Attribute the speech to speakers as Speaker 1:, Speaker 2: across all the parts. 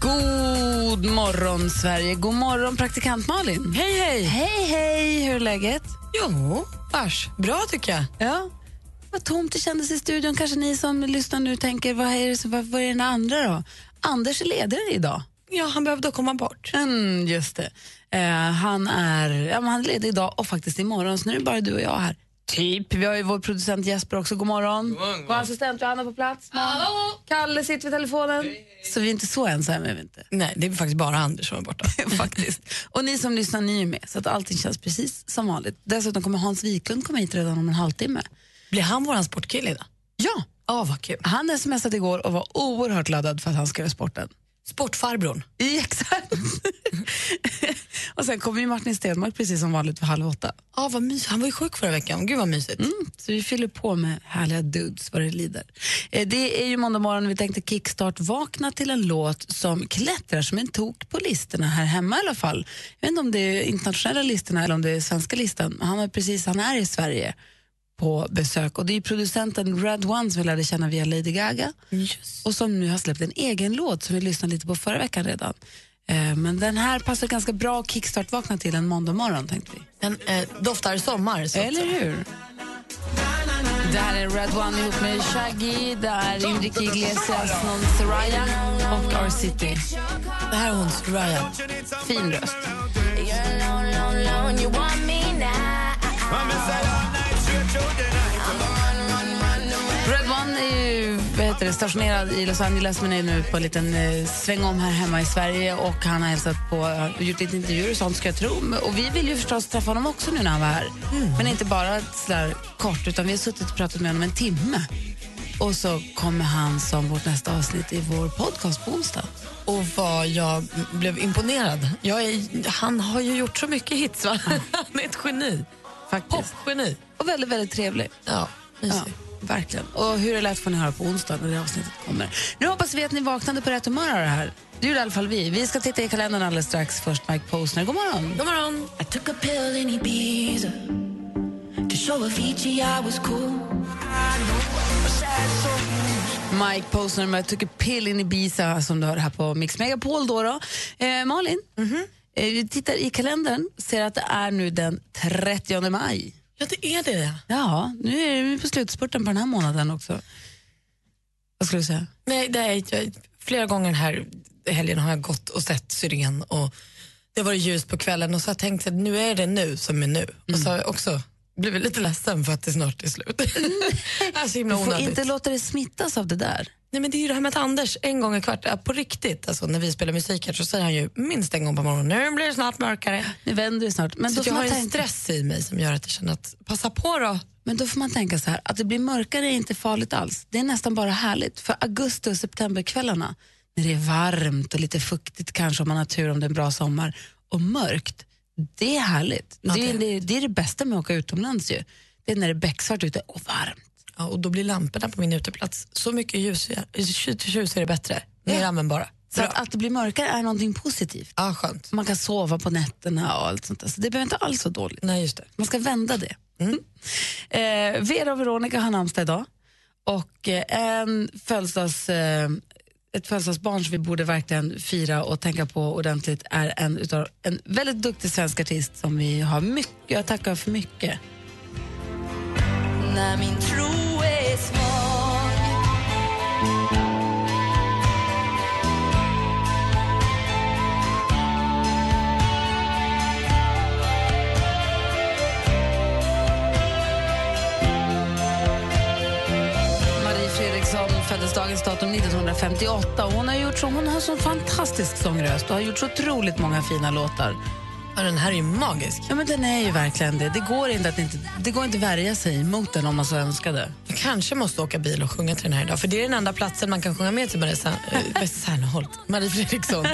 Speaker 1: God morgon, Sverige. God morgon, praktikant Malin. Hej, hej. Hej, hej. Hur är läget? Jo, vars. Bra, tycker jag. Ja. Vad tomt det kändes i studion. Kanske ni som lyssnar nu tänker, vad är, det, som- vad, vad är den andra då? Anders är ledare idag. Ja, han behövde komma bort. Mm, just det. Eh, han är ja, men han är ledig idag och faktiskt imorgon, så nu är det bara du och jag här. Typ. Vi har ju vår producent Jesper också. God morgon. God morgon. Vår assistent Johanna på plats. Hallå. Kalle sitter vid telefonen. Så vi är inte så ensamma. är Vi inte.
Speaker 2: Nej, det är faktiskt bara Anders som är borta.
Speaker 1: faktiskt. Och ni som lyssnar, ni är med, så att allting känns precis som vanligt. Dessutom kommer Hans Wiklund komma hit redan om en halvtimme.
Speaker 2: Blir han våran sportkille idag?
Speaker 1: Ja,
Speaker 2: Ja, vad kul.
Speaker 1: han smsade igår och var oerhört laddad för att han ska göra sporten.
Speaker 2: Sportfarbrorn.
Speaker 1: I- Exakt. och sen kommer ju Martin Stenmark precis som vanligt vid halv åtta.
Speaker 2: Ja, vad mys. Han var ju sjuk förra veckan. Gud vad mysigt.
Speaker 1: Mm, så vi fyller på med härliga dudes vad det lider. Eh, Det är ju måndag morgon och vi tänkte kickstart-vakna till en låt som klättrar som en tok på listorna här hemma i alla fall. Jag vet inte om det är internationella listorna eller om det är svenska listan. Han är precis, han är i Sverige på besök och det är ju producenten Red One som vi lärde känna via Lady Gaga och som nu har släppt en egen låt som vi lyssnade lite på förra veckan redan. Eh, Men den här passar ganska bra kickstart-vakna till en måndag morgon tänkte vi.
Speaker 2: Den eh, doftar sommar. Så
Speaker 1: Eller hur? Där är Red One ihop med Shaggy, där Enrique Iglesias, någon Soraya och R-City.
Speaker 2: Det här är hon, Soraya.
Speaker 1: Fin röst. Red One är ju vad heter det, stationerad i Los Angeles men är nu på en liten eh, sväng om här hemma i Sverige och han har hälsat på har gjort lite intervjuer och sånt ska jag tro. Men- Och vi vill ju förstås träffa honom också nu när han var här.
Speaker 2: Mm.
Speaker 1: Men inte bara sådär kort utan vi har suttit och pratat med honom en timme. Och så kommer han som vårt nästa avsnitt i vår podcast på onsdag.
Speaker 2: Och vad jag blev imponerad. Jag är, han har ju gjort så mycket hits, va? Han är ett geni.
Speaker 1: Mm. Faktiskt.
Speaker 2: Popgeni.
Speaker 1: Och väldigt, väldigt trevlig.
Speaker 2: Ja, mysig.
Speaker 1: Ja, verkligen. Och hur det lät får ni höra på onsdag när det avsnittet kommer. Nu hoppas vi att ni vaknade på rätt humör av det här. Det gjorde i alla fall vi. Vi ska titta i kalendern alldeles strax. Först Mike Posner. God morgon!
Speaker 2: God morgon.
Speaker 3: I took a pill in Ibiza to show Avicii I was cool.
Speaker 1: Mike Posner med Took a pill in Ibiza som du hör här på Mix Megapol. Då då. Eh, Malin, eh, vi tittar i kalendern ser att det är nu den 30 maj.
Speaker 2: Ja, det är det.
Speaker 1: Ja, nu är vi på slutspurten på den här månaden också. Vad skulle du säga?
Speaker 2: Nej, det är, jag, flera gånger den här helgen har jag gått och sett syren och det var ljust på kvällen och så har jag tänkt att nu är det nu som är nu. Och så har
Speaker 1: Mm.
Speaker 2: jag också blivit lite ledsen för att det snart är slut. det är så Alltså, himla
Speaker 1: Du får
Speaker 2: onödigt.
Speaker 1: inte låta dig smittas av det där.
Speaker 2: Nej, men det är ju det här med att Anders en gång i kvarten, på riktigt, alltså, när vi spelar musik här så säger han ju minst en gång på morgonen, nu blir det snart mörkare.
Speaker 1: Nu vänder det snart. Men
Speaker 2: Så
Speaker 1: då
Speaker 2: att
Speaker 1: får
Speaker 2: jag har
Speaker 1: man
Speaker 2: en
Speaker 1: tänka-
Speaker 2: stress i mig som gör att jag känner att passa på då.
Speaker 1: Men då får man tänka så här, att det blir mörkare är inte farligt alls. Det är nästan bara härligt. För augusti och septemberkvällarna, när det är varmt och lite fuktigt kanske om man har tur om det är en bra sommar, och mörkt, det är härligt. det, är, det, det är det bästa med att åka utomlands ju. Det är när det är becksvart ute och varmt.
Speaker 2: Ja, och då blir lamporna på min uteplats så mycket ljusigare, tjus är det bättre, mer
Speaker 1: Ja.
Speaker 2: användbara.
Speaker 1: Så att, att det blir mörkare är någonting positivt.
Speaker 2: Ja, skönt.
Speaker 1: Man kan sova på nätterna och allt sånt där. Så det behöver inte alls vara dåligt.
Speaker 2: Nej, just det. Mm.
Speaker 1: Man ska vända det. Eh, Vera och Veronica har namnsdag idag. Och eh, en födelsedags, eh, ett födelsedagsbarn som vi borde verkligen fira och tänka på ordentligt är en, utav, en väldigt duktig svensk artist som vi har mycket att tacka för mycket.
Speaker 3: När min tro är svag
Speaker 1: Marie Fredriksson föddes dagens datum 1958. Och hon, har gjort så, hon har så fantastisk sångröst och har gjort så otroligt många fina låtar.
Speaker 2: Ja, den här är ju magisk.
Speaker 1: Ja, men den är ju verkligen det. Det går inte att inte, det går inte att värja sig mot den om man så önskade.
Speaker 2: Jag kanske måste åka bil och sjunga till den här idag. För det är den enda platsen man kan sjunga med till Marie San- eh, Serneholt. Marie Fredriksson.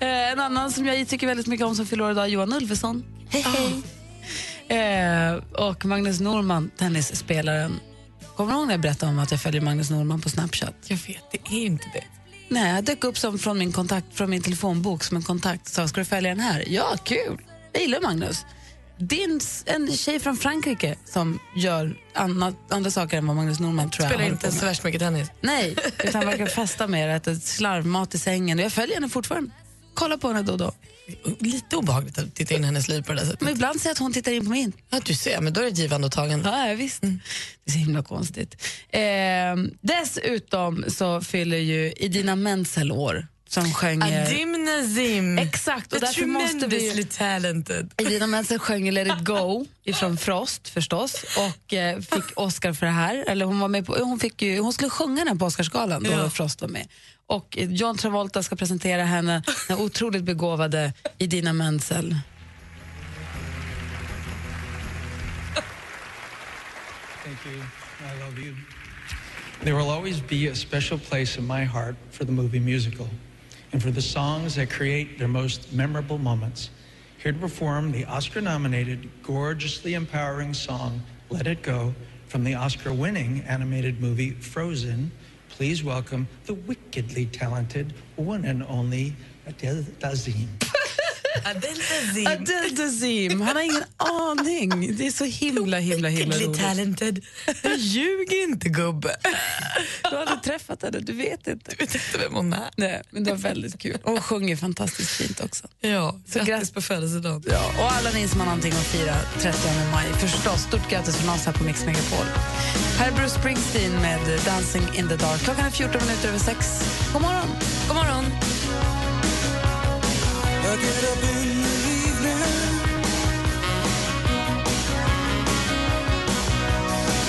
Speaker 1: Eh, en annan som jag tycker väldigt mycket om som fyller år idag, Johan Ulveson. Ah. Hej, hej. Eh, och Magnus Norman, tennisspelaren. Kommer du ihåg när jag berättade om att jag följer Magnus Norman på Snapchat?
Speaker 2: Jag vet, det är inte det.
Speaker 1: Nej, jag dök upp som från min, kontakt, från min telefonbok som en kontakt. Sa, ska du följa den här? Ja, kul. Jag gillar Magnus. Det är en, s- en tjej från Frankrike som gör annat, andra saker än vad Magnus Norman tror jag
Speaker 2: Spelar
Speaker 1: håller
Speaker 2: inte
Speaker 1: på med.
Speaker 2: så värst mycket tennis.
Speaker 1: Nej, utan verkar festa mer, äter slarvmat i sängen. Och Jag följer henne fortfarande. Kollar på henne då och då.
Speaker 2: Lite obehagligt att titta in i hennes liv på det där sättet.
Speaker 1: Men ibland ser jag att hon tittar in på min.
Speaker 2: Ja, du ser, men då är det ett givande och Mm. tagande.
Speaker 1: Ja, ja, visst. Det är så himla konstigt. Eh, dessutom så fyller ju Idina Menzel år som sjöng... eh,
Speaker 2: Adim Nazim.
Speaker 1: Exakt, och därför måste vi...
Speaker 2: Tremendously talented.
Speaker 1: Idina Menzel sjöng Let it go ifrån Frost förstås och eh, fick Oscar för det här. Eller hon, var med på, hon, fick ju, hon skulle sjunga den på Oscarsgalan då
Speaker 2: Ja.
Speaker 1: Frost var med. Och eh, John Travolta ska presentera henne, den otroligt begåvade Idina Menzel.
Speaker 4: Thank you. I love you. There will always be a special place in my heart for the movie musical and for the songs that create their most memorable moments. Here to perform the Oscar nominated, gorgeously empowering song Let It Go from the Oscar winning animated movie Frozen, please welcome the wickedly talented one and only Adele Dazeem.
Speaker 2: Adil Nazim.
Speaker 1: Adele Dazeem, han har ingen aning. Det är så himla, himla, himla
Speaker 2: Wickedly
Speaker 1: roligt.
Speaker 2: talented. Ljug inte, gubbe.
Speaker 1: Du har aldrig träffat henne, du vet inte.
Speaker 2: Jag vet inte vem hon är.
Speaker 1: Nej, men det var väldigt kul. Och hon sjunger fantastiskt fint också.
Speaker 2: Ja,
Speaker 1: Så grattis
Speaker 2: grattis på födelsedagen.
Speaker 1: Ja, och alla ni som har någonting att fira 30 maj, förstås. Stort grattis från oss här på Mix Megapol. Här är Bruce Springsteen med Dancing in the dark. Klockan är 14 minuter över 6. God morgon!
Speaker 2: God morgon.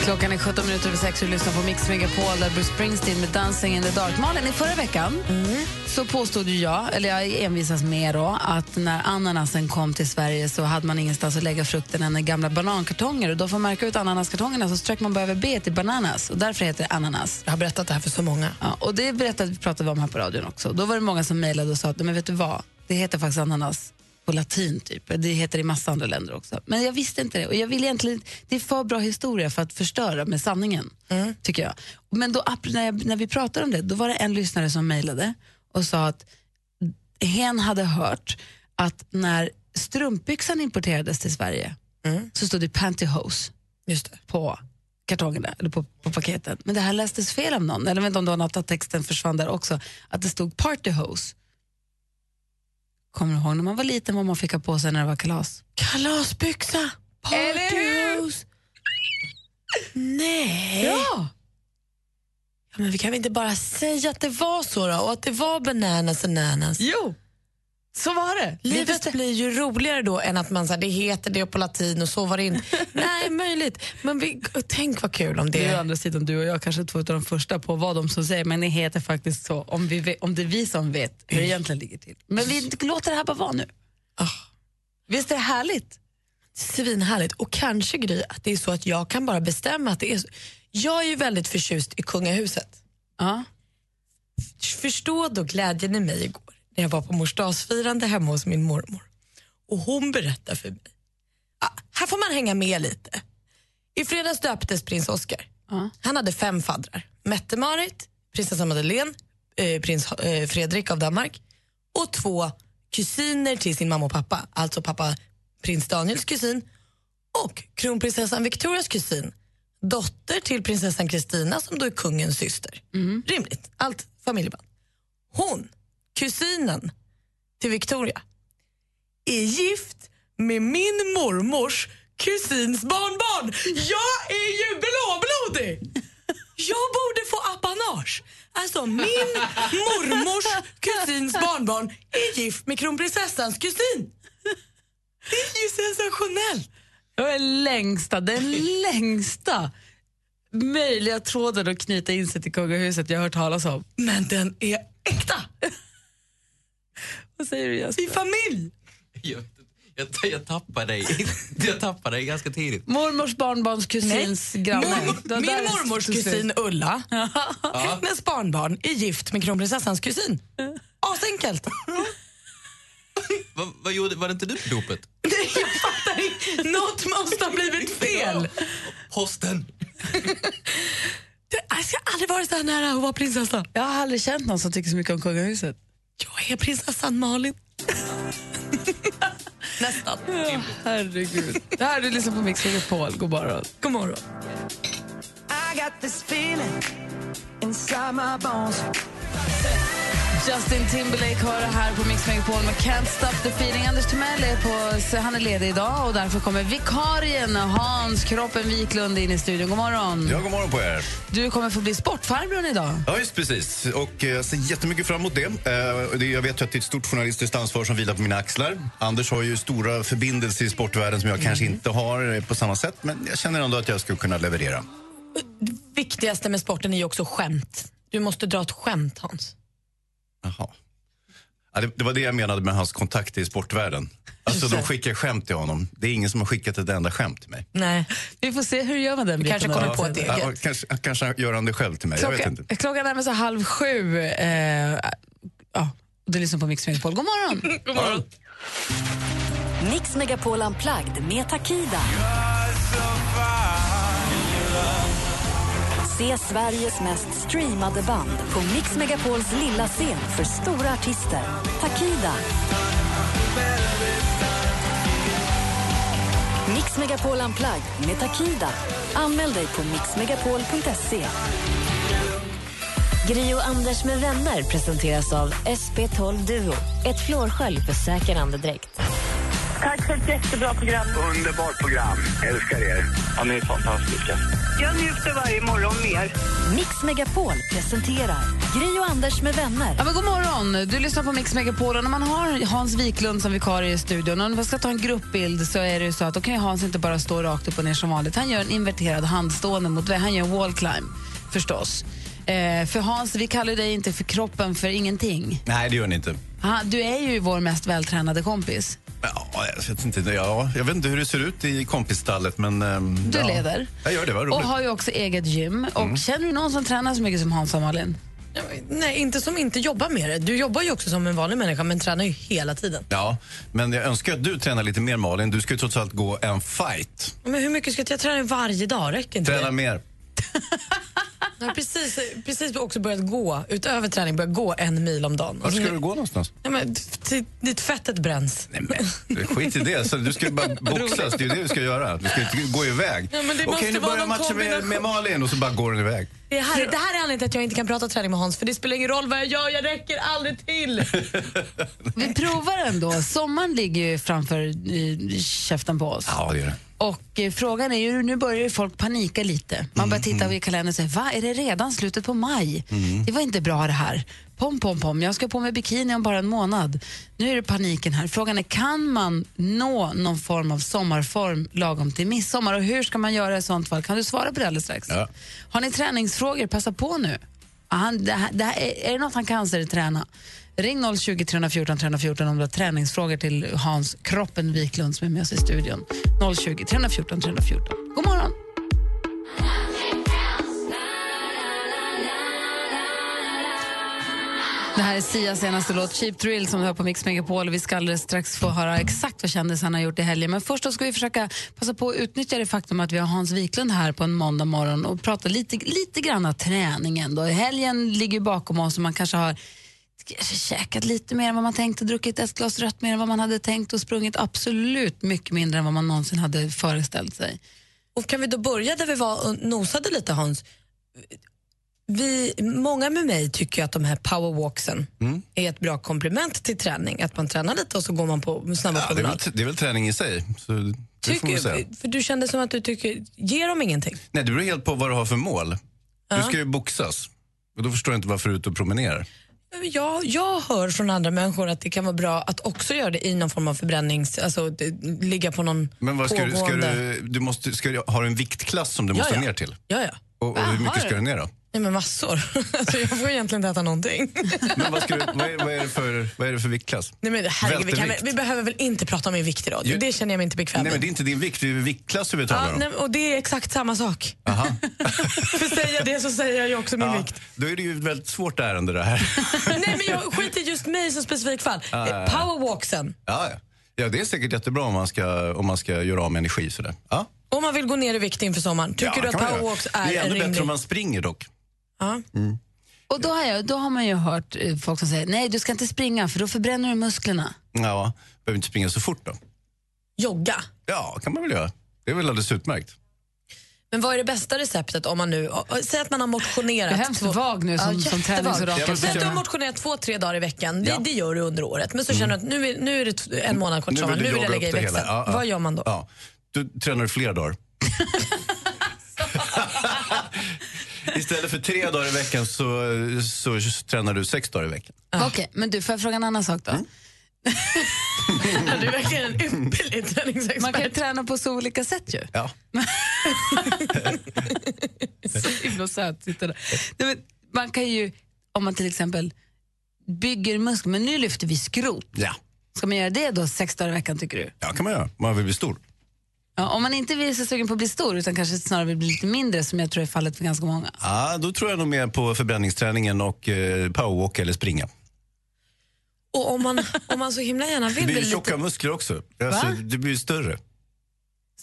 Speaker 1: Klockan är 17 minuter över 6 och du lyssnar på Mix Megapol där Bruce Springsteen med Dancing in the dark. Malin, i förra veckan så påstod ju jag, eller jag envisas med då, att när ananasen kom till Sverige så hade man ingenstans att lägga frukten än i gamla banankartonger. Och då får man märka ut ananaskartongerna så strök man bara över B till bananas och därför heter det ananas.
Speaker 2: Jag har berättat det här för så många.
Speaker 1: Ja, och det berättade, pratade vi om här på radion också. Då var det många som mejlade och sa att men vet du vad, det heter faktiskt ananas på latin typ. Det heter i massa andra länder också. Men jag visste inte det och jag vill egentligen, det är för bra historia för att förstöra med sanningen, tycker jag. Men då, app- när, jag, när vi pratade om det, då var det en lyssnare som mejlade och sa att hen hade hört att när strumpbyxan importerades till Sverige så stod det pantyhose
Speaker 2: Just det.
Speaker 1: på kartongerna, eller på, på paketen. Men det här lästes fel av någon. Eller jag vet inte om det var något att texten försvann där också. Att det stod party hose. Kommer du ihåg när man var liten vad man fick ha på sig när det var kalas?
Speaker 2: Kalasbyxa!
Speaker 1: Eller hur?
Speaker 2: Partyhus! Nej!
Speaker 1: Ja!
Speaker 2: Ja, Men vi kan väl inte bara säga att det var så då, och att det var bananas och nanas?
Speaker 1: Jo! Så var det.
Speaker 2: Livet
Speaker 1: Livet
Speaker 2: blir ju roligare då än att man säger det heter det på latin och så var det inte. Nej, möjligt. Men vi, tänk vad kul om
Speaker 1: det är å
Speaker 2: det...
Speaker 1: andra sidan du och jag kanske två av de första på vad de som säger, men det heter faktiskt så om, vi, ve- om det är vi som vet hur det egentligen ligger till. Men vi låter det här bara vara nu.
Speaker 2: Ah.
Speaker 1: Visst är det härligt?
Speaker 2: Svinhärligt. Och kanske Gry, att det är så att jag kan bara bestämma att det är så. Jag är ju väldigt förtjust i kungahuset.
Speaker 1: Ja.
Speaker 2: Förstå då glädjen i mig igår när jag var på mors dagsfirande hemma hos min mormor. Och hon berättar för mig. Ah, här får man hänga med lite. I fredags döptes prins Oscar.
Speaker 1: Ja.
Speaker 2: Han hade fem faddrar. Mette-Marit, prinsessa Madeleine, eh, prins eh, Fredrik av Danmark och två kusiner till sin mamma och pappa. Alltså pappa prins Daniels kusin och kronprinsessan Victorias kusin. Dotter till prinsessan Kristina som då är kungens syster. Rimligt, allt familjeband. Hon, kusinen till Victoria, är gift med min mormors kusins barnbarn. Jag är ju blåblodig! Jag borde få apanage. Alltså min mormors kusins barnbarn är gift med kronprinsessans kusin. Det är ju sensationellt.
Speaker 1: Det var den längsta, den längsta möjliga tråden att knyta in sig till kungahuset jag har hört talas om.
Speaker 2: Men den är äkta.
Speaker 1: Vad säger du
Speaker 2: I
Speaker 1: Jesper?
Speaker 2: familj.
Speaker 5: Jag, jag, jag tappar dig. Jag tappar dig ganska tidigt.
Speaker 1: Mormors barnbarns kusins granne. Det var
Speaker 2: Min
Speaker 1: där det
Speaker 2: mormors
Speaker 1: stod slut.
Speaker 2: kusin Ulla, hennes barnbarn, är gift med kronprinsessans kusin. Asenkelt.
Speaker 5: Vad, vad gjorde, var det inte du på dopet?
Speaker 2: Nej, jag fattar inte. Något måste ha blivit fel.
Speaker 5: Posten!
Speaker 2: Det- Jag ska aldrig varit så här nära att vara prinsessa.
Speaker 1: Jag har aldrig känt någon som tycker så mycket om kungahuset.
Speaker 2: Jag är prinsessan Malin. Nästan.
Speaker 1: Ja, herregud. Det här du
Speaker 2: liksom
Speaker 1: lyssnar på Mix Megapol. God morgon.
Speaker 2: God morgon.
Speaker 1: Justin Timberlake har det här på Mix Megapol med Can't Stop the Feeling. Anders Timell är, på, så han är ledig idag och därför kommer vikarien Hans Kroppen Wiklund in i studion. God morgon.
Speaker 6: Ja, god morgon på er.
Speaker 1: Du kommer få bli sportfarbrorn idag.
Speaker 6: Ja, just precis. Och eh, jag ser jättemycket fram emot det. Eh, det- Jag vet ju att det är ett stort journalistiskt ansvar som vilar på mina axlar. Anders har ju stora förbindelser i sportvärlden som jag kanske
Speaker 2: Mm.
Speaker 6: inte har eh, på samma sätt. Men jag känner ändå att jag skulle kunna leverera.
Speaker 2: Viktigaste med sporten är ju också skämt. Du måste dra ett skämt, Hans.
Speaker 6: Jaha. Ja, det, det var det jag menade med hans kontakt i sportvärlden. Alltså, de skickar skämt till honom. Det är ingen som har skickat ett enda skämt till mig.
Speaker 2: Nej.
Speaker 1: Vi får se hur gör man den
Speaker 2: kanske
Speaker 1: biten.
Speaker 2: kommer på ett eget.
Speaker 6: Ja, kanske, kanske gör han det själv till mig. Jag vet
Speaker 1: Klockan,
Speaker 6: inte.
Speaker 1: klockan närmar sig halv sju. Eh, ja, du lyssnar på Mix Megapol. God morgon.
Speaker 7: Mix Megapol Unplugged med Takida. Se Sveriges mest streamade band på Mix Megapols lilla scen för stora artister. Takida. Mix Megapol Unplugged med Takida. Anmäl dig på mixmegapol.se. Gri och Anders med vänner presenteras av SP12 Duo. Ett flårskölj för säker andedräkt.
Speaker 3: Tack för ett jättebra program.
Speaker 8: Underbart program. Älskar er. Ja, ni är fantastiska.
Speaker 3: Jag njuter varje morgon mer.
Speaker 7: Mix Megapol presenterar Gri och Anders med vänner.
Speaker 1: Ja, men god morgon. Du lyssnar på Mix Megapol. Och när man har Hans Wiklund som vikarie i studion och man ska ta en gruppbild så är det ju så att då kan ju Hans inte bara stå rakt upp och ner som vanligt. Han gör en inverterad handstående mot väggen. Han gör en wall climb, förstås. Eh, för Hans, vi kallar dig inte för kroppen för ingenting.
Speaker 6: Nej, det gör ni inte.
Speaker 1: Han, du är ju vår mest vältränade kompis.
Speaker 6: Ja, jag vet, inte, ja, jag vet inte hur det ser ut i kompisstallet, men... ehm,
Speaker 1: Du
Speaker 6: ja.
Speaker 1: leder.
Speaker 6: Jag gör det, vad
Speaker 1: Och
Speaker 6: roligt. Mm.
Speaker 1: har ju också eget gym. Och Känner du någon som tränar så mycket som Hans och Malin?
Speaker 2: Nej, inte som inte jobbar med det. Du jobbar ju också som en vanlig människa, men tränar ju hela tiden.
Speaker 6: Ja, men jag önskar att du tränar lite mer Malin. Du ska ju trots allt gå en fight.
Speaker 2: Men hur mycket ska jag, jag träna varje dag? Räcker inte
Speaker 6: Träna
Speaker 2: det?
Speaker 6: mer.
Speaker 2: Jag har precis, precis också börjat gå, utöver träning, börjat gå en mil om dagen.
Speaker 6: Vart
Speaker 2: Och
Speaker 6: ska
Speaker 2: så-
Speaker 6: du gå någonstans?
Speaker 2: Nej, men, till, dit fettet bränns.
Speaker 6: Nej, men, skit i det. Så du ska ju bara boxas. Det är ju det du ska göra. Du ska inte gå iväg.
Speaker 2: Ja, men det måste
Speaker 6: Okej, nu
Speaker 2: vara
Speaker 6: börjar
Speaker 2: någon
Speaker 6: matchen med,
Speaker 2: kombination.
Speaker 6: med Malin och så bara går den iväg.
Speaker 2: Det här, det här är anledningen till att jag inte kan prata träning med Hans, för det spelar ingen roll vad jag gör, jag räcker aldrig till.
Speaker 1: Vi provar ändå. Sommaren ligger ju framför eh, käften på oss.
Speaker 6: Ja, det gör det.
Speaker 1: Och eh, frågan är ju, nu börjar ju folk panika lite. Man börjar
Speaker 6: Mm.
Speaker 1: titta i kalendern och säger, va, är det redan slutet på maj? Det var inte bra det här. Pom, pom, pom, jag ska på mig bikini om bara en månad. Nu är det paniken här. Frågan är, kan man nå någon form av sommarform lagom till midsommar? Och hur ska man göra i sånt fall? Kan du svara på det alldeles strax?
Speaker 6: Ja.
Speaker 1: Har ni träningsfrågor, passa på nu. Ja, Han, det här, det här, är, är det något han kan så är det träna. Ring 020 314 314 om du har träningsfrågor till Hans Kroppen Wiklund som är med oss i studion. 020 314 314. God morgon! Det här är Sias senaste låt Cheap Thrill som du hör på Mix Megapol. Vi ska alldeles strax få höra exakt vad kändisarna har gjort i helgen. Men först då ska vi försöka passa på att utnyttja det faktum att vi har Hans Wiklund här på en måndag morgon och prata lite, lite grann om träningen. Då. Helgen ligger ju bakom oss och man kanske har kanske käkat lite mer än vad man tänkte, druckit ett glas rött mer än vad man hade tänkt och sprungit absolut mycket mindre än vad man någonsin hade föreställt sig.
Speaker 2: Och kan vi då börja där vi var och nosade lite Hans? Vi, många med mig tycker ju att de här powerwalksen
Speaker 6: Mm.
Speaker 2: är ett bra komplement till träning. Att man tränar lite och så går man på snabba
Speaker 6: Ja, det, är väl,
Speaker 2: promenader.
Speaker 6: det är väl träning i sig. Så det får man väl säga.
Speaker 2: Tycker, för du kände som att du tycker, ger dem ingenting?
Speaker 6: Nej, det beror helt på vad du har för mål. Du ska ju boxas. Och då förstår jag inte varför du är ute och promenerar.
Speaker 2: Jag, jag hör från andra människor att det kan vara bra att också göra det i någon form av förbrännings... Alltså det, ligga på någon
Speaker 6: Men vad ska du, ska
Speaker 2: pågående-
Speaker 6: du, du måste, ska du, har du en viktklass som du
Speaker 2: Ja,
Speaker 6: måste
Speaker 2: ja.
Speaker 6: ner till?
Speaker 2: Ja, ja.
Speaker 6: Och, och hur
Speaker 1: Aha,
Speaker 6: mycket ska
Speaker 1: du.
Speaker 6: du ner då?
Speaker 2: Nej, men massor. alltså, jag får egentligen inte äta någonting.
Speaker 6: Men vad, ska du, vad, är, vad, är det för, vad är det för viktklass?
Speaker 2: Nej, men, herregud, vi, kan, väl-
Speaker 6: Vältevikt.
Speaker 2: vi behöver väl inte prata om min vikt i radio?
Speaker 6: Jo.
Speaker 2: Det känner jag mig inte bekväm
Speaker 6: Nej, men
Speaker 2: med.
Speaker 6: det är inte din vikt, det är viktklass vi talar
Speaker 2: Ja,
Speaker 6: om.
Speaker 2: nej, och det är exakt samma sak.
Speaker 6: Aha.
Speaker 2: För säger jag det så säger jag ju också min
Speaker 6: Ja,
Speaker 2: vikt.
Speaker 6: då är det ju ett väldigt svårt ärende det här.
Speaker 2: Nej, men jag skiter just mig som specifikt fall.
Speaker 6: Ja, Ah, ja, ja.
Speaker 2: Eh, Powerwalksen.
Speaker 6: Ja, ja. ja, det är säkert jättebra om man ska, om man ska göra av med energi. Sådär. Ja.
Speaker 2: Om man vill gå ner i vikt inför sommaren, tycker
Speaker 6: ja,
Speaker 2: du att
Speaker 6: kan man göra.
Speaker 2: powerwalks är,
Speaker 6: Det är
Speaker 2: en
Speaker 6: ännu bättre
Speaker 2: rimlig...
Speaker 6: om man springer dock.
Speaker 2: Ja.
Speaker 1: Och då har, jag, då har man ju hört eh, folk som säger nej du ska inte springa för då förbränner du musklerna.
Speaker 6: Ja, behöver inte springa så fort då.
Speaker 2: Jogga.
Speaker 6: Ja, kan man väl göra. Det är väl alldeles utmärkt.
Speaker 2: Men vad är det bästa receptet om man nu... och- och- Säg att man har motionerat...
Speaker 1: Jag är hemskt vag nu som- som
Speaker 2: jättevag.
Speaker 1: tennisrakare.
Speaker 6: Jag vill
Speaker 2: Säg att du har
Speaker 6: försöka-
Speaker 2: motionerat två, tre dagar i veckan. Det,
Speaker 6: Ja.
Speaker 2: det gör du under året. Men så känner du att nu är, nu är det t- en månad kvar
Speaker 6: Mm. Nu vill
Speaker 2: till sommaren. Nu
Speaker 6: du
Speaker 2: vill jag
Speaker 6: jogga
Speaker 2: lägga i
Speaker 6: upp det hela.
Speaker 2: växeln.
Speaker 6: Ja, ja.
Speaker 2: Vad gör man då?
Speaker 6: Ja. Du tränar fler dagar. Istället för tre dagar i veckan så, så, tränar du sex dagar i veckan.
Speaker 2: Ah.
Speaker 1: Okej, men du får jag fråga en annan sak då?
Speaker 2: Mm. Ja, Du är verkligen en ypperlig träningsexpert.
Speaker 1: Man kan ju träna på så olika sätt ju.
Speaker 6: Ja.
Speaker 1: så himla söt. sitter där. Nej, men man kan ju, om man till exempel bygger muskler, men nu lyfter vi skrot.
Speaker 6: Ja,
Speaker 1: Ska man göra det då sex dagar i veckan tycker du?
Speaker 6: ja kan man göra. Man vill bli stor.
Speaker 1: Ja, om man inte vill så sugen på att bli stor utan kanske snarare vill bli lite mindre som jag tror är fallet för ganska många.
Speaker 6: Ja, då tror jag nog mer på förbränningsträningen och eh, powerwalk eller springa.
Speaker 2: Och om man, om man så himla gärna
Speaker 6: Det
Speaker 2: vill
Speaker 6: blir
Speaker 2: bli
Speaker 6: ju
Speaker 2: lite...
Speaker 6: tjocka muskler också. Alltså,
Speaker 1: Va?
Speaker 6: det blir ju större.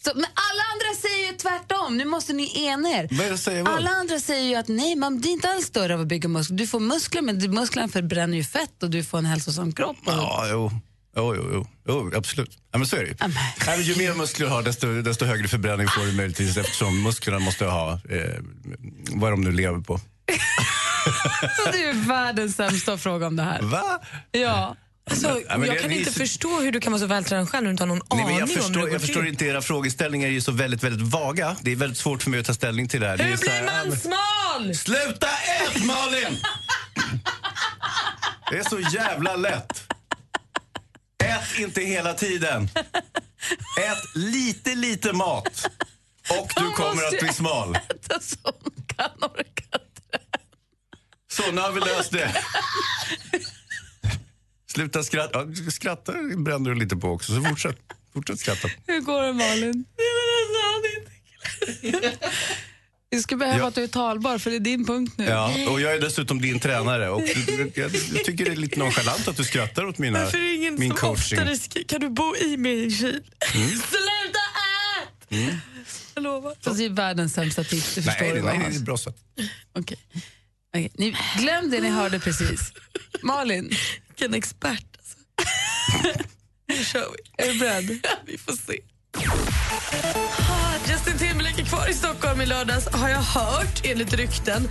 Speaker 1: Så, men alla andra säger ju tvärtom, nu måste ni ena er.
Speaker 6: Vad är det säger
Speaker 1: Alla andra säger ju att nej, man blir inte alls större av att bygga muskler. Du får muskler, men du- musklerna förbränner ju fett och du får en hälsosam kropp. Och...
Speaker 2: Mm.
Speaker 6: Ja, jo. Jo, jo, jo. jo absolut. Ja, men så är det ju.
Speaker 1: men-
Speaker 6: Nej, men ju mer muskler du har, desto, desto högre förbränning får du möjligtvis eftersom musklerna måste ha eh, vad de nu lever på.
Speaker 1: Så du Alltså, är världens sämsta fråga om det här.
Speaker 6: Va?
Speaker 1: Ja.
Speaker 2: Alltså,
Speaker 6: Ja, men
Speaker 2: jag
Speaker 6: det-
Speaker 2: kan
Speaker 6: det är
Speaker 2: inte
Speaker 6: så-
Speaker 2: förstå hur du kan vara så vältränad själv när du inte har någon
Speaker 6: Nej, men
Speaker 2: aning
Speaker 6: jag
Speaker 2: om hur
Speaker 6: förstår,
Speaker 2: det
Speaker 6: jag
Speaker 2: går
Speaker 6: förstår
Speaker 2: till.
Speaker 6: inte, era frågeställningar är ju så väldigt, väldigt vaga. Det är väldigt svårt för mig att ta ställning till det här. Det är
Speaker 2: Hur
Speaker 6: så här,
Speaker 2: blir
Speaker 6: ja, men-
Speaker 2: man smal?
Speaker 6: Sluta ät, Malin! Det är så jävla lätt. Ät inte hela tiden. Ät lite, lite mat. Och du kommer att bli smal.
Speaker 1: Inte som kan orka.
Speaker 6: Så, nu har vi löst det. Sluta skratta. Ja, skratta bränner du lite på också, så fortsätt. Fortsätt skratta.
Speaker 1: Hur går det Malin? alltså, Vi skulle behöva
Speaker 6: Ja.
Speaker 1: att du är talbar för det är din punkt nu.
Speaker 6: Ja, och jag är dessutom din tränare. Och jag, jag tycker det är lite nonchalant att du skrattar åt mina,
Speaker 2: Varför är det ingen
Speaker 6: min
Speaker 2: som
Speaker 6: coaching. Mm.
Speaker 2: oftare skriker kan du bo i min kyl? Sluta ät! Jag lovar.
Speaker 1: Fast det är världens sämsta tips, du förstår
Speaker 6: Nej,
Speaker 1: ju
Speaker 6: nej,
Speaker 1: vad
Speaker 6: nej,
Speaker 1: han-
Speaker 6: det är bra sätt.
Speaker 1: Okej. Okej, Ni, glöm det ni hörde precis. Malin,
Speaker 2: Vilken expert alltså. Nu kör vi.
Speaker 1: är du beredd?
Speaker 2: Vi får se. Ah, Justin Timberlake är kvar i Stockholm i lördags har jag hört, enligt rykten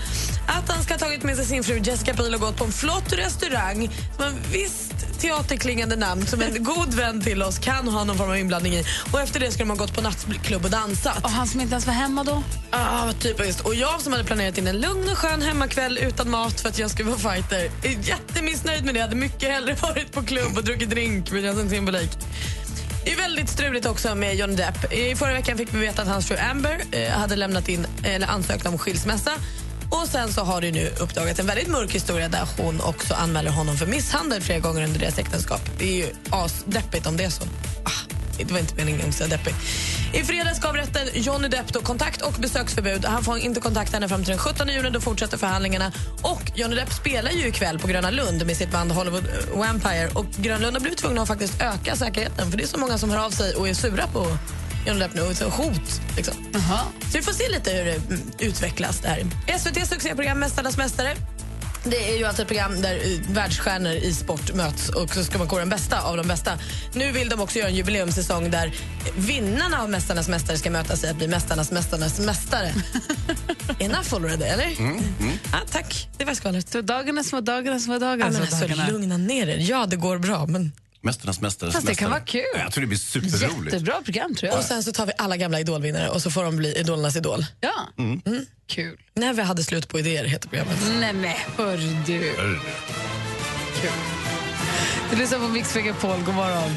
Speaker 2: att han ska ha tagit med sig sin fru Jessica Biel och gått på en flott restaurang som en visst teaterklingande namn som en god vän till oss kan ha någon form av inblandning i. Och Efter det skulle man gått på nattklubb och dansat.
Speaker 1: Och han som inte ens var hemma då?
Speaker 2: Ah, typiskt. Och jag som hade planerat in en lugn och skön hemmakväll utan mat för att jag skulle vara fighter är jättemissnöjd med det. Jag hade mycket hellre varit på klubb och druckit drink med Justin Timberlake. Det är väldigt struligt också med Johnny Depp. I förra veckan fick vi veta att hans fru Amber eh, hade lämnat in eller ansökt om skilsmässa. Och sen så har det nu uppdagats en väldigt mörk historia där hon också anmäler honom för misshandel flera gånger under deras äktenskap. Det är ju asdeppigt om det är så. Ah. Det var inte meningen att säga deppig. I fredags gav rätten Johnny Depp då kontakt och besöksförbud. Han får inte kontakta henne fram till den 17 juni. Då fortsätter förhandlingarna. Och Johnny Depp spelar ju ikväll på Gröna Lund med sitt band Hollywood eh, Vampire. Och Gröna Lund har blivit tvungna att faktiskt öka säkerheten för det är så många som hör av sig och är sura på Johnny Depp nu. och så Hot, liksom.
Speaker 1: Jaha.
Speaker 2: Så vi får se lite hur det mm, utvecklas där. SVTs succéprogram Mästarnas mästare. Det är ju alltså ett program där eh, världsstjärnor i sport möts och så ska man gå den bästa av de bästa. Nu vill de också göra en jubileumssäsong där vinnarna av Mästarnas mästare ska mötas i att bli Mästarnas mästarnas mästare. Enough already, eller? Ja, tack, det var skvallret.
Speaker 1: Mm. Så dagarna små dagarna små
Speaker 2: Ja,
Speaker 1: dagarna
Speaker 2: men
Speaker 1: små
Speaker 2: alltså,
Speaker 1: dagarna.
Speaker 2: lugna ner er. Ja, det går bra, men...
Speaker 6: Mästarnas mästare.
Speaker 1: Fast det kan vara kul.
Speaker 6: Jag tror det blir superroligt.
Speaker 1: Jättebra program tror jag.
Speaker 2: Och sen så tar vi alla gamla idolvinnare och så får de bli idolernas idol.
Speaker 1: Ja.
Speaker 2: Mm.
Speaker 1: Mm. Kul.
Speaker 2: När vi hade slut på idéer heter programmet.
Speaker 1: Nej men hör du.
Speaker 6: Hörru.
Speaker 1: Kul. Du lyssnar på Mix Megapol, god morgon.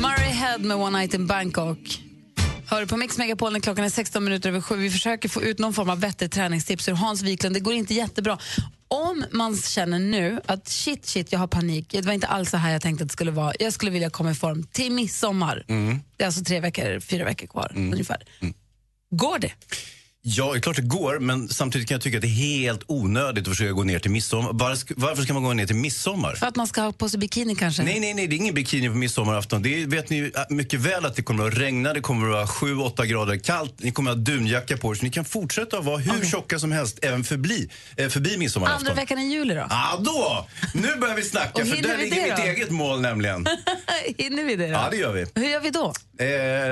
Speaker 1: Murray Head med One Night in Bangkok. Hör du på Mix Megapol när klockan är 16 minuter över 7. Vi försöker få ut någon form av vettigt träningstips ur Hans Wiklund. Det går inte jättebra. Om man känner nu att shit, shit, jag har panik. Det var inte alls så här jag tänkte att det skulle vara. Jag skulle vilja komma i form till midsommar.
Speaker 6: Mm.
Speaker 1: Det är alltså tre veckor, fyra veckor kvar
Speaker 6: Mm.
Speaker 1: ungefär. Går det?
Speaker 6: Ja, det är klart det går, men samtidigt kan jag tycka att det är helt onödigt att försöka gå ner till midsommar. Varför, varför ska man gå ner till midsommar?
Speaker 1: För att man ska ha på sig bikini kanske?
Speaker 6: Nej, nej, nej, det är ingen bikini på midsommarafton. Det är, vet ni ju, äh, mycket väl att det kommer att regna, det kommer att vara 7-8 grader kallt, ni kommer att ha dunjacka på er, så ni kan fortsätta att vara hur tjocka som helst även förbli, eh, förbi midsommarafton.
Speaker 1: Andra veckan i juli då?
Speaker 6: Ja, då! Nu börjar vi snacka,
Speaker 1: Och
Speaker 6: för
Speaker 1: hinner
Speaker 6: där
Speaker 1: vi
Speaker 6: ligger
Speaker 1: det
Speaker 6: mitt
Speaker 1: då?
Speaker 6: eget mål nämligen.
Speaker 1: Hinner vi det då?
Speaker 6: Ja, det gör vi.
Speaker 1: Hur gör vi då?
Speaker 6: Eh,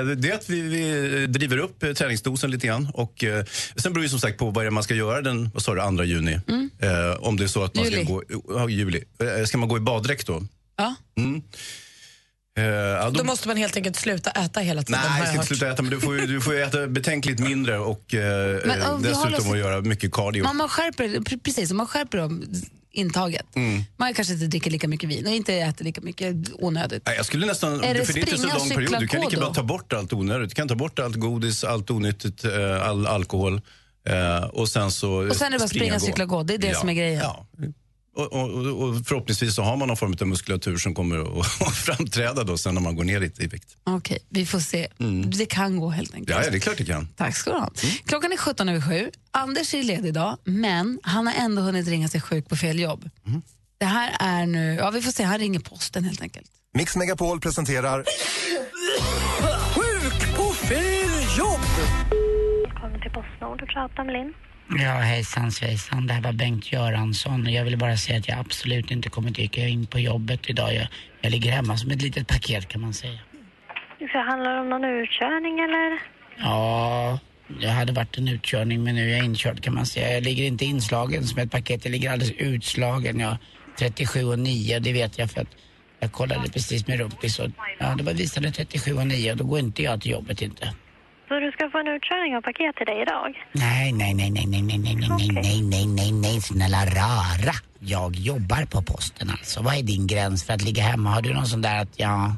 Speaker 6: det är att vi, vi driver upp eh, träningsdosen lite grann. Och, eh, sen beror det som sagt på vad det är man ska göra den vad sa du, 2 juni. Eh, om det är så att man
Speaker 1: Mm. Juli.
Speaker 6: ska gå, ja, juli. Eh, ska man gå i baddräkt då?
Speaker 1: Ja.
Speaker 6: Mm. Eh, ja,
Speaker 2: Då måste man helt enkelt sluta äta hela tiden.
Speaker 6: Nej,
Speaker 2: har
Speaker 6: jag ska
Speaker 2: jag
Speaker 6: inte sluta äta, men du får, ju, du får ju äta betänkligt mindre och eh,
Speaker 1: Men,
Speaker 6: eh,
Speaker 1: om vi håller
Speaker 6: dessutom
Speaker 1: oss-
Speaker 6: att göra mycket cardio.
Speaker 1: Man, man skärper, pre- precis, man skärper om intaget. Mm. Man kanske inte dricker lika mycket vin och inte äter lika mycket onödigt.
Speaker 6: Nej, jag skulle nästan,
Speaker 1: Är det
Speaker 6: för det är inte så
Speaker 1: springa och
Speaker 6: lång
Speaker 1: cykla
Speaker 6: period. Du kan
Speaker 1: på
Speaker 6: lika bra
Speaker 1: då?
Speaker 6: ta bort allt onödigt. Du kan ta bort allt godis, allt onyttigt, eh, all alkohol. Eh, och sen så
Speaker 1: Och sen är det bara springa,
Speaker 6: och gå.
Speaker 1: cykla, gå. Det är det
Speaker 6: Ja.
Speaker 1: som är grejen.
Speaker 6: Och, och, och och förhoppningsvis så har man någon form av muskulatur som kommer att att framträda då sen när man går ner lite i vikt.
Speaker 1: Okej, vi får se.
Speaker 6: Mm.
Speaker 1: Det kan gå helt enkelt.
Speaker 6: Ja, ja, det är klart det kan.
Speaker 1: Tack ska du ha. Klockan är 17 över 7. Anders är ledig idag, men han har ändå hunnit ringa sig sjuk på fel jobb.
Speaker 6: Mm.
Speaker 1: Det här är nu... Ja, vi får se. Han ringer posten helt enkelt.
Speaker 9: Mix Megapol presenterar...
Speaker 10: Sjuk på fel jobb!
Speaker 11: Välkommen till Postnord och prata med Linn.
Speaker 12: Ja, hejsan svejsan. Det här var Bengt Göransson. Jag ville bara säga att jag absolut inte kommer dyka in på jobbet idag. Jag, jag ligger hemma som ett litet paket kan man säga.
Speaker 11: Du förhandlar om någon utkörning eller?
Speaker 12: Ja, det hade varit en utkörning men nu är jag inkörd kan man säga. Jag ligger inte inslagen som ett paket. Jag ligger alldeles utslagen. Jag 37 och 9, det vet jag för att jag kollade precis med Rumpis och ja, det var visade 37 och 9 och då går inte jag till jobbet inte.
Speaker 11: Så du ska få en utkörning av paket till dig idag?
Speaker 12: Nej, nej, nej, nej, nej, nej, nej, nej, nej, nej, nej, nej, nej, snälla rara. Jag jobbar på posten alltså. Vad är din gräns för att ligga hemma? Har du någon sån där att jag...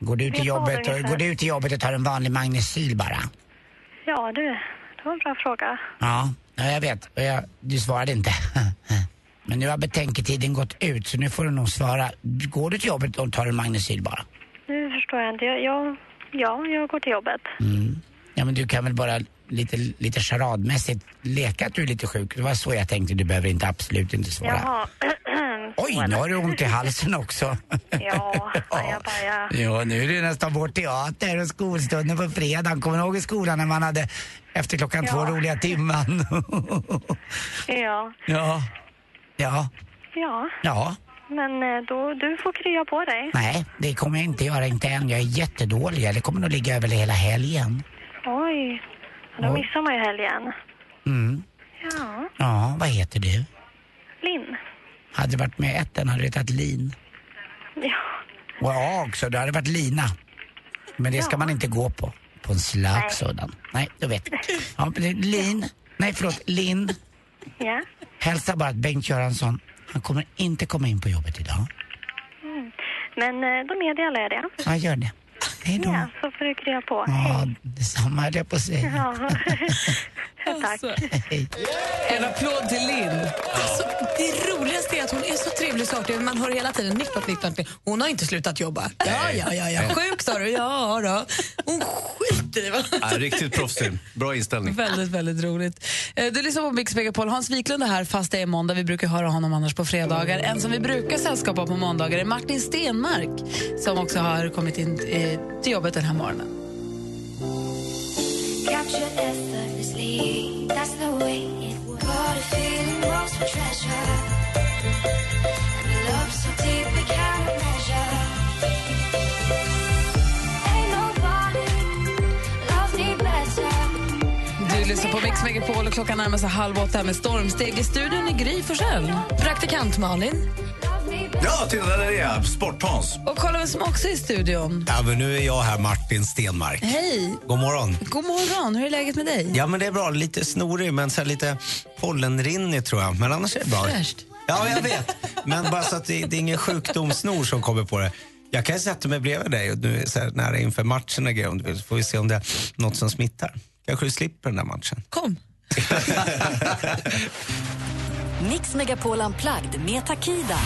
Speaker 12: Går du ut till
Speaker 11: Jag tar
Speaker 12: jobbet och,
Speaker 11: ungefär.
Speaker 12: går du ut till jobbet och tar en vanlig magnesyl bara?
Speaker 11: Ja du, det var en bra fråga.
Speaker 12: Ja, ja jag vet. Och jag, du svarade inte. Men nu har betänketiden gått ut så nu får du nog svara. Går du till jobbet och tar en magnesyl bara?
Speaker 11: Nu förstår jag inte. Jag, jag, ja, jag går till jobbet.
Speaker 12: Mm. Ja, men du kan väl bara lite, lite charadmässigt leka att du är lite sjuk. Det var så jag tänkte. Du behöver inte, absolut inte svara.
Speaker 11: Jaha.
Speaker 12: Oj, nu har du ont i halsen också.
Speaker 11: Ja, jag bara...
Speaker 12: Ja, nu är det nästan vår teater och skolstunden på fredagen. Kommer ni ihåg i skolan när man hade efter klockan två roliga timman?
Speaker 11: Ja,
Speaker 12: ja. Ja.
Speaker 11: ja.
Speaker 12: Ja.
Speaker 11: Men eh, då, du får krya på dig.
Speaker 12: Nej, det kommer jag inte göra, inte än. Jag är jättedålig. Det kommer nog ligga över hela helgen.
Speaker 11: Oj, ja, då
Speaker 12: Oj.
Speaker 11: missar man ju helgen.
Speaker 12: Mm.
Speaker 11: Ja,
Speaker 12: Ja, vad heter du?
Speaker 11: Linn.
Speaker 12: Hade det varit med etten hade du hetat Lin.
Speaker 11: Ja,
Speaker 12: Och A också, då hade det varit Lina. Men det ska man inte gå på. På en slök
Speaker 11: Nej.
Speaker 12: sådan. Nej, då vet jag. Ja, men det är Lin. Nej, förlåt, Linn.
Speaker 11: ja.
Speaker 12: Hälsa bara att Bengt Göransson, han kommer inte komma in på jobbet idag.
Speaker 11: Mm. Men eh, då meddelar jag det.
Speaker 12: Ja, gör det. Hej då.
Speaker 11: Ja, så får du krya på.
Speaker 12: Ja, detsamma höll jag på att säga.
Speaker 11: Ja.
Speaker 2: Oh.
Speaker 11: Tack.
Speaker 2: En applåd till Linn. Alltså, det roligaste är att hon är så trevlig och saklig. Man hör hela tiden nytt, nytt, nytt, nytt. Hon har inte slutat jobba. Ja, ja, ja. ja. Sjuk sa du? Ja, då. Hon skiter i vad...
Speaker 6: Ja, riktigt proffsig. Bra inställning.
Speaker 1: Väldigt, väldigt roligt. Eh, Du lyssnar på Mix Megapol. Hans Wiklund är här, fast det är måndag. Vi brukar höra honom annars på fredagar. En som vi brukar sällskapa på måndagar är Martin Stenmark som också har kommit in eh, till jobbet den här morgonen.
Speaker 3: Captured effortlessly. That's the way it was. Caught a feeling was a treasure. And a love so deep we can't measure. Ain't nobody loves me better.
Speaker 1: Du lyssnar på Mix Megapol och klockan närmar sig halv åtta med stormsteg. I studion är Gry Forssell. Praktikant Malin.
Speaker 6: Ja, titta där är jag. Sporthans.
Speaker 1: Och kolla vem som också är i studion.
Speaker 13: Ja, men nu är jag här, Martin Stenmark.
Speaker 1: Hej!
Speaker 13: God morgon.
Speaker 1: God morgon, hur är läget med dig?
Speaker 13: Ja, men det är bra. Lite snorig, men så här lite pollenrinnig tror jag. Men annars är det bra.
Speaker 1: Fräscht.
Speaker 13: Ja, jag vet. Men bara så att det, det är ingen sjukdomssnor som kommer på det. Jag kan sätta mig bredvid dig och nu är så här nära inför matchen och grejer om du vill, så får vi se om det är något som smittar. Kanske du slipper den där matchen.
Speaker 2: Kom.
Speaker 7: Mix Megapol Unplugged med Takida.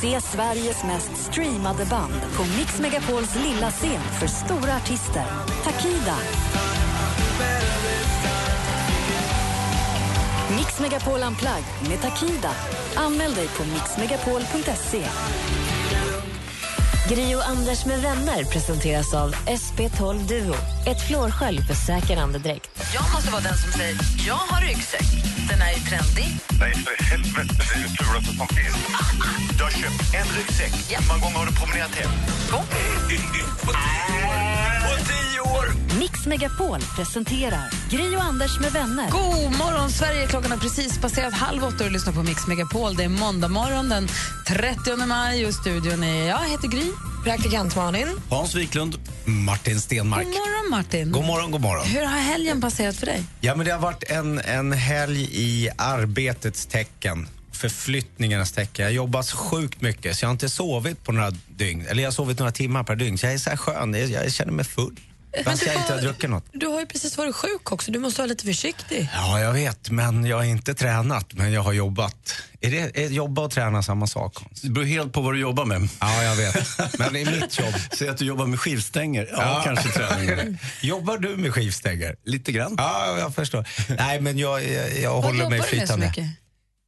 Speaker 7: Se Sveriges mest streamade band på Mix Megapols lilla scen för stora artister. Takida. Mix Megapol Unplugged med Takida. Anmäl dig på mixmegapol.se.
Speaker 14: Gri och Anders med vänner presenteras av SP12 Duo. Ett flårskölj för säker andedräkt.
Speaker 1: Jag måste vara den som säger, jag har ryggsäck. Den är ju trendig.
Speaker 8: Nej, för helvete. Det är det fulaste som finns. Du har köpt en ryggsäck. Hur många gånger har du promenerat hem? På tio år!
Speaker 7: Mix Megapol presenterar Gri och Anders med vänner.
Speaker 1: God morgon, Sverige! Klockan har precis passerat halv åtta och du lyssnar på Mix Megapol. Det är måndag morgon den 30 maj och studion är jag heter Gry.
Speaker 2: Praktikant Malin.
Speaker 13: Hans Wiklund, Martin Stenmark.
Speaker 1: God morgon, Martin.
Speaker 13: God morgon, god morgon.
Speaker 1: Hur har helgen passerat för dig?
Speaker 13: Ja, men det har varit en, en helg i arbetets tecken. Förflyttningarnas tecken. Jag jobbar så sjukt mycket så jag har inte sovit på några dygn. Eller jag har sovit några timmar per dygn. Så jag är så här skön. Jag, jag känner mig full. Fast
Speaker 2: du
Speaker 13: jag inte
Speaker 2: har-
Speaker 13: har druckit något.
Speaker 2: Du har ju precis varit sjuk också. Du måste vara lite försiktig.
Speaker 13: Ja, jag vet. Men jag har inte tränat, men jag har jobbat. Är, det, är jobba och träna samma sak?
Speaker 6: Det beror helt på vad du jobbar med.
Speaker 13: Ja, jag vet. Men det är mitt jobb.
Speaker 6: Säg att du jobbar med skivstänger. Ja,
Speaker 13: Ja.
Speaker 6: kanske träning.
Speaker 13: Jobbar du med skivstänger?
Speaker 6: Lite grann.
Speaker 13: Ja, jag förstår. Nej, men jag, jag, jag
Speaker 1: Vad
Speaker 13: håller mig
Speaker 1: jobbar du med så
Speaker 13: flytande.
Speaker 1: mycket?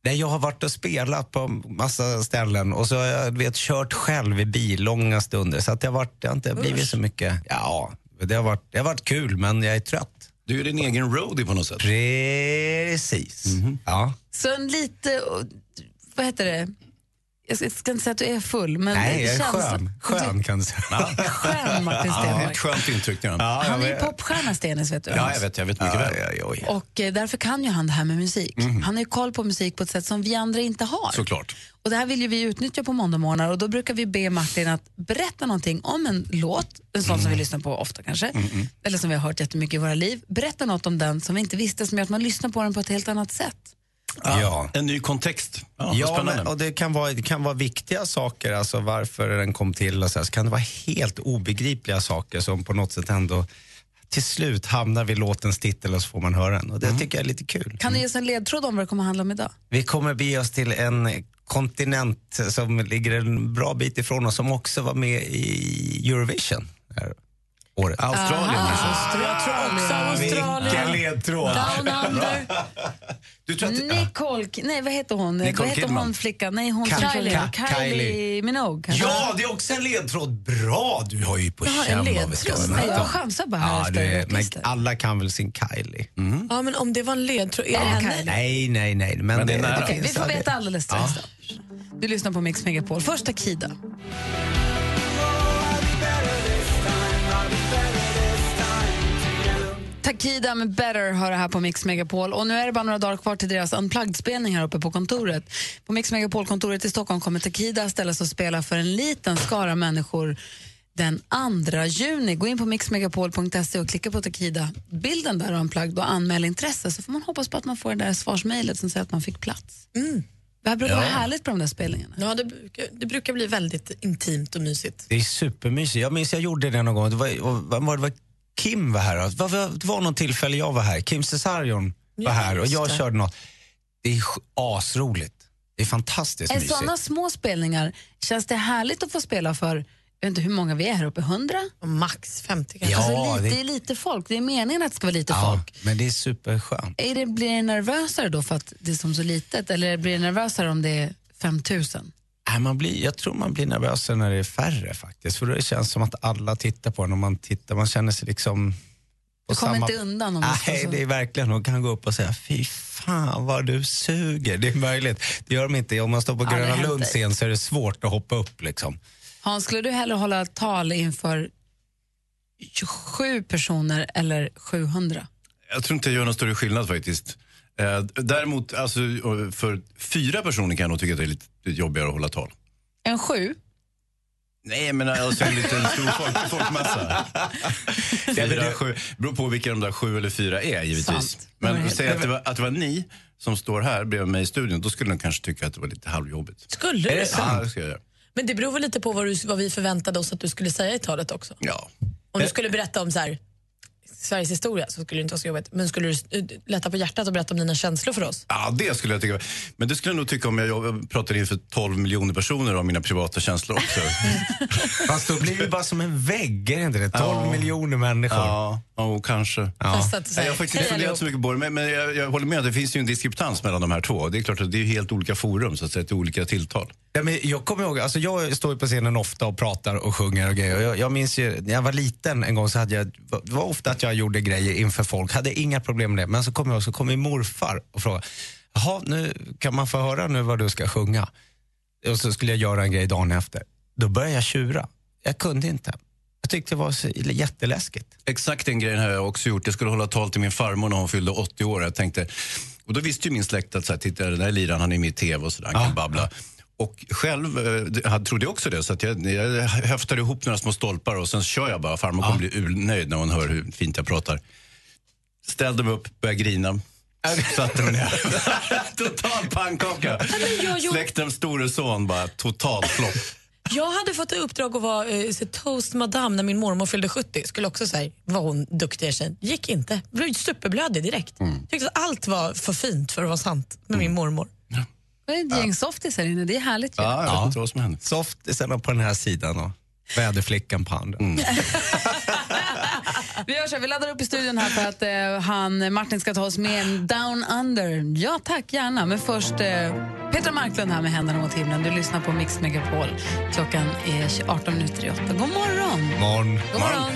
Speaker 13: Nej, jag har varit och spelat på massa ställen och så har jag du vet, kört själv i bil långa stunder. Så att det, har varit, det har inte blivit så mycket. Ja, det har, varit, det har varit kul, men jag är trött.
Speaker 6: Du är din egen roadie på något sätt. Mhm.
Speaker 13: Precis. Ja.
Speaker 1: Så en lite, och- vad heter det? Jag ska- ska inte säga att du är full, men
Speaker 13: Nej, jag är
Speaker 1: känslan-
Speaker 13: skön. Skön kan du säga.
Speaker 1: Skön, Martin Stenmarck.
Speaker 6: ett skönt intryck. Ja.
Speaker 13: Ja,
Speaker 1: Han
Speaker 13: jag
Speaker 1: är ju
Speaker 13: vet.
Speaker 1: popstjärna, Stenis, vet du.
Speaker 6: Ja, jag vet. Jag vet mycket väl.
Speaker 1: Och eh, därför kan ju han det här med musik. Han har ju koll på musik på ett sätt som vi andra inte har.
Speaker 6: Mhm. Såklart.
Speaker 1: Och det här vill ju vi utnyttja på måndagmorgnar och då brukar vi be Martin att berätta någonting om en låt, en sån som
Speaker 6: Mm.
Speaker 1: vi lyssnar på ofta kanske, eller som vi har hört jättemycket i våra liv. Berätta något om den som vi inte visste som gör att man lyssnar på den på ett helt annat
Speaker 6: Mm.
Speaker 1: sätt.
Speaker 6: Ja. En ny kontext. Ja, vad
Speaker 13: Ja,
Speaker 6: spännande.
Speaker 13: men, och det kan, vara, det kan vara viktiga saker, alltså varför den kom till och så, här. så kan det vara helt obegripliga saker som på något sätt ändå till slut hamnar vid låtens titel och så får man höra den. Och
Speaker 6: Mm.
Speaker 13: det tycker jag är lite kul.
Speaker 1: Kan du ge oss en ledtråd om vad det kommer handla om idag?
Speaker 13: Vi kommer bege oss till en kontinent som ligger en bra bit ifrån oss som också var med i Eurovision. det Här. Året.
Speaker 6: Australien alltså.
Speaker 1: Ah. Jag tror också
Speaker 13: Vilken
Speaker 1: Australien.
Speaker 13: ledtråd!
Speaker 1: Down under. Mm.
Speaker 6: Du tror att det,
Speaker 1: Nicole, K- nej vad heter hon?
Speaker 6: Nicole
Speaker 1: vad heter
Speaker 6: Kidman.
Speaker 1: hon flickan? Nej, hon
Speaker 6: Ka-
Speaker 1: som-
Speaker 6: Kylie.
Speaker 1: Kylie,
Speaker 6: Ka- Kylie.
Speaker 1: Kylie Minogue. kanske?
Speaker 13: Ja, det är också en ledtråd. Bra! Du har ju på
Speaker 1: Jag har en
Speaker 13: känn vad vi ska
Speaker 1: ledtråd. Nej, jag chansar bara här
Speaker 13: ja,
Speaker 1: efter
Speaker 13: du är, men
Speaker 1: artister.
Speaker 13: Alla kan väl sin Kylie?
Speaker 2: Ja, men om det var en ledtråd. Är det henne?
Speaker 13: Mm. Nej, nej, nej. Men,
Speaker 1: det
Speaker 13: det,
Speaker 1: är
Speaker 13: det,
Speaker 1: nära. Okej, vi
Speaker 13: finns
Speaker 1: får
Speaker 13: aldrig-
Speaker 1: veta alldeles strax Du lyssnar på Mix Megapol. Först Akida. Takida med Better har det här på Mix Megapol. Och nu är det bara några dagar kvar till deras Unplugged-spelning här uppe på kontoret. På Mix Megapol-kontoret i Stockholm kommer Takida ställas och spela för en liten skara människor den 2 juni. Gå in på mixmegapol.se och klicka på Takida-bilden där och Unplugged och anmäl intresse så får man hoppas på att man får det där svarsmejlet som säger att man fick plats. Det här brukar
Speaker 13: Ja.
Speaker 1: vara härligt på de där spelningarna.
Speaker 2: Ja, det, brukar, det brukar bli väldigt intimt och mysigt.
Speaker 13: Det är supermysigt. Jag minns jag gjorde det någon gång. Det var, och, vad var det var Kim var här. Det var, det var någon tillfälle jag var här. Kim Cesarion var
Speaker 1: Ja,
Speaker 13: här och jag
Speaker 1: just det.
Speaker 13: körde något. Det är sj- asroligt. Det är fantastiskt
Speaker 1: Är
Speaker 13: mysigt.
Speaker 1: sådana små spelningar, känns det härligt att få spela för, jag vet inte hur många vi är här uppe, 100?
Speaker 2: Max 50
Speaker 13: kanske. Ja,
Speaker 1: alltså, lite,
Speaker 13: det-
Speaker 1: det är lite folk, det är meningen att det ska vara lite
Speaker 13: ja,
Speaker 1: folk.
Speaker 13: men det är superskönt.
Speaker 1: Är det, blir det nervösare då för att det är som så litet eller blir det nervösare om det är 5000?
Speaker 13: Nej, man blir, jag tror man blir nervösare när det är färre faktiskt. För då känns det som att alla tittar på en och man tittar, man känner sig liksom...
Speaker 1: Du
Speaker 13: på
Speaker 1: kommer
Speaker 13: samma-
Speaker 1: inte undan om det
Speaker 13: Nej,
Speaker 1: står så.
Speaker 13: det är verkligen, de kan gå upp och säga fy fan vad du suger. Det är möjligt. Det gör de inte. Om man står på
Speaker 1: Ja, det
Speaker 13: Gröna
Speaker 1: händer.
Speaker 13: Lunds scen så är det svårt att hoppa upp liksom.
Speaker 1: Hans, skulle du hellre hålla tal inför 27 personer eller 700?
Speaker 6: jag tror inte jag gör någon större skillnad faktiskt. Eh, däremot, alltså, för fyra personer kan jag nog tycka att det är lite jobbigare att hålla tal.
Speaker 1: En sju?
Speaker 6: Nej, men alltså en liten stor folk, folkmassa. Fyra, sju. beror på vilka de där sju eller fyra är givetvis.
Speaker 1: Sant.
Speaker 6: Men
Speaker 1: Nej.
Speaker 6: säg att det, var, att det var ni, som står här bredvid mig i studion, då skulle de kanske tycka att det var lite halvjobbigt.
Speaker 2: Skulle du?
Speaker 6: Ja, det skulle jag göra.
Speaker 2: Men det beror väl lite på vad, du, vad vi förväntade oss att du skulle säga i talet också.
Speaker 6: Ja.
Speaker 2: Om
Speaker 13: Eh.
Speaker 2: du skulle berätta om så här, Sveriges historia så skulle det inte vara så jobbigt. Men skulle du eh, lätta på hjärtat och berätta om dina känslor för oss?
Speaker 6: Ja, det skulle jag tycka. Men det skulle jag nog tycka om jag jobb- pratade inför 12 miljoner personer om mina privata känslor också.
Speaker 13: Fast då blir det bara som en vägg, är det inte det? 12 miljoner människor.
Speaker 6: Ja, och kanske.
Speaker 13: Ja.
Speaker 6: Nej, jag har faktiskt inte funderat så mycket på det, men, men jag, jag håller med. att Det finns ju en diskreptans mellan de här två. Det är klart att det är helt olika forum, så att säga, till olika tilltal.
Speaker 13: Ja, men jag kommer ihåg, alltså jag står ju på scenen ofta och pratar och sjunger och grejer. Och Jag, jag minns ju, när jag var liten en gång så hade jag, det var ofta att jag gjorde grejer inför folk, hade inga problem med det. Men så kom jag och så kom min morfar och frågade, jaha, nu kan man få höra nu vad du ska sjunga? Och så skulle jag göra en grej dagen efter. Då började jag tjura. Jag kunde inte. Jag tyckte det var så jätteläskigt.
Speaker 6: Exakt den grejen har jag också gjort. Jag skulle hålla tal till min farmor när hon fyllde 80 år. Jag tänkte, och då visste ju min släkt att så här, titta, den där liraren han är med i tv och sådär, han kan babbla. Och själv eh, det- jag trodde jag också det, så att jag, jag höftade ihop några små stolpar och sen kör jag bara. Farmor kommer bli ulnöjd när hon hör hur fint jag pratar. Ställde mig upp, började grina. Satte mig ner. Total pannkaka.
Speaker 2: men jag gjorde-
Speaker 6: Släktens store son bara, total flopp.
Speaker 2: Jag hade fått i uppdrag att vara eh, så toast madame när min mormor fyllde 70. Skulle också säga, var hon duktig tjejen? Gick inte. Blev superblödig direkt.
Speaker 13: Mm.
Speaker 2: Tyckte att allt var för fint för att vara sant med min mormor.
Speaker 1: Det är ett gäng softis här inne, det är härligt. ju.
Speaker 13: Ja, jag vet inte
Speaker 6: vad som händer.
Speaker 13: Softisen på den här sidan och väderflickan på andra.
Speaker 1: Mm. Vi gör så här, vi laddar upp i studion här för att eh, han, Martin ska ta oss med en Down Under. Ja tack, gärna. Men först eh, Petra Marklund här med Händerna mot himlen. Du lyssnar på Mix Megapol. Klockan är 18 minuter i 8. God morgon!
Speaker 13: Morgon.
Speaker 1: God morgon.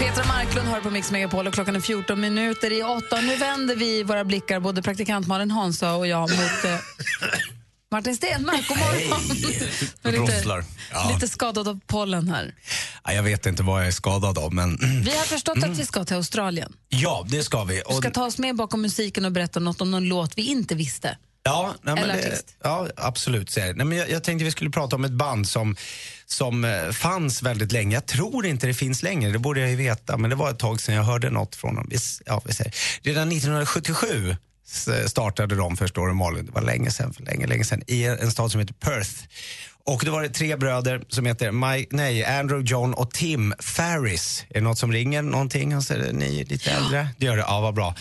Speaker 1: Petra Marklund hör på Mix Megapol och klockan är 14 minuter i 8. Nu vänder vi våra blickar, både praktikant Malin Hansa och jag, mot eh, Martin Stenmark. God morgon! Med
Speaker 13: Rosslar.
Speaker 1: lite,
Speaker 13: Ja.
Speaker 1: lite skadad av pollen här.
Speaker 13: Ja, jag vet inte vad jag är skadad av, men Mm.
Speaker 1: Vi har förstått att vi ska till Australien.
Speaker 13: ja, det ska vi.
Speaker 1: Du
Speaker 13: Och-
Speaker 1: ska ta oss med bakom musiken och berätta något om någon låt vi inte visste.
Speaker 13: Ja, nej, men
Speaker 1: Eller
Speaker 13: det-
Speaker 1: artist.
Speaker 13: ja absolut. Så är det. Nej, men jag, jag tänkte vi skulle prata om ett band som, som eh, fanns väldigt länge. Jag tror inte det finns längre, det borde jag ju veta. Men det var ett tag sedan jag hörde något från dem. Vi s- Ja, vi säger. Redan 1977 s- eh, startade de, förstår du Malin, det var länge sedan, för länge, länge sedan, i en- en stad som heter Perth. Och då var det tre bröder som heter Mike, nej, Andrew, John och Tim Farris. Är det något som ringer någonting? Han säger, ni är lite äldre. Det gör det, ja vad bra.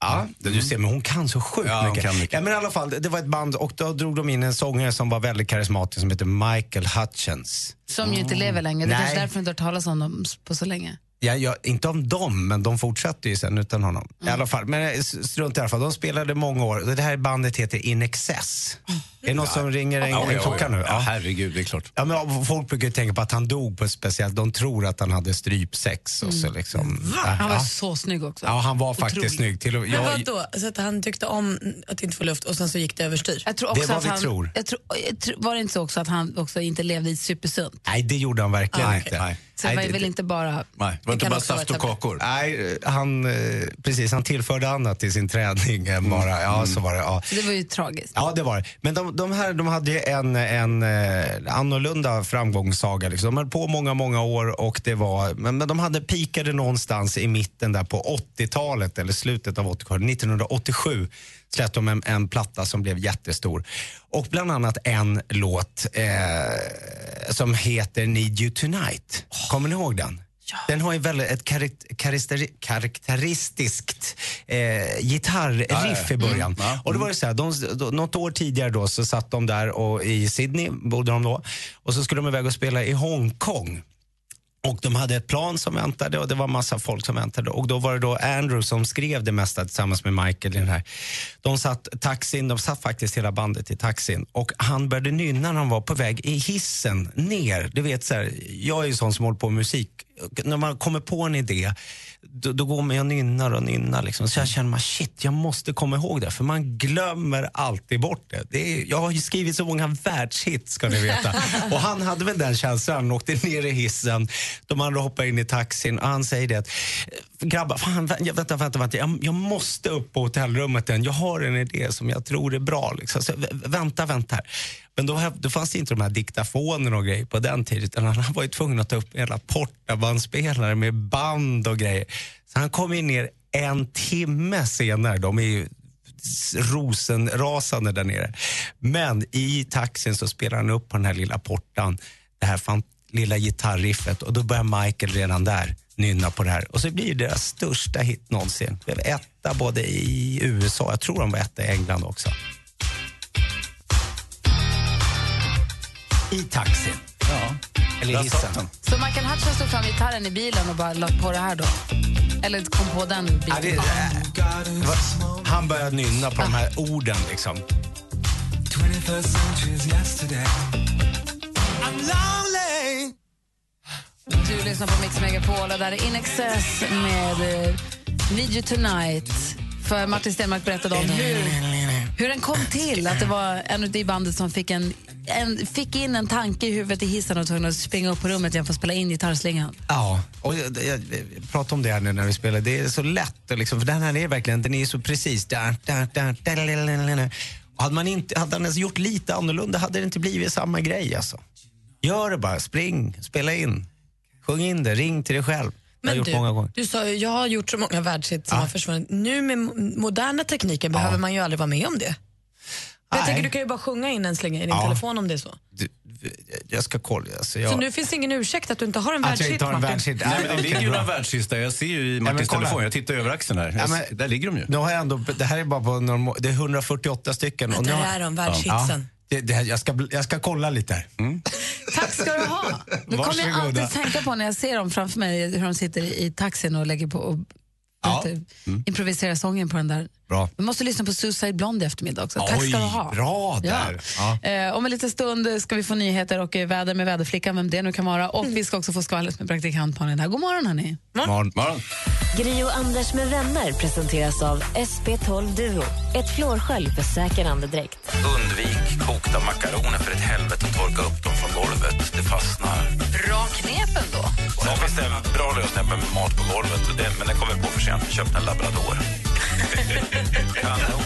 Speaker 13: Ja, du ser, men hon kan så sjukt
Speaker 6: Ja, hon
Speaker 13: mycket.
Speaker 6: kan mycket.
Speaker 13: Ja, men i alla fall, det- det var ett band och då drog de in en sångare som var väldigt karismatisk som heter Michael Hutchins.
Speaker 1: Som ju inte
Speaker 6: Mm.
Speaker 1: lever längre. Det är
Speaker 13: Ah. Nej.
Speaker 1: kanske därför du inte har hört talas om dem s- på så länge.
Speaker 13: Ja, ja, inte om dem, men de fortsatte ju sen utan honom. I
Speaker 1: Mm.
Speaker 13: alla fall, men eh, s- strunt i alla fall. De spelade många år. Det här bandet heter In Excess. Är det någon som ringer en, en klocka nu?
Speaker 6: Ja, herregud, det är klart.
Speaker 13: Ja, men folk brukar ju tänka på att han dog på ett speciellt... De tror att han hade strypsex. Och så liksom, Ja,
Speaker 1: Mm. Han var
Speaker 13: ja.
Speaker 1: så snygg också.
Speaker 13: ja, han var faktiskt
Speaker 1: Otroligt.
Speaker 13: snygg. Till och,
Speaker 2: Men vadå? Så att han tyckte om att inte få luft och sen så gick det överstyr?
Speaker 1: Jag tror också att han, Jag tror, jag tror, var det inte så också att han också inte levde i supersunt?
Speaker 13: nej, det gjorde han verkligen inte.
Speaker 1: Så det var ju väl inte bara...
Speaker 13: Nej,
Speaker 1: det var inte kan bara också vara saft och tabletter.
Speaker 13: kakor. Nej, han, eh, precis, han tillförde annat till sin träning än bara, ja så var det. Ja.
Speaker 1: Så det var ju tragiskt.
Speaker 13: Ja, det var det. Men de, de här de hade ju en, en eh, annorlunda framgångssaga. Liksom. De höll på många, många år och det var, men, men de hade pikade någonstans i mitten där på 80-talet eller slutet av 80-talet. 1987 släppte de en, en platta som blev jättestor. Och bland annat en låt eh, som heter Need You Tonight. Kommer ni ihåg den? Den har ju väldigt ett karik- karakteri- karaktäristiskt eh, gitarrriff i början.
Speaker 6: Mm. Ja.
Speaker 13: Och då var det så här, de, då, något år tidigare då så satt de där och, i Sydney, bodde de då. Och så skulle de iväg och spela i Hongkong. Och de hade ett plan som väntade och det var massa folk som väntade. Och då var det då Andrew som skrev det mesta tillsammans med Michael i den här. De satt taxin, de satt faktiskt hela bandet i taxin. Och han började nynna när han var på väg i hissen ner. Du vet så här, jag är ju sån som håller på med musik. Och När man kommer på en idé, då, då går man och nynnar och nynnar. Liksom. Så jag känner man, shit, jag måste komma ihåg det. För man glömmer alltid bort det. det är, jag har ju skrivit så många världshits ska ni veta. Och han hade väl den känslan. Han åkte ner i hissen. De andra hoppar in i taxin och han säger det att eh, grabbar, fan, vä- ja, vänta, vänta, vänta. Jag, jag måste upp på hotellrummet än. Jag har en idé som jag tror är bra. Liksom. Så, vä- vänta, vänta här. Men då, häv- då fanns det inte de här diktafonerna och grejer på den tiden. Utan han var ju tvungen att ta upp en jävla portabandspelare med band och grejer. Så han kom ju ner en timme senare. De är ju s- rosenrasande där nere. Men i taxin så spelar han upp på den här lilla portan det här fan, lilla gitarriffet och då börjar Michael redan där nynna på det här. Och så blir det deras största hit någonsin. Blev etta både i USA, jag tror de var etta i England också. I taxin. Ja. Eller i hissen.
Speaker 1: Så Michael Hutchins stod fram gitarren i bilen och bara la på det här då? Eller kom på den biten?
Speaker 13: Ja, det, äh, va- han började nynna på de här orden liksom.
Speaker 1: Du lyssnar på Mix Megapol och där är In Excess med eh, Need You Tonight. För Martin Stenmark berättade om hur, hur den kom till. Att det var en utav i bandet som fick, en, en, fick in en tanke i huvudet i hissen och var tvungen att springa upp på rummet igen för att spela in gitarrslingan.
Speaker 13: Ja, och jag, jag, jag pratade om det här nu när vi spelade. Det är så lätt, liksom, för den här är verkligen, den är så precis. Där, där, där, där, där, där, där, där. Och Hade, man inte, hade han ens gjort lite annorlunda hade det inte blivit samma grej. Alltså. Gör det bara, spring, spela in, sjung in det, ring till dig själv. Det har jag
Speaker 2: Men
Speaker 13: gjort många gånger.
Speaker 2: du, du sa ju, jag har gjort så många världshits som har försvunnit. Nu med mo- moderna tekniken behöver man ju aldrig vara med om det. Jag tänker, du kan ju bara sjunga in en slinga i din
Speaker 13: Ja.
Speaker 2: telefon om det är så.
Speaker 13: Jag ska kolla. Alltså,
Speaker 2: Så
Speaker 13: jag...
Speaker 2: nu finns ingen ursäkt att du inte har en
Speaker 13: Att Alltså, jag
Speaker 2: världshit,
Speaker 13: inte har en
Speaker 2: Martin.
Speaker 13: världshit.
Speaker 6: Nej, men det
Speaker 13: Okej,
Speaker 6: ligger ju
Speaker 13: bra.
Speaker 6: några världssista. Jag ser ju i
Speaker 13: men
Speaker 6: Martins
Speaker 13: kolla.
Speaker 6: telefon. Jag tittar över axeln här.
Speaker 13: Ja,
Speaker 6: Jag-
Speaker 13: men-
Speaker 6: där ligger de ju.
Speaker 13: Nu har jag ändå, det här är bara på normal, det är 148 stycken.
Speaker 2: Men
Speaker 13: nu
Speaker 2: där
Speaker 13: har-
Speaker 2: är de, världshitsen.
Speaker 13: det, det här, jag, ska, bl- jag ska kolla lite här.
Speaker 6: Mm.
Speaker 1: Tack ska du ha! Det kommer jag
Speaker 13: Varsågoda.
Speaker 1: alltid tänka på när jag ser dem framför mig, hur de sitter i taxin och lägger på och
Speaker 13: Ja. Mm.
Speaker 1: vet du, improviserar sången på den där.
Speaker 13: Bra.
Speaker 1: Vi måste lyssna på Suicide Blonde i eftermiddag också. Tack ska du ha.
Speaker 13: Oj, bra där. Ja.
Speaker 1: Eh, om en liten stund eh, ska vi få nyheter och eh, väder med väderflickan, vem det nu kan vara.
Speaker 2: Mm.
Speaker 1: Och vi ska också få skvallret med praktikantbarnen här. God morgon hörni.
Speaker 13: Morgon.
Speaker 14: Gri och Anders med vänner presenteras av SP12 Duo. Ett flårskölj för säker andedräkt.
Speaker 5: Undvik kokta makaroner för ett helvete och torka upp dem från golvet. Det fastnar.
Speaker 1: Bra knepen då.
Speaker 5: Sen finns det en bra lösning med mat på golvet, och det, men den kommer jag på för sent. Jag köpte en labrador. Kanon.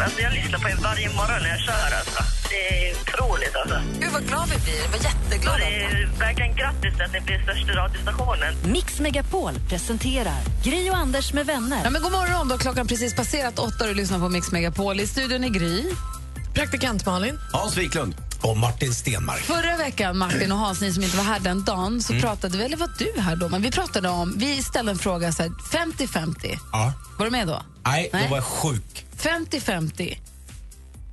Speaker 15: Alltså jag lyssnar på er varje morgon när jag kör. Alltså. Det är otroligt. Alltså.
Speaker 1: Gud, vad glad vi blir. Vad jätteglada.
Speaker 15: Det är verkligen grattis att ni blir största radiostationen.
Speaker 14: Mix Megapol presenterar Gri och Anders med vänner.
Speaker 1: Ja, men god morgon, då klockan precis passerat åtta och du lyssnar på Mix Megapol. I studion är Gry.
Speaker 2: Praktikant Malin.
Speaker 13: Hans Wiklund. Och Martin Stenmark.
Speaker 1: Förra veckan, Martin och Hans, ni som inte var här den dagen, så
Speaker 13: Mm.
Speaker 1: pratade vi, eller var du här då? Men vi pratade om, vi ställde en fråga så här, 50-50.
Speaker 13: Ja.
Speaker 1: Var du med då?
Speaker 13: Nej,
Speaker 1: Nej.
Speaker 13: då var jag sjuk.
Speaker 1: 50-50.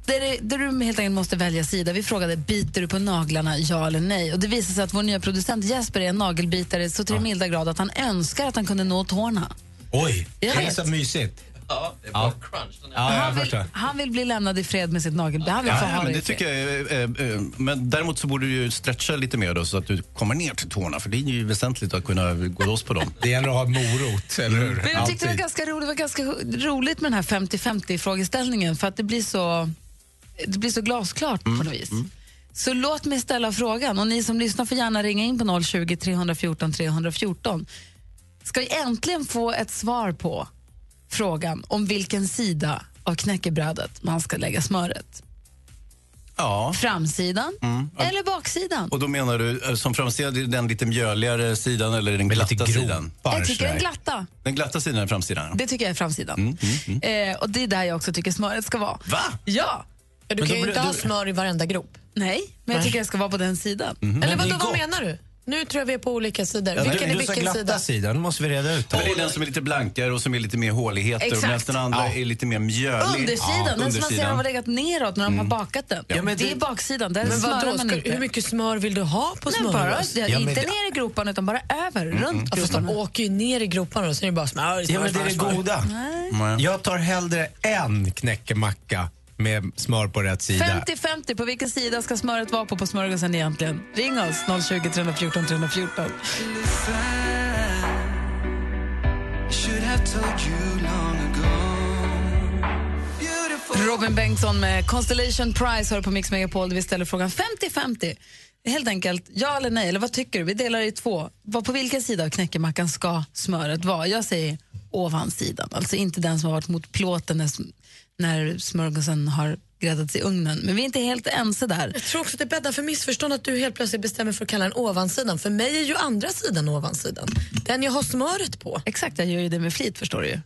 Speaker 1: Där, det- där du helt enkelt måste välja sida. Vi frågade biter du på naglarna, ja eller nej. Och Det visade sig att vår nya producent Jesper är en nagelbitare så till den milda grad att han önskar att han kunde nå tårna.
Speaker 13: Oj, det
Speaker 1: Jag
Speaker 13: är
Speaker 1: vet.
Speaker 13: så mysigt. Ja, det var crunch. Ja,
Speaker 1: han,
Speaker 13: jag
Speaker 1: vill,
Speaker 13: förstår.
Speaker 1: han vill bli lämnad i fred med sitt nagelbitare. Han vill få ha
Speaker 6: men
Speaker 1: det
Speaker 6: det
Speaker 1: i fred.
Speaker 6: tycker jag är, eh, eh, men däremot så borde du ju stretcha lite mer då, så att du kommer ner till tårna. För det är ju väsentligt att kunna gå loss på dem.
Speaker 13: Det gäller att ha morot, eller hur?
Speaker 1: Men jag tyckte det var ganska roligt, det var ganska roligt med den här 50-50-frågeställningen för att det blir så, det blir så glasklart på
Speaker 6: Mm.
Speaker 1: något vis. Så låt mig ställa frågan och ni som lyssnar får gärna ringa in på 020 314 314. Ska vi äntligen få ett svar på frågan om vilken sida av knäckebrädet man ska lägga smöret?
Speaker 6: Ja. Mm.
Speaker 1: Framsidan eller baksidan?
Speaker 6: Och då menar du eh, som framsida, det är den lite mjöligare sidan eller den glatta sidan?
Speaker 1: Jag tycker den glatta.
Speaker 6: Den glatta sidan är framsidan?
Speaker 1: Det tycker jag är framsidan.
Speaker 6: Mm, mm, mm.
Speaker 1: Eh, och det är där jag också tycker smöret ska vara.
Speaker 6: Va?
Speaker 1: Ja.
Speaker 2: Ja, du
Speaker 1: Men
Speaker 2: kan
Speaker 1: då
Speaker 2: ju
Speaker 1: blir-
Speaker 2: inte ha
Speaker 1: då-
Speaker 2: smör i varenda grop.
Speaker 1: Nej, men jag
Speaker 2: Nej.
Speaker 1: tycker jag ska vara på den sidan.
Speaker 13: Mhm.
Speaker 2: Eller vadå, vad menar du? Nu tror jag vi är på olika sidor.
Speaker 6: Ja,
Speaker 2: vilken
Speaker 6: du- du
Speaker 2: är
Speaker 6: sa
Speaker 2: vilken
Speaker 6: glatta
Speaker 2: sida?
Speaker 13: sidan, nu måste vi reda ut
Speaker 6: det. Men det är den som är lite blankare och som är lite mer håligheter.
Speaker 1: Exakt.
Speaker 6: Medan den andra
Speaker 1: Ja.
Speaker 6: är lite mer mjölig.
Speaker 1: Undersidan,
Speaker 6: Ja,
Speaker 1: den som man ser har
Speaker 6: undersidan.
Speaker 1: legat neråt när de
Speaker 6: Mm.
Speaker 1: har bakat den.
Speaker 6: Ja, men
Speaker 1: det,
Speaker 6: det-
Speaker 1: är baksidan, där
Speaker 2: Men vadå,
Speaker 1: smörar man
Speaker 2: ska-
Speaker 1: inte.
Speaker 2: hur mycket smör vill du ha på
Speaker 1: Nej, bara,
Speaker 2: smörgås?
Speaker 1: ja, Inte ner i groparna utan bara över, runt
Speaker 2: Ja, fast de
Speaker 1: groparna.
Speaker 2: åker ju ner i groparna och så är det bara smör, smör,
Speaker 13: Ja, men det är det
Speaker 2: smör, smör.
Speaker 13: goda. Jag tar hellre en knäckemacka med smör på rätt sida.
Speaker 1: 50-50, på vilken sida ska smöret vara på på smörgåsen egentligen? Ring oss, 020 314 314.
Speaker 13: Mm.
Speaker 1: Robin Bengtsson med Constellation Prize hör på Mix Megapol där vi ställer frågan 50-50. Helt enkelt, ja eller nej, eller vad tycker du? Vi delar i två. Vad- På vilken sida av knäckemackan ska smöret vara? Jag säger ovansidan, alltså inte den som har varit mot plåten när, sm- när smörgåsen har gräddats i ugnen. Men vi är inte helt ense där.
Speaker 2: Jag tror också att det bäddar för missförstånd att du helt plötsligt bestämmer för att kalla den ovansidan. För mig är ju andra sidan ovansidan. Den jag har smöret på. Mm-hmm.
Speaker 1: Exakt, jag gör ju det med flit förstår du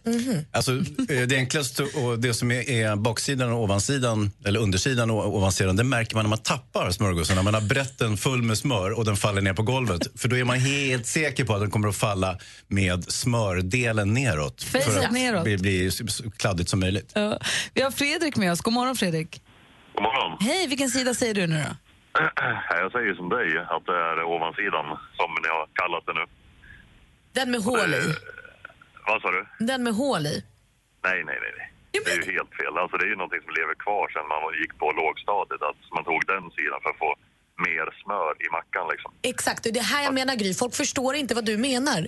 Speaker 6: Alltså, eh, det enklaste och det som är, är baksidan och ovansidan, eller undersidan och ovansidan, det märker man när man tappar smörgåsen. När man har brett den full med smör och den faller ner på golvet. För då är man helt säker på att den kommer att falla med smördelen neråt.
Speaker 1: Facet
Speaker 6: för att
Speaker 1: neråt.
Speaker 6: Det blir så så kladdigt som möjligt.
Speaker 1: Ja. Vi har Fredrik med oss. God morgon Fredrik.
Speaker 5: God morgon.
Speaker 1: Hej, vilken sida säger du nu då?
Speaker 5: Jag säger som dig, att det är ovansidan som ni har kallat det nu. Eh,
Speaker 2: Den med hål i.
Speaker 5: Vad sa du?
Speaker 2: Den med hål i.
Speaker 5: Nej, nej, nej. nej. Det är ju helt fel. Alltså, det är ju någonting som lever kvar sen man var- gick på lågstadiet. Att man tog den sidan för att få mer smör i mackan liksom.
Speaker 2: Exakt, det är det här jag menar Gry. Folk förstår inte vad du menar.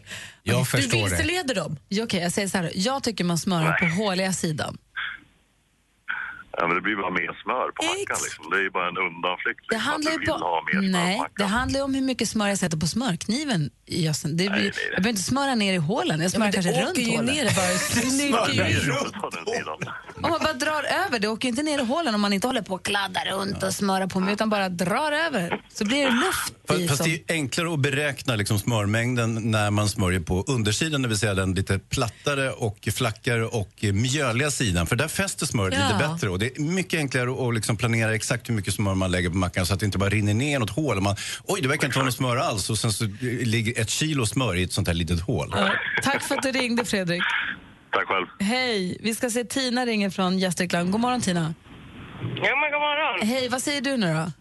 Speaker 5: Jag
Speaker 2: du vilseleder dem.
Speaker 1: Ja, Okej, jag säger så här. Jag tycker man smörar på håliga sidan.
Speaker 5: Ja, men det blir bara mer smör på mackan liksom. Det är ju bara en undanflykt.
Speaker 1: Det
Speaker 5: Liksom.
Speaker 1: handlar
Speaker 5: att
Speaker 1: ju
Speaker 5: du vill
Speaker 1: på...
Speaker 5: ha mer smör
Speaker 1: Nej,
Speaker 5: på mackan.
Speaker 1: det handlar ju om hur mycket smör jag sätter på smörkniven i gössen. Det blir...
Speaker 5: Nej, nej,
Speaker 1: Jag
Speaker 5: nej.
Speaker 1: behöver inte smöra ner i hålen, jag smörar
Speaker 2: men det
Speaker 1: kanske
Speaker 2: åker
Speaker 1: runt
Speaker 2: ju
Speaker 1: hålen.
Speaker 2: ner det bara.
Speaker 5: Smör,
Speaker 1: smyger
Speaker 5: det
Speaker 1: ju
Speaker 5: är roligt på den sidan.
Speaker 1: Om man bara drar över, det åker ju inte ner i hålen om man inte håller på och kladdar runt och smörar på mig, utan bara drar över. Så blir det luft i
Speaker 6: Fast, fast
Speaker 1: som...
Speaker 6: det är ju enklare att beräkna liksom smörmängden när man smörjer på undersidan, det vill säga den lite plattare och flackare och eh, mjöliga sidan. För där fäster smöret lite
Speaker 1: Ja.
Speaker 6: bättre. Och det är mycket enklare att liksom planera exakt hur mycket smör man lägger på mackan så att det inte bara rinner ner något hål. Och man, Oj, det verkar inte vara något smör alls. Och sen så eh, ligger ett kilo smör i ett sånt här litet hål.
Speaker 1: Tack för att du ringde, Fredrik.
Speaker 5: Tack själv.
Speaker 1: Hej, vi ska se Tina ringer från Gästrikland. God morgon, Tina.
Speaker 16: Ja, men god morgon.
Speaker 1: Hej, vad säger du nu då?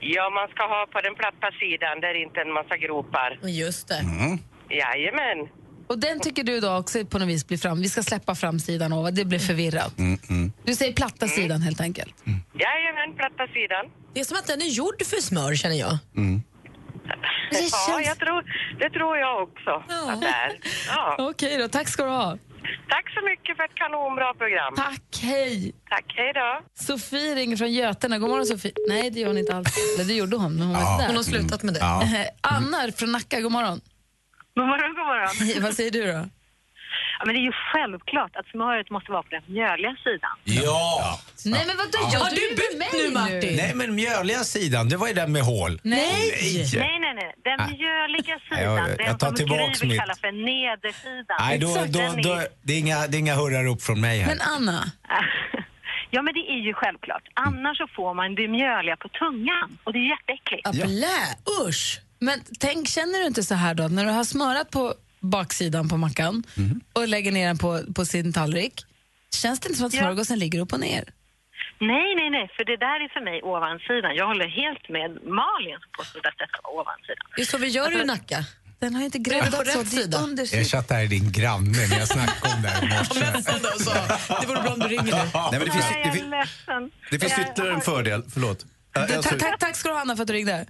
Speaker 16: Ja, man ska ha på den platta sidan där det inte är en massa gropar.
Speaker 2: Just det.
Speaker 16: Jajamän.
Speaker 1: Och den tycker du då också på något vis blir fram... Vi ska släppa framsidan och det
Speaker 16: Mm.
Speaker 1: blir förvirrat. Du säger platta sidan helt enkelt.
Speaker 16: Jajamän, platta sidan.
Speaker 2: Det är som att den är gjord för smör känner jag.
Speaker 16: Ja, jag tror, det tror jag också att det är. Ja.
Speaker 1: Okej då, tack ska du ha.
Speaker 16: Tack så mycket för ett kanonbra program.
Speaker 1: Tack, hej.
Speaker 16: Tack, hej då.
Speaker 1: Sofie ringer från Götene. God morgon Sofie. Nej, det gör hon inte alls. Eller det gjorde hon, men hon
Speaker 2: Ja,
Speaker 1: är där.
Speaker 2: hon har slutat med det.
Speaker 1: Ja.
Speaker 2: Mm.
Speaker 1: Anna från Nacka, god morgon.
Speaker 17: God morgon, god morgon.
Speaker 1: Hej, vad säger du då?
Speaker 17: Ja, men det är ju självklart att smöret måste vara på den mjöliga sidan.
Speaker 13: Ja!
Speaker 1: Nej, men vadå?
Speaker 13: Ja.
Speaker 1: Gör
Speaker 13: Har
Speaker 1: du bytt mig nu, Martin?
Speaker 13: Nej, men mjöliga sidan, det var ju den med hål.
Speaker 17: Nej, nej, nej. nej. Den
Speaker 13: Ah.
Speaker 17: mjöliga sidan,
Speaker 13: jag- jag
Speaker 17: den
Speaker 13: tar
Speaker 17: som
Speaker 13: tillbaks
Speaker 17: Gry vill
Speaker 13: mitt.
Speaker 17: kalla för nedersidan.
Speaker 13: Nej, då, då,
Speaker 17: Den
Speaker 13: då,
Speaker 17: är-
Speaker 13: det, är inga, det är inga hurrarop från mig här.
Speaker 1: Anna?
Speaker 17: Ja, men det är ju självklart. Annars så får man det mjöliga på tungan och det är jätteäckligt.
Speaker 1: Blä, usch! Men tänk, känner du inte så här då, att när du har smörat på baksidan på mackan och lägger ner den på, på sin tallrik, känns det inte som att smörgåsen ligger upp och ner?
Speaker 17: Nej, nej, nej, för det där är för mig ovansidan. Jag håller helt med Malin som påstod att detta var ovansidan. Alltså,
Speaker 2: Det är så vi gör i Nacka.
Speaker 1: Den har ju inte
Speaker 2: är på
Speaker 1: gräddats så,
Speaker 2: rätt
Speaker 1: det är undersidan.
Speaker 13: Jag chattar i din granne, men jag snackade om det här i morse.
Speaker 1: alltså.
Speaker 2: Det vore bra om du ringer nu.
Speaker 6: Nej, men det finns, det finns,
Speaker 17: ledsen.
Speaker 6: det finns ytterligare en fördel. Förlåt. Äh,
Speaker 1: Du,
Speaker 6: alltså-
Speaker 1: tack, tack, tack ska du ha Anna för att du ringde.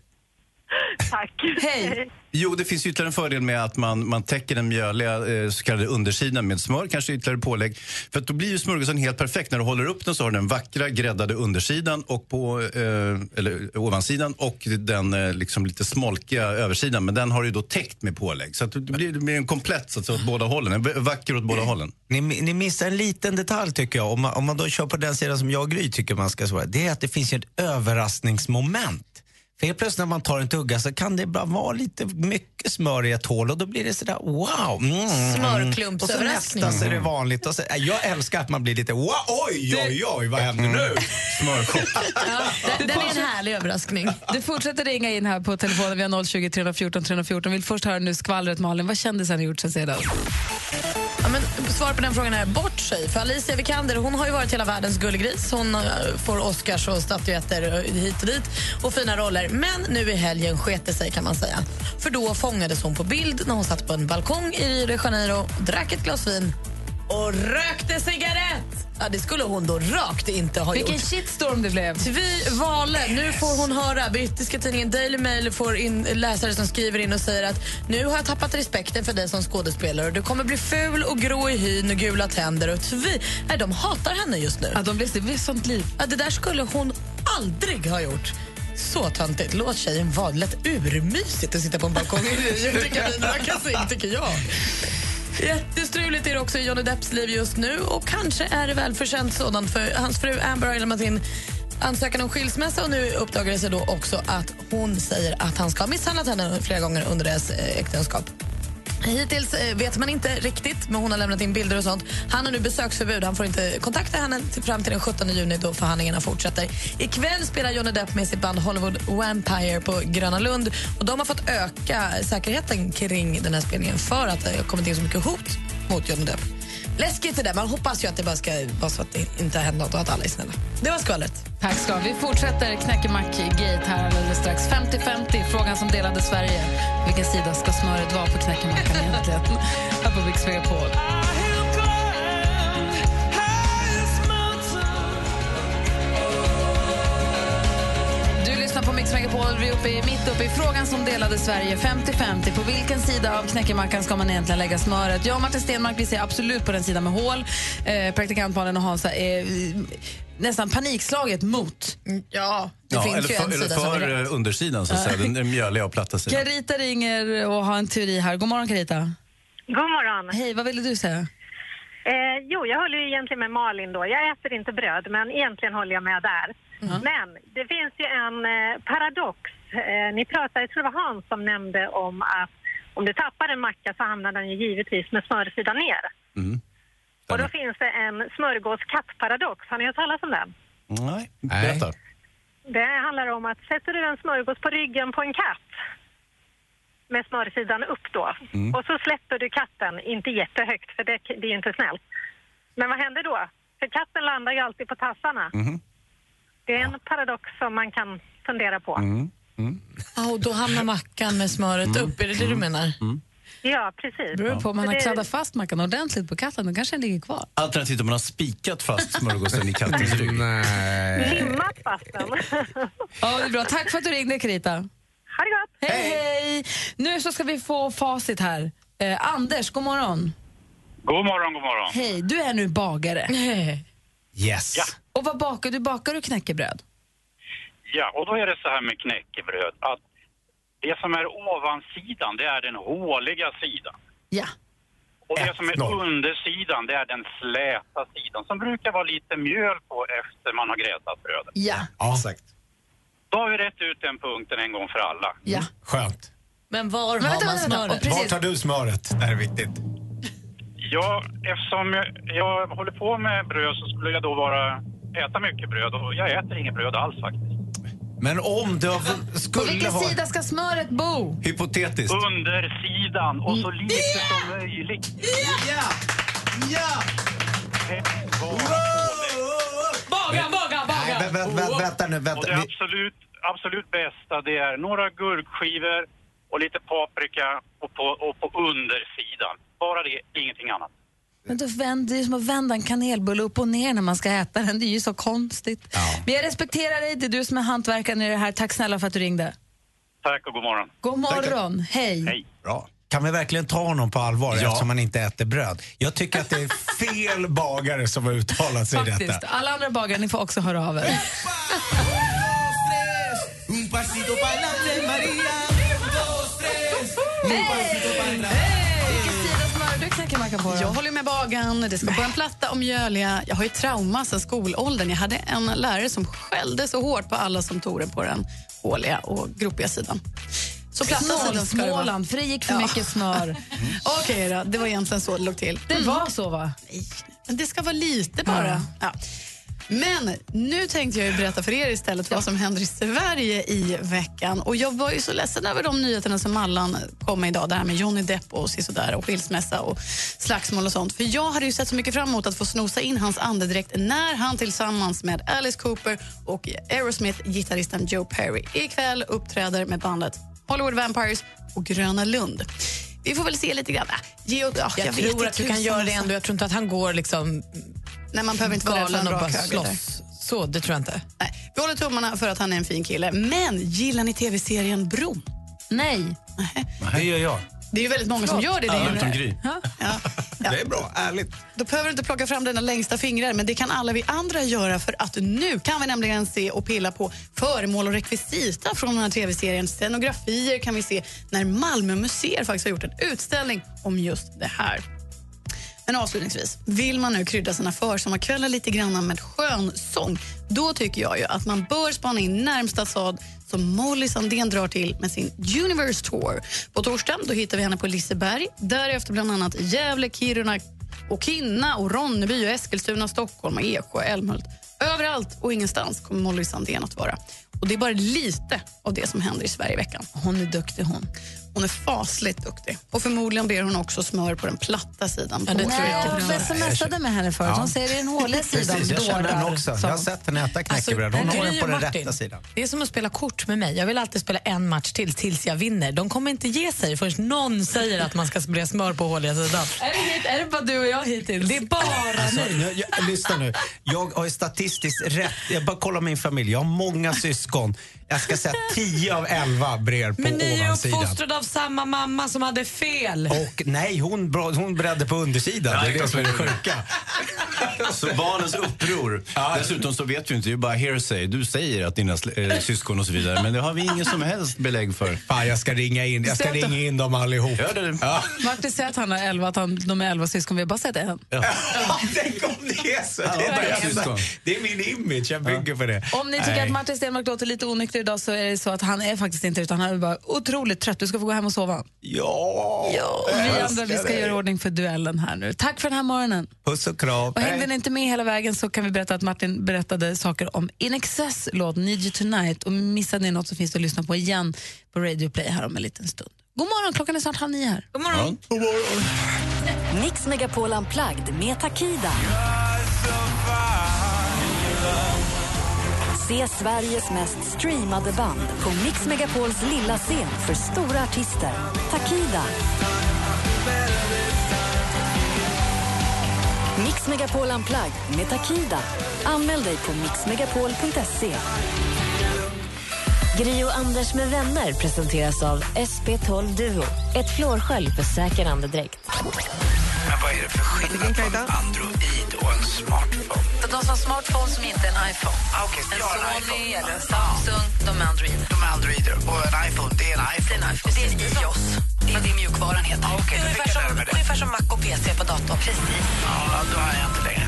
Speaker 17: Tack.
Speaker 1: Hej.
Speaker 6: Jo, det finns ytterligare en fördel med att man, man täcker den mjöliga eh, så kallade undersidan med smör, kanske ytterligare pålägg. För att då blir ju smörgåsen helt perfekt. När du håller upp den så har du den vackra gräddade undersidan och på, eh, eller ovansidan och den eh, liksom lite smolkiga översidan. Men den har du då täckt med pålägg. Så att det blir, det blir en komplett så att säga, åt båda hållen. En v- vacker åt båda hållen.
Speaker 13: Ni, ni missar en liten detalj tycker jag. Om man, om man då kör på den sidan som jag och Gry tycker man ska svara. Det är att det finns ju ett överraskningsmoment. För helt plötsligt när man tar en tugga så kan det bara vara lite mycket smör i ett hål och då blir det sådär wow. Mm. Och så
Speaker 2: Smörklumpsöverraskning.
Speaker 13: nästa så är det vanligt. Och så, Nej, jag älskar att man blir lite wow, oj, oj, oj, vad händer nu? Smörchock.
Speaker 1: Den,
Speaker 2: den är en härlig överraskning.
Speaker 1: Du fortsätter ringa in här på telefonen. Vi har 020 314 314. Vill först höra nu skvallret Malin. Vad kändisen har gjort sen senast?
Speaker 2: Ja, men svar på den frågan är bort sig. För Alicia Vikander hon har ju varit hela världens gullgris. Hon eh, får Oscars och statyetter eh, hit och dit och fina roller. Men nu i helgen sket det sig kan man säga. För då fångades hon på bild när hon satt på en balkong i Rio de Janeiro, drack ett glas vin och rökte cigarett. Ja, det skulle hon då rakt inte ha
Speaker 1: Vilken
Speaker 2: gjort.
Speaker 1: shitstorm det blev.
Speaker 2: Tvi Vale, nu får hon höra. Brittiska tidningen Daily Mail får in läsare som skriver in och säger att nu har jag tappat respekten för dig som skådespelare och du kommer bli ful och grå i hyn och gula tänder. Och tvi, nej, de hatar henne just nu.
Speaker 1: Ja, de blev, det blev sånt liv.
Speaker 2: Ja, det där skulle hon aldrig ha gjort. Så töntigt. Låt tjejen vara. Det lät urmysigt att sitta på en balkong i Rio och dricka vin och röka cigg, tycker jag. Jättestruligt är det också i Johnny Depps liv just nu och kanske är det välförtjänt sådant för hans fru Amber har ju lämnat in ansökan om skilsmässa och nu uppdagade det sig då också att hon säger att han ska ha misshandlat henne flera gånger under deras eh, äktenskap. Hittills eh, vet man inte riktigt, men hon har lämnat in bilder och sånt. Han har nu besöksförbud. Han får inte kontakta henne till- fram till den 17 juni då förhandlingarna fortsätter. Ikväll spelar Johnny Depp med sitt band Hollywood Vampire på Gröna Lund. Och de har fått öka säkerheten kring den här spelningen för att det har kommit in så mycket hot mot Johnny Depp. Läskigt det där. Man hoppas ju att det bara ska vara så att det inte händer något och att alla är snälla. Det var skvallret.
Speaker 1: Tack ska Vi fortsätter Knäckemack-gate här alldeles strax. 50-50, frågan som delade Sverige. Vilken sida ska smöret vara på knäckemackan egentligen? här på Mix Megapol. Du lyssnar på Mix Megapol. Vi är uppe i, mitt uppe i frågan som delade Sverige. 50-50. På vilken sida av knäckemackan ska man egentligen lägga smöret? Jag och Martin Stenmark vi ser absolut på den sidan med hål. Eh, praktikant Malin och Hansa är eh, nästan panikslaget mot.
Speaker 2: Ja,
Speaker 6: Ja, eller för, eller för eh, undersidan, så att säga,
Speaker 1: Ja.
Speaker 6: den, den mjöliga och platta sidan.
Speaker 1: Carita ringer och har en teori här. God morgon Carita.
Speaker 17: God morgon.
Speaker 1: Hej, vad ville du säga?
Speaker 17: Eh, jo, jag håller ju egentligen med Malin då. Jag äter inte bröd, men egentligen håller jag med där.
Speaker 2: Mm.
Speaker 17: Men det finns ju en eh, paradox. Eh, ni pratade, jag tror det var Hans som nämnde om att om du tappar en macka så hamnar den ju givetvis med smörsidan ner. Och då finns det en smörgåskatt-paradox. Har ni hört talas om den?
Speaker 6: Nej, berätta.
Speaker 17: Det handlar om att sätter du en smörgås på ryggen på en katt med smörsidan upp då och så släpper du katten, inte jättehögt för det, det är ju inte snällt. Men vad händer då? För katten landar ju alltid på tassarna. Det är en paradox som man kan fundera på.
Speaker 12: Mm.
Speaker 2: Ja, och då hamnar mackan med smöret
Speaker 13: Mm.
Speaker 2: upp. Är det det du menar?
Speaker 6: Mm.
Speaker 17: Ja, precis.
Speaker 1: Det beror på om man
Speaker 17: Så
Speaker 1: har
Speaker 17: det-
Speaker 1: kladdat fast mackan ordentligt på katten. Då kanske den ligger kvar.
Speaker 6: Alternativt om man har spikat fast smörgåsen i kattens rygg.
Speaker 1: Nej.
Speaker 17: Eh. Limmat fast den.
Speaker 1: Ja, det är bra. Tack för att du ringde Carita.
Speaker 17: Ha det gott.
Speaker 1: Hej, hej. Nu så ska vi få facit här. Eh, Anders, god morgon.
Speaker 18: God morgon, god morgon.
Speaker 1: Hej, du är nu bagare.
Speaker 13: Yes.
Speaker 1: Och vad bakar du? Bakar du knäckebröd?
Speaker 18: Ja, och då är det så här med knäckebröd att det som är ovansidan, det är den håliga sidan.
Speaker 1: Ja.
Speaker 18: Och det som är undersidan, det är den släta sidan som brukar vara lite mjöl på efter man har grätat brödet.
Speaker 1: Ja.
Speaker 13: exakt.
Speaker 18: Då har vi rätt ut den punkten en gång för alla.
Speaker 1: Ja.
Speaker 13: Skönt.
Speaker 2: Mm. Men var
Speaker 1: Men vänta, vänta, vänta. Och
Speaker 13: Var
Speaker 1: precis.
Speaker 13: tar du smöret? Det här är viktigt.
Speaker 18: Ja, eftersom jag, jag håller på med bröd så skulle jag då bara äta mycket bröd och jag äter inget bröd alls faktiskt.
Speaker 13: Men om du har,
Speaker 1: På
Speaker 13: skulle
Speaker 1: vilken
Speaker 13: ha...
Speaker 1: sida ska smöret bo?
Speaker 13: Hypotetiskt.
Speaker 18: Undersidan och så lite som möjligt.
Speaker 1: Ja!
Speaker 13: Ja!
Speaker 1: Baga, baga, baga!
Speaker 13: Vä- vä- vä- vänta nu, vänta.
Speaker 18: Och det absolut, absolut bästa det är några gurkskivor och lite paprika och på, och på undersidan. Bara det, ingenting annat.
Speaker 1: Men då vänd, det är ju som att vända en kanelbulle upp och ner när man ska äta den. Det är ju så konstigt. Men jag respekterar dig, det är du som är hantverkaren i det här. Tack snälla för att du ringde.
Speaker 18: Tack och god morgon.
Speaker 1: God morgon, hej.
Speaker 13: Bra. Kan vi verkligen ta honom på allvar
Speaker 18: Ja.
Speaker 13: eftersom han inte äter bröd? Jag tycker att det är fel bagare som har uttalat sig i
Speaker 1: Faktiskt,
Speaker 13: detta.
Speaker 1: alla andra bagare, ni får också höra av er.
Speaker 15: Un pasito pa'lante, María. Dos, tres. Un pasito pa'lante.
Speaker 1: Du knackar macka på
Speaker 19: Jag håller med bagan, det ska på en platta och mjöliga. Jag har ju trauma sedan skolåldern. Jag hade en lärare som skällde så hårt på alla som tog det på den håliga och gropiga sidan. Så platta sidan ska det vara.
Speaker 1: Snålsmåland, för det gick för mycket smör.
Speaker 19: Okej då, det var egentligen så det låg till. Mm.
Speaker 1: Det var så va?
Speaker 19: Nej, men det ska vara lite bara. Ja. Men nu tänkte jag ju berätta för er istället vad som händer i Sverige i veckan. Och Jag var ju så ledsen över de nyheterna som Allan kom med idag. Det här med Johnny Depp och sådär och skilsmässa och slagsmål och sånt. För Jag hade ju sett så mycket fram emot att få snosa in hans andedräkt när han tillsammans med Alice Cooper och Aerosmith-gitarristen Joe Perry ikväll uppträder med bandet Hollywood Vampires på Gröna Lund. Vi får väl se lite grann. Äh, Ge, åt- ja,
Speaker 2: Jag,
Speaker 19: vet
Speaker 2: tror
Speaker 19: inte
Speaker 2: att du kan
Speaker 19: tusan
Speaker 2: göra det
Speaker 19: alltså.
Speaker 2: ändå. Jag tror inte att han går liksom
Speaker 19: Nej, man behöver inte vara rädd för
Speaker 2: galen
Speaker 19: en
Speaker 2: och bara
Speaker 19: rak höger där.
Speaker 2: slåss. Så, det tror jag inte.
Speaker 19: Nej, vi håller tummarna för att han är en fin kille. Men gillar ni tv-serien Bron?
Speaker 1: Nej.
Speaker 13: Det gör jag.
Speaker 19: Det är ju väldigt många som gör det. det är ju-
Speaker 13: Utom Gry.
Speaker 19: Det
Speaker 13: är bra, ärligt.
Speaker 19: Då behöver du inte plocka fram dina längsta fingrar, men det kan alla vi andra göra för att nu kan vi nämligen se och pilla på föremål och rekvisita från den här tv-serien. Scenografier kan vi se när Malmö museer faktiskt har gjort en utställning om just det här. Men avslutningsvis, vill man nu krydda sina försommarkvällar lite grann med skönsång, då tycker jag ju att man bör spana in närmsta stad som Molly Sandén drar till med sin Universe Tour. På torsdagen då hittar vi henne på Liseberg, därefter bland annat Gävle, Kiruna, och Kinna, och Ronneby, och Eskilstuna, Stockholm, och Eksjö, Älmhult. Överallt och ingenstans kommer Molly Sandén att vara. Och Det är bara lite av det som händer i Sverige i veckan. Hon är duktig hon. Hon är fasligt duktig. Och förmodligen blir hon också smör på den platta sidan.
Speaker 1: Ja,
Speaker 19: på
Speaker 1: det tror jag.
Speaker 19: Molly.
Speaker 1: Hon smsade med henne förut. Hon säger det är den hårda sidan.
Speaker 13: Precis, jag känner henne
Speaker 1: dårar, Alltså,
Speaker 13: också.
Speaker 1: sa
Speaker 13: Jag har
Speaker 1: hon.
Speaker 13: sett henne äta knäckebröd. Hon har den på den rätta sidan.
Speaker 2: Det är som att spela kort med mig. Jag vill alltid spela en match till tills jag vinner. De kommer inte ge sig förrän någon säger att man ska spraya smör på håliga sidan.
Speaker 1: Är det, hit, är det bara du och jag hittills? Det är bara
Speaker 13: Alltså, nu, jag, lyssna nu. Jag har ju statistiskt rätt. Jag bara kollar min familj. Jag har många syskon. Jag ska säga 10 av 11 brer på
Speaker 2: Men ni är
Speaker 13: ovansidan.
Speaker 2: uppfostrade av samma mamma som hade fel.
Speaker 13: Och nej, hon, bra- hon bredde på undersidan. Det är det som är det sjuka.
Speaker 6: Så barnens uppror. Dessutom så vet vi inte, det är bara hearsay. Du säger att dina sl- eh, syskon och så vidare, men det har vi ingen som helst belägg för.
Speaker 13: Fan, jag ska ringa in,
Speaker 6: jag
Speaker 13: ska ringa in dem allihop.
Speaker 6: Gör det.
Speaker 1: Martin säger att han har elva, att han, de är elva syskon. Vi har bara sett en.
Speaker 13: Tänk om det är så. Det
Speaker 1: Ja,
Speaker 13: är,
Speaker 1: verkligen.
Speaker 13: det enda- det är min image. Jag bygger på det.
Speaker 1: Om ni tycker
Speaker 13: Nej.
Speaker 1: att Martin Stenmark låter lite onykter idag så är det så att han är faktiskt inte utan han är bara otroligt trött. Du ska få gå hem och sova.
Speaker 13: Ja!
Speaker 1: Och vi andra vi ska göra i ordning för duellen här nu. Tack för den här morgonen.
Speaker 13: Puss och kram.
Speaker 1: Och hängde ni inte med hela vägen så kan vi berätta att Martin berättade saker om In Excess låt Need You Tonight och missade ni något så finns det att lyssna på igen på Radio Play här om en liten stund. God morgon, klockan är snart halv nio här.
Speaker 2: God
Speaker 13: morgon.
Speaker 7: Mix Megapol Unplugged med Takida. Se Sveriges mest streamade band på Mix Megapols lilla scen för stora artister. Takida. Mix Megapol Unplugged med Takida. Anmäl dig på mixmegapol.se.
Speaker 14: Gri och Anders med vänner presenteras av SP12 Duo. Ett flårskölj för säker andedräkt.
Speaker 20: Men vad är det för skillnad på en Android och en smartphone?
Speaker 1: De som har smartphone som inte är en iPhone.
Speaker 20: Ah, Okej,
Speaker 1: En
Speaker 20: jag har en
Speaker 1: Sony
Speaker 20: iPhone.
Speaker 1: eller en Samsung, de är Android.
Speaker 20: De är Androider och en iPhone, det är en iPhone. Det är en iPhone. Det är en iOS. Det är det mjukvaran heter. Okay, ungefär, som, ungefär som Mac och PC på datorn. Precis. Ja, då har jag inte längre.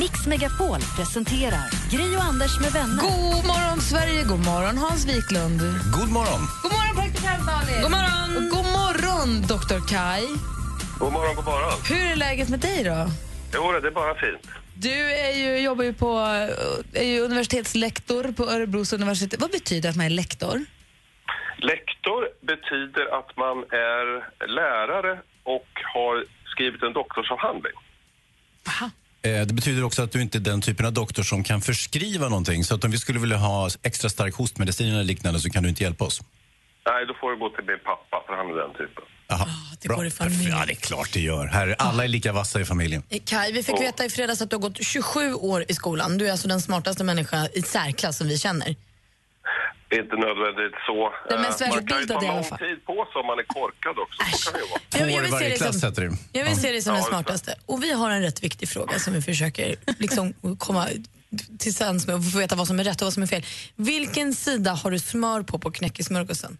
Speaker 7: Mix Megapol presenterar Gri och Anders med vänner.
Speaker 1: God morgon, Sverige. God morgon, Hans Wiklund.
Speaker 6: God morgon.
Speaker 1: God morgon, praktikant Malin. God morgon. Och god morgon, doktor Kai.
Speaker 5: God morgon, god morgon.
Speaker 1: Hur är läget med dig då?
Speaker 5: Jo, det är bara fint.
Speaker 1: Du är ju, jobbar ju på, är ju universitetslektor på Örebros universitet. Vad betyder att man är lektor?
Speaker 5: Lektor betyder att man är lärare och har skrivit en doktorsavhandling.
Speaker 6: Eh, Det betyder också att du inte är den typen av doktor som kan förskriva någonting. Så att om vi skulle vilja ha extra stark hostmedicin eller liknande så kan du inte hjälpa oss.
Speaker 5: Nej, då får du gå till min pappa, för han är den typen.
Speaker 6: Aha. Ah, det går i familjen. Ja, det är klart det gör. Här, alla är lika vassa i familjen.
Speaker 2: Kaj, Eh, vi fick veta i fredags att du har gått 27 år i skolan. Du är alltså den smartaste människa i särklass som vi känner.
Speaker 5: Det är inte nödvändigt så.
Speaker 2: Den
Speaker 5: Eh,
Speaker 2: mest
Speaker 5: man kan ju
Speaker 2: välutbildade
Speaker 5: ta
Speaker 2: i alla
Speaker 5: lång
Speaker 2: fall.
Speaker 5: tid på sig om man är korkad också. Så kan det ju vara.
Speaker 2: Jag- jag vill se dig som-
Speaker 6: du.
Speaker 2: Jag vill se dig som
Speaker 5: Ja,
Speaker 2: den
Speaker 5: just det.
Speaker 2: smartaste. Och vi har en rätt viktig fråga som vi försöker liksom komma tillsammans med och få veta vad som är rätt och vad som är fel. Vilken sida har du smör på på knäckesmörgåsen?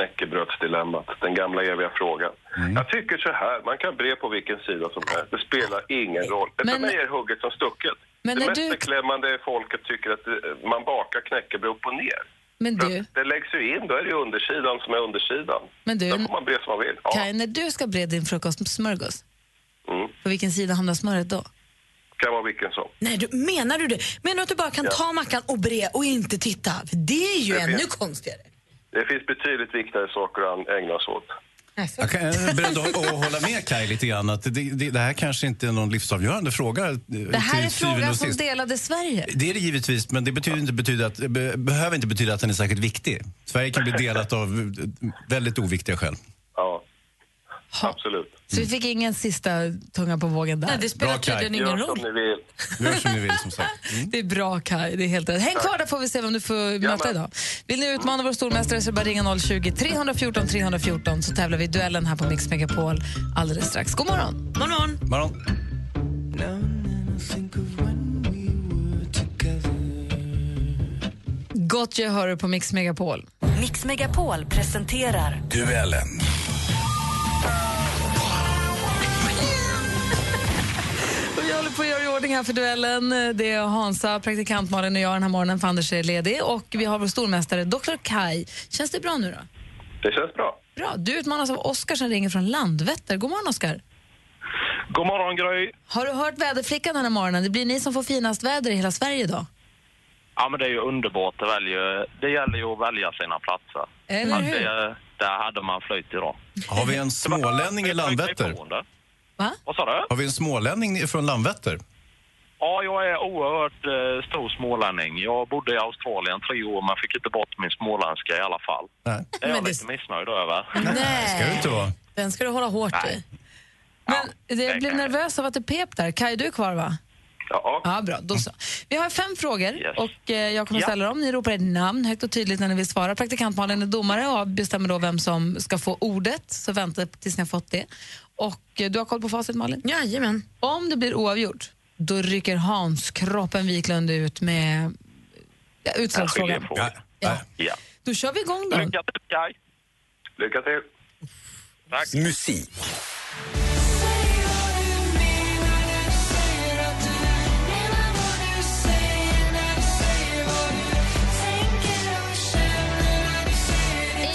Speaker 5: Knäckebrödsdilemmat, den gamla eviga frågan. Jag tycker så här, man kan bre på vilken sida som helst. Det spelar ingen roll. Men... För
Speaker 1: Men-
Speaker 5: mig är hugget som stucket.
Speaker 1: Men
Speaker 5: det
Speaker 1: när
Speaker 5: mest
Speaker 1: du-
Speaker 5: beklämmande är folket tycker att eh, man bakar knäckebröd upp och ner.
Speaker 1: Men
Speaker 5: För
Speaker 1: du,
Speaker 5: att Det läggs ju in, då är det ju undersidan som är undersidan.
Speaker 1: Men du-
Speaker 5: Då får man bre som man vill. Ja.
Speaker 1: Kaj, när du ska bre din frukostsmörgås,
Speaker 5: Mm.
Speaker 1: på vilken sida hamnar smöret då?
Speaker 5: kan vara vilken som.
Speaker 2: Nej, du, menar du det? Menar du att du bara kan
Speaker 5: Ja.
Speaker 2: ta mackan och bre och inte titta? För det är ju
Speaker 5: Det
Speaker 2: ännu
Speaker 5: finns-
Speaker 2: konstigare.
Speaker 5: Det finns betydligt viktigare saker att ägna sig åt.
Speaker 6: Jag kan- jag är beredd att att hålla med Kaj lite grann. Att det, det, det här kanske inte är någon livsavgörande fråga. eh,
Speaker 1: Det här är
Speaker 6: till syvende
Speaker 1: frågan
Speaker 6: och
Speaker 1: som
Speaker 6: sist.
Speaker 1: delade Sverige.
Speaker 6: Det är det givetvis, men det betyder inte betyda att, be, behöver inte betyda att den är särskilt viktig. Sverige kan bli delat av eh, väldigt oviktiga skäl.
Speaker 5: Ja, absolut.
Speaker 1: Så
Speaker 6: Mm.
Speaker 1: vi fick ingen sista tunga på vågen där.
Speaker 5: Gör som ni vill.
Speaker 6: Gör som ni vill, som sagt. Mm.
Speaker 1: Det är bra Kaj, det är helt rätt. Häng
Speaker 6: Tack.
Speaker 1: kvar där får vi se vem du får möta
Speaker 6: Jajamän.
Speaker 1: idag. Vill ni utmana vår stormästare så är det bara att ringa 020 314 314 så tävlar vi i duellen här på Mix Megapol alldeles strax. God morgon!
Speaker 2: God morgon!
Speaker 6: Morgon.
Speaker 1: Gott gehör på Mix Megapol.
Speaker 7: Mix Megapol presenterar
Speaker 6: Duellen.
Speaker 1: håller på att göra i ordning här för duellen. Det är Hansa, praktikant Malin och jag den här morgonen, för Anders är ledig. Och vi har vår stormästare, Dr. Kai. Känns det bra nu då?
Speaker 4: Det känns bra.
Speaker 1: Bra. Du utmanas av Oskar som ringer från Landvetter. God morgon, Oskar.
Speaker 4: God morgon, Gry.
Speaker 1: Har du hört väderflickan den här morgonen? Det blir ni som får finast väder i hela Sverige idag.
Speaker 4: Ja, men det är ju underbart. Det, väljer, det gäller ju att välja sina platser.
Speaker 1: Eller
Speaker 4: Ja,
Speaker 1: hur?
Speaker 4: Det, där hade man flöjt idag.
Speaker 6: Har vi en smålänning i Landvetter?
Speaker 1: Va?
Speaker 4: Vad sa du?
Speaker 6: Har vi en smålänning från Landvetter?
Speaker 4: Ja, jag är oerhört eh, stor smålänning. Jag bodde i Australien tre år, men fick inte bort min småländska i alla fall.
Speaker 6: Nej.
Speaker 4: Det är jag lite missnöjd över.
Speaker 1: Nej.
Speaker 6: Ska du inte vara?
Speaker 1: Den ska du hålla hårt i. Men jag blev nervös av att det pep där. Kaj, du är kvar va?
Speaker 4: Ja.
Speaker 1: Ja, bra. Då så. Vi har fem frågor och eh, jag kommer
Speaker 4: Ja.
Speaker 1: ställa dem. Ni ropar ert namn högt och tydligt när ni vill svara. Praktikant Malin är domare och bestämmer då vem som ska få ordet. Så vänta tills ni har fått det. Och eh, du har koll på facit Malin? Jajamän. Om det blir oavgjort, då rycker Hans Kroppen Wiklund ut med ja, utslagsfrågan.
Speaker 4: Ja.
Speaker 1: Ja.
Speaker 4: Ja.
Speaker 1: Då kör vi igång då.
Speaker 4: Lycka till, Kaj. Lycka till. Tack.
Speaker 6: Musik.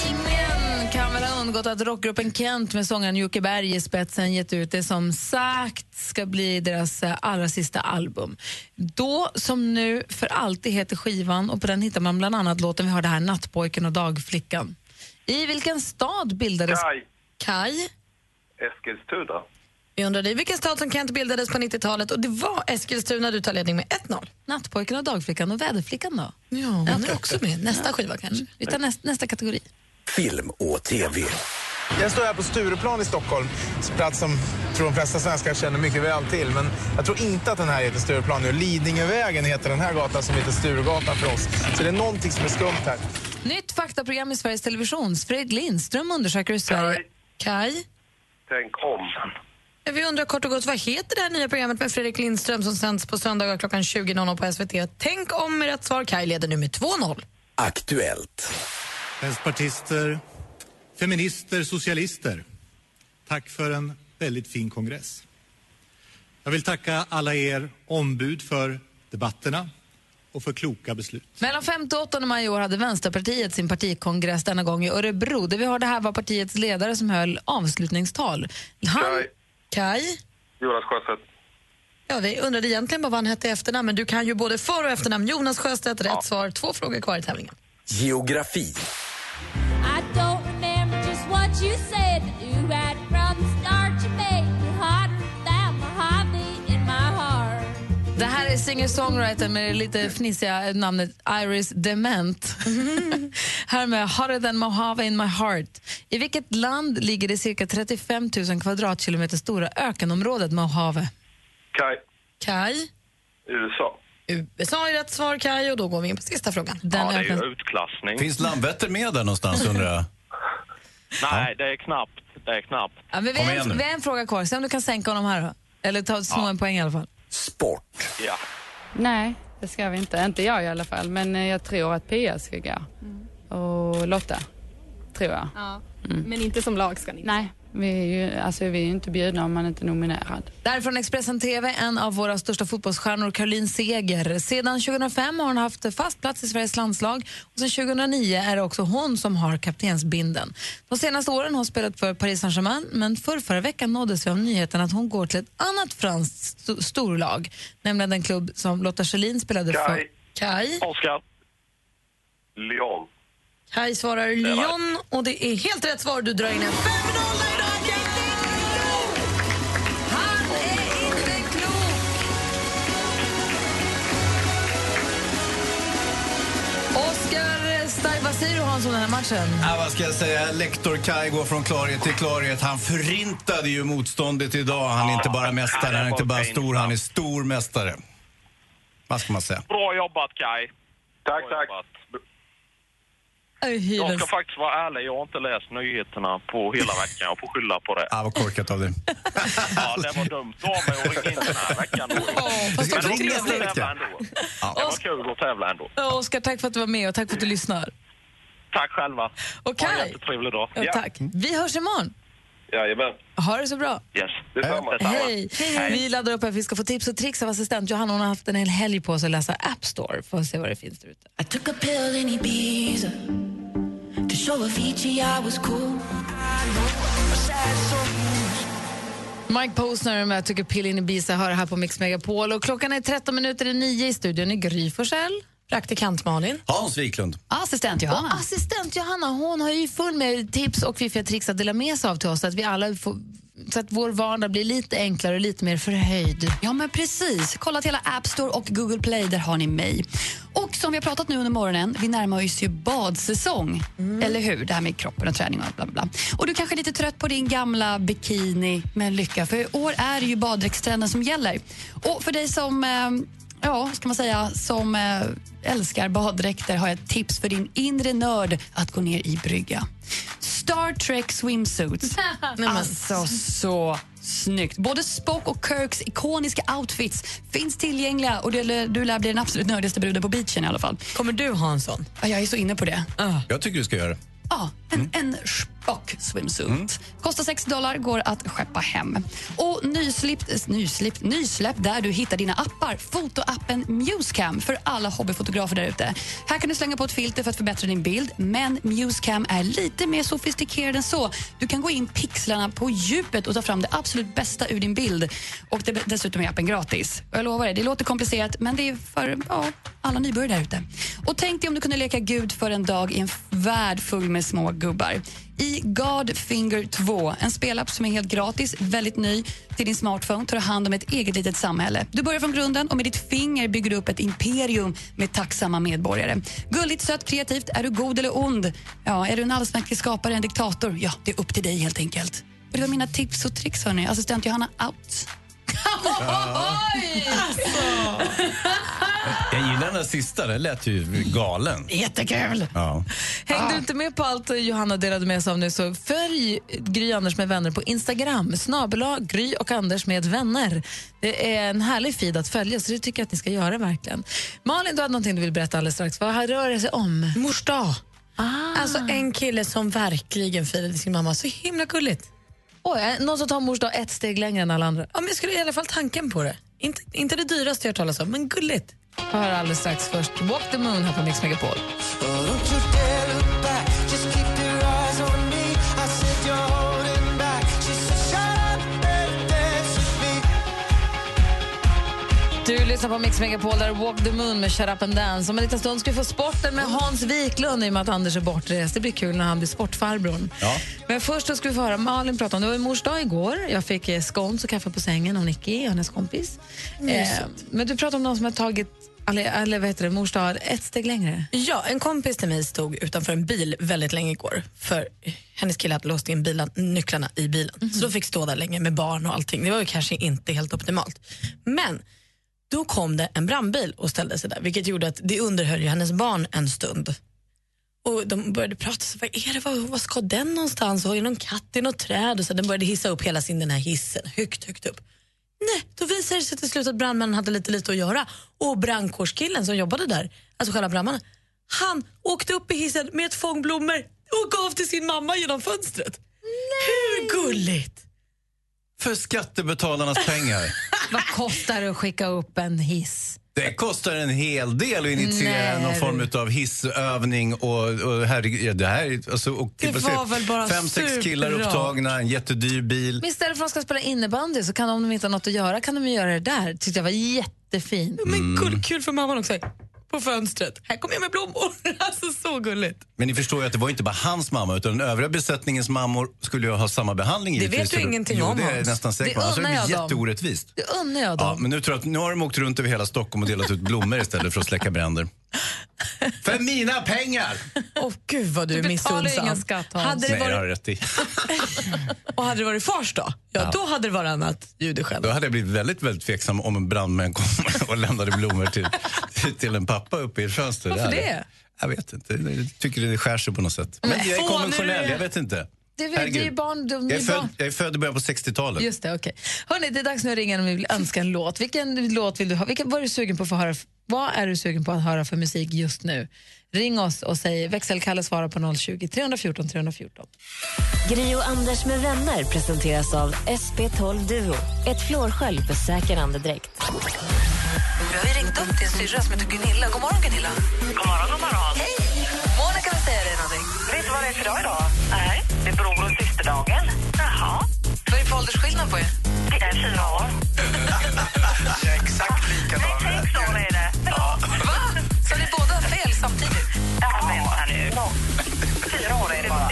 Speaker 1: Ingen kan väl ha undgått att rockgruppen Kent med sångaren Jocke Berg i spetsen gett ut det som sagt ska bli deras eh, allra sista album. Då som nu för alltid heter skivan och på den hittar man bland annat låten vi hörde här, Nattpojken och dagflickan. I vilken stad bildades...
Speaker 4: Kaj.
Speaker 1: Kaj.
Speaker 4: Eskilstuna.
Speaker 2: Vi undrade i vilken stad som Kent bildades på 90-talet och det var Eskilstuna du tar ledning med 1-0.
Speaker 1: Nattpojken och dagflickan och väderflickan då?
Speaker 2: Ja, hon är också med. Nästa skiva kanske.
Speaker 1: Vi tar näst, nästa kategori.
Speaker 18: Film och TV.
Speaker 15: Jag står här på Stureplan i Stockholm, en plats som jag tror de flesta svenskar känner mycket väl till. Men jag tror inte att den här heter Stureplan nu. Lidingövägen heter den här gatan som heter Sturegatan för oss. Så det är någonting som är skumt här.
Speaker 1: Nytt faktaprogram i Sveriges Television. Fredrik Lindström undersöker hur Sverige...
Speaker 2: Kaj?
Speaker 4: Tänk om.
Speaker 2: Vi undrar kort och gott, vad heter det här nya programmet med Fredrik Lindström som sänds på söndagar klockan 20.00 på SVT? Tänk om med rätt svar. Kaj leder nu med 2-0.
Speaker 18: Aktuellt.
Speaker 21: Vänsterpartister, feminister, socialister. Tack för en väldigt fin kongress. Jag vill tacka alla er ombud för debatterna och för kloka beslut.
Speaker 1: Mellan 5 och 8 maj i år hade Vänsterpartiet sin partikongress denna gång i Örebro. Det vi hörde här var partiets ledare som höll avslutningstal. Han...
Speaker 2: Kaj?
Speaker 4: Jonas Sjöstedt.
Speaker 2: Ja, vi undrade egentligen bara vad han hette i efternamn, men du kan ju både för och efternamn. Jonas Sjöstedt, rätt svar. Två frågor kvar i tävlingen.
Speaker 18: Geografi.
Speaker 22: I don't remember just what you said. but You had from the start you made me hotter than Mojave in my heart.
Speaker 1: Det här är singer-songwriter med det lite fnissiga namnet Iris Dement. här med Hotter than Mojave in my heart. I vilket land ligger det cirka 35 000 kvadratkilometer stora ökenområdet Mojave?
Speaker 4: Kaj.
Speaker 2: Kaj?
Speaker 4: USA.
Speaker 2: USA är rätt svar, Kaj, och då går vi in på sista frågan.
Speaker 4: ja, det är ju utklassning.
Speaker 6: Finns Landvetter med där någonstans undrar jag?
Speaker 4: Nej, det är knappt. Det är knappt.
Speaker 1: Ja, men vi,
Speaker 6: Kom
Speaker 1: har
Speaker 6: igen
Speaker 1: en,
Speaker 6: nu.
Speaker 1: vi har en fråga kvar. Se om du kan sänka honom här. Då. Eller ta, sno
Speaker 4: Ja.
Speaker 1: en poäng i alla fall.
Speaker 18: Sport.
Speaker 4: Ja.
Speaker 19: Nej, det ska vi inte. Inte jag i alla fall. Men eh, jag tror att Pia ska gå.
Speaker 1: Mm.
Speaker 19: Och Lotta, tror jag.
Speaker 23: Ja. Men inte som lag ska ni
Speaker 19: Mm. Nej, vi är ju alltså, vi är ju inte bjudna om man inte är nominerad.
Speaker 1: Därifrån Expressen TV, en av våra största fotbollsstjärnor, Caroline Seger. Sedan 2005 har hon haft fast plats i Sveriges landslag och sedan 2009 är det också hon som har kaptensbinden. De senaste åren har hon spelat för Paris Saint-Germain men för förra veckan nåddes vi av nyheten att hon går till ett annat franskt st- storlag, nämligen den klubb som Lotta Schelin spelade för.
Speaker 2: Kaj?
Speaker 4: Oskar. Lyon.
Speaker 2: Kaj svarar Lyon och det är helt rätt svar. Du drar in en 5-0 idag,
Speaker 1: Han är inte klok! Oskar Stark, vad säger du Hans om den här matchen?
Speaker 6: Ja, vad ska jag säga? Lektor Kai går från klarhet till klarhet. Han förintade ju motståndet idag. Han är inte bara mästare, han är inte bara stor, han är stor mästare. Vad ska man säga?
Speaker 4: Bra jobbat, Kaj. Tack, tack. Jag ska faktiskt vara ärlig, jag har inte läst nyheterna på hela veckan. Jag får skylla på det.
Speaker 6: Ah, vad korkat av dig.
Speaker 4: Ja, det var dumt av mig att ringa in den här veckan.
Speaker 6: fast det var
Speaker 4: Men det var
Speaker 6: trevligt.
Speaker 4: kul att tävla ändå. Det var kul att tävla ändå.
Speaker 1: Oskar, tack för att du var med och tack för att du lyssnar.
Speaker 4: Tack själva.
Speaker 1: Och Kaj.
Speaker 4: Ha en jättetrevlig dag.
Speaker 1: Ja, tack. Vi hörs imorgon.
Speaker 4: Jajamän.
Speaker 1: Ha det så bra.
Speaker 4: Yes, detsamma.
Speaker 1: Hej. Vi laddar upp här för vi ska få tips och tricks av assistent Johanna. Hon har haft en hel helg på sig att läsa App Store för att se vad det finns där ute.
Speaker 15: I took a pill in Ibiza to show Avicii I was cool.
Speaker 1: Mike Posner med Tycker Pill in Ibiza hör här på Mix Megapol. Och klockan är 13 minuter i nio i studion i Gry Forssell. Praktikant Malin.
Speaker 6: Hans Wiklund.
Speaker 1: Assistent
Speaker 23: Johanna.
Speaker 1: Och assistent Johanna hon har ju full med tips och fiffiga tricks att dela med sig av till oss så att, vi alla får, så att vår vardag blir lite enklare och lite mer förhöjd.
Speaker 23: Ja, men precis. Kolla till alla App Store och Google Play, där har ni mig. Och som vi har pratat nu under morgonen, vi närmar oss ju badsäsong. Eller hur? Det här med kroppen och träning och bla bla bla. Och du kanske är lite trött på din gamla bikini, men lycka. För i år är det ju baddräktstrenden som gäller. Och för dig som, eh, ja, ska man säga, som eh, älskar baddräkter har jag ett tips för din inre nörd att gå ner i brygga. Star Trek swimsuits. alltså, så snyggt. Både Spock och Kirks ikoniska outfits finns tillgängliga och du, lär- du lär bli den absolut nördigaste bruden på beachen i alla fall.
Speaker 2: Kommer du ha en sån?
Speaker 23: Ja, jag är så inne på det.
Speaker 6: Jag tycker du ska göra det. Mm.
Speaker 23: Ja, en, en Spock swimsuit. Kostar 6 dollar, går att skeppa hem. Och nysläppt, nysläppt, nysläppt där du hittar dina appar. Fotoappen Musecam för alla hobbyfotografer där ute. Här kan du slänga på ett filter för att förbättra din bild, men Musecam är lite mer sofistikerad än så. Du kan gå in pixlarna på djupet och ta fram det absolut bästa ur din bild. Och det, dessutom är appen gratis. Och jag lovar dig, det låter komplicerat, men det är för ja, alla nybörjare där ute. Och tänk dig om du kunde leka Gud för en dag i en f- värld full med små gubbar. I Godfinger 2, en spelapp som är helt gratis, väldigt ny, till din smartphone tar du hand om ett eget litet samhälle. Du börjar från grunden och med ditt finger bygger du upp ett imperium med tacksamma medborgare. Gulligt, sött, kreativt. Är du god eller ond? Ja, är du en allsmäktig skapare, en diktator? Ja, det är upp till dig helt enkelt. Och det var mina tips och tricks, hörni. Assistent Johanna, out.
Speaker 1: Oj!
Speaker 6: Jag gillar den där sista, den lät ju galen.
Speaker 1: Jättekul.
Speaker 6: Ja.
Speaker 1: Hängde
Speaker 2: Ah.
Speaker 1: du inte med på allt Johanna delade med sig av nu så följ Gry Anders med vänner på Instagram. Snabela Gry och Anders med vänner. Det är en härlig feed att följa så det tycker jag att ni ska göra verkligen. Malin, du hade någonting du vill berätta alldeles strax. Vad rör det sig om?
Speaker 2: Mors dag. Alltså en kille som verkligen firade sin mamma. Så himla gulligt.
Speaker 1: Oj, eh, någon som tar mors dag ett steg längre än alla andra.
Speaker 2: Ja, men jag skulle i alla fall tanken på det. Inte, inte det dyraste jag har hört talas om, men gulligt.
Speaker 1: Jag hör alldeles strax först Walk the Moon här på Mix Megapol. Du lyssnar på Mix Megapol där Walk the Moon med Shut Up and Dance. Om en liten stund ska vi få sporten med Hans Wiklund i och med att Anders är bortrest. Det blir kul när han blir sportfarbrorn. Men först då ska vi få höra Malin prata om, det var ju mors dag igår. Jag fick eh, scones och kaffe på sängen av Nicky, hennes kompis. Eh,
Speaker 2: Mysigt.
Speaker 1: men du pratar om någon som har tagit, eller, eller vad heter det, mors dag ett steg längre.
Speaker 2: Ja, en kompis till mig stod utanför en bil väldigt länge igår. För hennes kille hade låst in bilen, nycklarna i bilen. Så då fick stå där länge med barn och allting. Det var ju kanske inte helt optimalt. Men då kom det en brandbil och ställde sig där. Vilket gjorde att det underhöll ju hennes barn en stund. Och de började prata, så, vad är det, vad, vad ska den någonstans? Har ju någon katt i något träd? Och så, den började hissa upp hela sin den här hissen, högt, högt upp. Nej, då visade det sig till slut att brandmännen hade lite lite att göra. Och brandkårskillen som jobbade där, alltså själva brandmannen, han åkte upp i hissen med ett fång blommor och gav till sin mamma genom fönstret. Hur gulligt?
Speaker 6: För skattebetalarnas pengar.
Speaker 1: Vad kostar det att skicka upp en hiss?
Speaker 6: Det kostar en hel del att initiera
Speaker 1: Nej.
Speaker 6: någon form av hissövning. Och, och herregud, ja, det här, alltså, och,
Speaker 1: Det
Speaker 6: vad säger-
Speaker 1: var väl bara
Speaker 6: Fem, sex
Speaker 1: superbra.
Speaker 6: killar upptagna, en jättedyr bil.
Speaker 1: Men istället för att de ska spela innebandy så kan de, om de inte har något att göra kan de ju göra det där. Tyckte jag var jättefint.
Speaker 6: Men
Speaker 2: kul, kul för mamman också. På fönstret. Här kommer jag med blommor. Alltså så gulligt.
Speaker 6: Men ni förstår ju att det var inte bara hans mamma utan den övriga besättningens mammor skulle ju ha samma behandling.
Speaker 2: Det vet
Speaker 6: givetvis.
Speaker 2: du ingenting
Speaker 6: jo,
Speaker 2: om,
Speaker 6: det är jag
Speaker 2: Hans.
Speaker 6: nästan säker
Speaker 2: Det
Speaker 6: på. Annars hade Det
Speaker 2: unnar
Speaker 6: blir
Speaker 2: jag dem.
Speaker 6: jätteorättvist.
Speaker 1: Det unnar jag
Speaker 6: Ja,
Speaker 1: dem.
Speaker 6: men nu tror jag att nu har de åkt runt över hela Stockholm och delat ut blommor istället för att släcka bränder. För mina pengar!
Speaker 2: Åh gud vad du,
Speaker 6: Du
Speaker 2: är
Speaker 6: betalar
Speaker 2: missunnsam.
Speaker 6: ingen skatt,
Speaker 1: Hans.
Speaker 2: hade det
Speaker 6: Nej, jag
Speaker 2: varit,
Speaker 6: har rätt i.
Speaker 2: Och hade det varit fars då? Ja, då hade det varit annat ljud i skällan.
Speaker 6: Då hade jag blivit väldigt, väldigt tveksam om en brandman kom och lämnade blommor till, till en pappa uppe i ett fönster.
Speaker 1: Varför
Speaker 6: hade-
Speaker 1: det?
Speaker 6: Jag vet inte. Jag tycker det skär sig på något sätt. Men
Speaker 1: Nej.
Speaker 6: jag är
Speaker 1: Åh, nu är
Speaker 6: konventionell,
Speaker 1: det-
Speaker 6: jag vet inte.
Speaker 1: det är väl-
Speaker 6: Herregud.
Speaker 1: det är barn- de-
Speaker 6: jag, är
Speaker 1: det är
Speaker 6: född,
Speaker 1: barn.
Speaker 6: jag är född i början på 60-talet.
Speaker 1: Just det, okej. Hörrni, det är dags nu att ringa om vi vill önska en låt. Vilken låt vill du ha? Vilken, vad, är du sugen på att få höra, f- vad är du sugen på att höra för musik just nu? Ring oss och säg växelkalle svara på 020 314 314.
Speaker 14: Gri och Anders med vänner presenteras av SP12 Duo. Ett flårskölj för säker andedräkt.
Speaker 17: Vi har ju ringt upp till en syrra som heter Gunilla. God morgon, Gunilla. God morgon, god morgon. Hej! Monica vill säga dig någonting. Vet du vad det är för dag idag? Nej. Det är bror och systerdagen. Jaha. Vad är det för åldersskillnad på er? Det är fyra år. Jag är exakt likadan. Nej, sex år är det. Ja. Va? Så ni båda har fel samtidigt? Ja, vänta nu. Fyra år är det bara.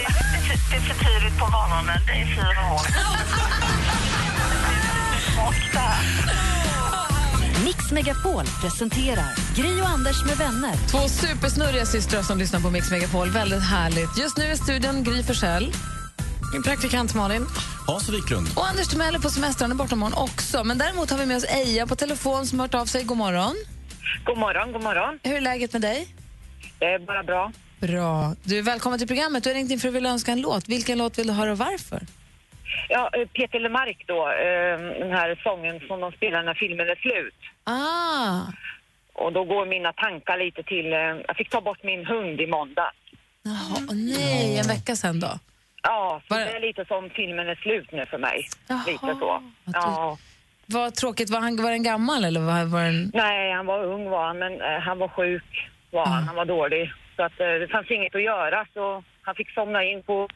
Speaker 17: Det är för tidigt på morgonen. Det är fyra år.
Speaker 7: Mix Megapol presenterar Gri och Anders med vänner.
Speaker 1: Två supersnurriga systrar som lyssnar på Mix Megapol. Väldigt härligt. Just nu i studion Gry Forssell. Min praktikant Malin.
Speaker 6: Hans Wiklund.
Speaker 1: Och Anders Timell är på semester, han är borta imorgon också. Men däremot har vi med oss Eija på telefon som har hört av sig. God morgon.
Speaker 10: God morgon, god morgon.
Speaker 1: Hur är läget med dig?
Speaker 10: Det är bara bra.
Speaker 1: Bra. Du är välkommen till programmet. Du har ringt in för att du vill önska en låt. Vilken låt vill du höra och varför?
Speaker 10: Ja, eh, Peter Lemark då, eh, den här sången som de spelar när filmen är slut.
Speaker 1: Ah,
Speaker 10: Och då går mina tankar lite till, eh, jag fick ta bort min hund i måndag.
Speaker 1: jaha. Åh, nej, en vecka sen då.
Speaker 10: Ja, så det är lite som filmen är slut nu för mig. Lite så. Ja.
Speaker 1: Vad tråkigt. Var, han, var den gammal eller var, var den...
Speaker 10: Nej, han var ung var han, men eh, han var sjuk var han, han var dålig. Så att eh, det fanns inget att göra så han fick somna in på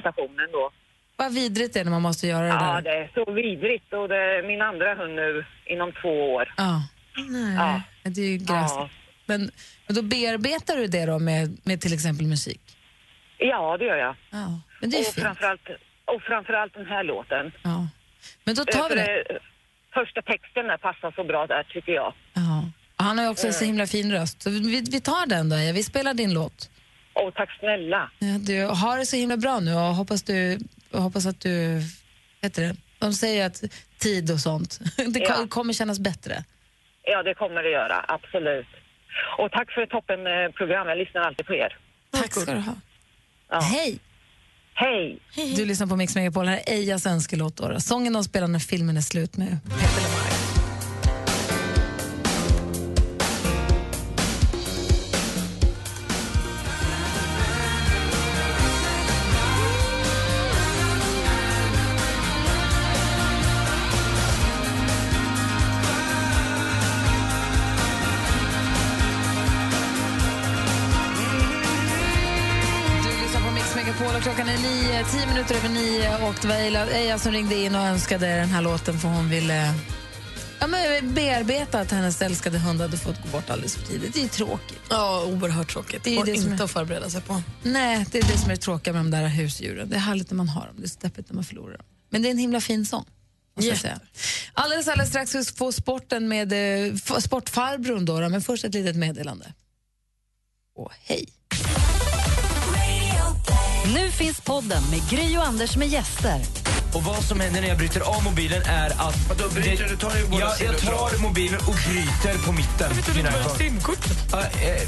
Speaker 10: stationen då.
Speaker 1: Vad vidrigt det är när man måste göra det
Speaker 10: Ja,
Speaker 1: där.
Speaker 10: det är så vidrigt och det är min andra hund nu inom två år.
Speaker 1: Ja. Nej, det är ju gräsligt.
Speaker 10: Ja.
Speaker 1: Men, men då bearbetar du det då med, med till exempel musik?
Speaker 10: Ja, det gör jag.
Speaker 1: Ja, men det är
Speaker 10: och,
Speaker 1: fint.
Speaker 10: framförallt, och framförallt den här låten.
Speaker 1: Ja. Men då tar vi det.
Speaker 10: Första texten där passar så bra där, tycker jag.
Speaker 1: Ja. Och Han har ju också en så himla fin röst. Så vi, vi tar den då, Eija. Vi spelar din låt.
Speaker 10: Åh, tack snälla.
Speaker 1: Ja, du har det så himla bra nu och hoppas, du, och hoppas att du... Heter det? De säger att tid och sånt, det ko-
Speaker 10: Ja.
Speaker 1: kommer kännas bättre.
Speaker 10: Ja, det kommer det göra, absolut. Och tack för ett toppenprogram. Jag lyssnar alltid på er.
Speaker 1: Tack ska du ha.
Speaker 10: Ja.
Speaker 1: Hej!
Speaker 10: Hej!
Speaker 1: Du lyssnar på Mix Megapol. Här är Eijas önskelåt. då, då. Sången de spelar när filmen är slut med Peter Lemark. Du lyssnar på Mix Megapol och klockan är nio, tio minuter över nio. Och det var Eila- Eija som ringde in och önskade den här låten för hon ville ja, men bearbeta att hennes älskade hund hade fått gå bort alldeles för tidigt. Det är ju tråkigt.
Speaker 2: Ja, oerhört tråkigt. Det är
Speaker 1: det
Speaker 2: det
Speaker 1: som
Speaker 2: inte
Speaker 1: är-
Speaker 2: att förbereda sig på.
Speaker 1: Nej, det är det som är det tråkiga med de där husdjuren. Det är härligt när man har dem, det är så deppigt när man förlorar dem. Men det är en himla fin sång. måste jag säga. Alldeles, alldeles strax ska vi få sporten med eh, f- sportfarbrorn, då, då, men först ett litet meddelande. Och hej!
Speaker 7: Nu finns podden med Gri och Anders med gäster.
Speaker 15: Och vad som händer när jag bryter av mobilen är att... Vadå,
Speaker 7: bryter du? Tar du båda
Speaker 15: jag,
Speaker 7: sidor
Speaker 15: jag
Speaker 7: och
Speaker 15: tar mobilen och bryter på mitten. Varför tog du inte bara simkortet? Ja, eh,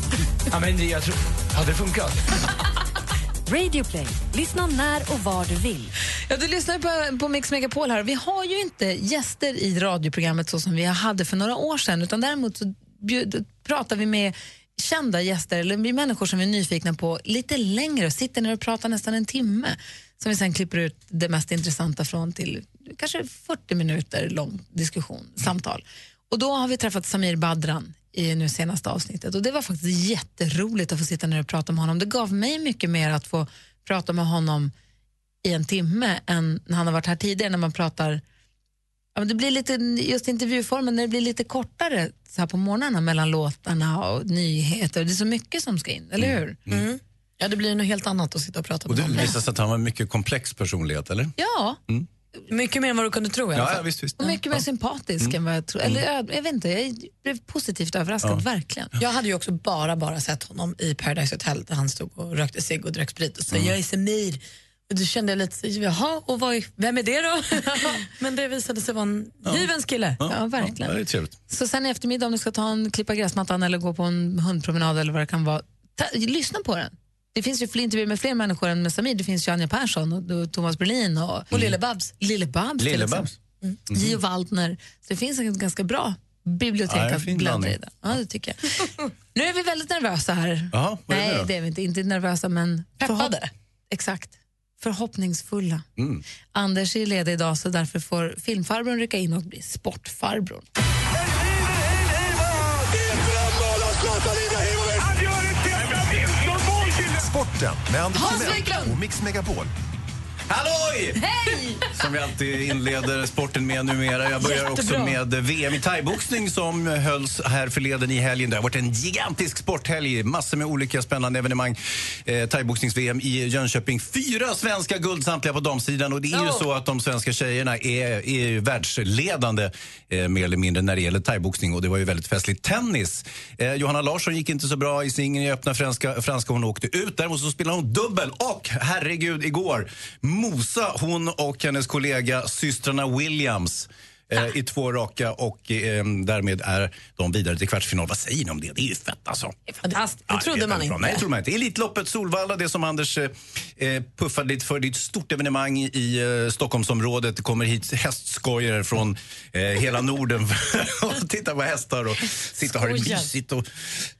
Speaker 15: ja, men det- jag tror... Hade det funkat?
Speaker 7: Radioplay. Lyssna när och var du vill.
Speaker 1: Ja, du lyssnar på, på Mix Megapol här. Vi har ju inte gäster i radioprogrammet så som vi hade för några år sedan, utan däremot så bjud, pratar vi med kända gäster eller med människor som vi är nyfikna på lite längre och sitter ner och pratar nästan en timme som vi sen klipper ut det mest intressanta från till kanske 40 minuter lång diskussion, samtal. Och då har vi träffat Samir Badran i nu senaste avsnittet och det var faktiskt jätteroligt att få sitta ner och prata med honom. Det gav mig mycket mer att få prata med honom i en timme än när han har varit här tidigare när man pratar Ja, men det blir lite, just intervjuformen, när det blir lite kortare så här på morgnarna mellan låtarna och nyheter. Det är så mycket som ska in,
Speaker 2: Mm.
Speaker 1: eller hur?
Speaker 2: Ja, det blir något helt annat att sitta och prata
Speaker 6: Mm. Och
Speaker 2: med
Speaker 6: det
Speaker 2: någon.
Speaker 6: visade sig att han var en mycket komplex personlighet, eller? Mm.
Speaker 1: Ja,
Speaker 2: Mycket mer än vad du kunde tro i alla
Speaker 6: Ja,
Speaker 2: fall.
Speaker 6: ja visst, visst.
Speaker 1: och mycket mer sympatisk än vad jag tror. Eller jag, jag vet inte, jag blev positivt överraskad,
Speaker 2: Mm. Ja.
Speaker 1: verkligen.
Speaker 2: Jag hade ju också bara, bara sett honom i Paradise Hotel där han stod och rökte cigg och drack sprit och sa
Speaker 6: Mm.
Speaker 2: jag är Samir. Och då kände jag lite, så, jaha, och vad, är- vem är det då? Men det visade sig vara en hyvens kille.
Speaker 1: Ja, verkligen.
Speaker 6: Ja, det är trevligt.
Speaker 1: Så sen i eftermiddag om du ska ta en klippa gräsmattan eller gå på en hundpromenad eller vad det kan vara, ta, lyssna på den. Det finns ju fler intervjuer med fler människor än med Samir. Det finns ju Anja Persson och, och Thomas Brolin och, och Lille Babs. Lille Babs. till
Speaker 6: Mm. Lille
Speaker 1: exempel.
Speaker 6: Babs. Mhm.
Speaker 1: Mm. Gio Waldner. Så det finns en ganska bra bibliotek
Speaker 6: Ja, det är en
Speaker 1: att
Speaker 6: fin
Speaker 1: bläddra
Speaker 6: blandning.
Speaker 1: i. där. Ja, det tycker jag. nu är vi väldigt nervösa här.
Speaker 6: Jaha, vad är det
Speaker 1: Nej,
Speaker 6: då?
Speaker 1: det är vi inte. Inte nervösa, men... Peppade? Exakt. Förhoppningsfulla.
Speaker 6: Mm.
Speaker 1: Anders är ledig idag så därför får filmfarbrorn rycka in och bli sportfarbrorn.
Speaker 3: Sporten med Anders
Speaker 1: Hans
Speaker 3: Timell
Speaker 1: Wiklund!
Speaker 3: och Mix Megapol.
Speaker 6: Halloj!
Speaker 1: Hej!
Speaker 6: Som vi alltid inleder sporten med numera. Jag börjar också
Speaker 3: Jättebra.
Speaker 6: med VM i thaiboxning som hölls här förleden i helgen. Det har varit en gigantisk sporthelg. Massor med olika spännande evenemang. Eh, Thaiboxnings-VM i Jönköping. Fyra svenska guld samtliga på damsidan. Och det är ju
Speaker 24: Ja.
Speaker 6: så att de svenska tjejerna är, är ju världsledande eh, mer eller mindre när det gäller thaiboxning. Och det var ju väldigt festligt. Tennis. Eh, Johanna Larsson gick inte så bra i singeln i öppna franska, franska. Hon åkte ut. Däremot så spelade hon dubbel och herregud, igår mosa hon och hennes kollega systrarna Williams eh, i två raka och eh, därmed är de vidare till kvartsfinal. Vad säger ni om det? Det är ju fett alltså.
Speaker 2: Fantastiskt. Det trodde
Speaker 6: är
Speaker 2: man
Speaker 6: väldigt bra.
Speaker 2: inte.
Speaker 6: Nej, det trodde man inte. Elitloppet Solvalla, det som Anders eh, eh, puffade lite för. Det är ett stort evenemang i eh, Stockholmsområdet. Det kommer hit hästskojare från eh, hela Norden och titta på hästar och sitta och ha det
Speaker 25: Skojar.
Speaker 6: mysigt och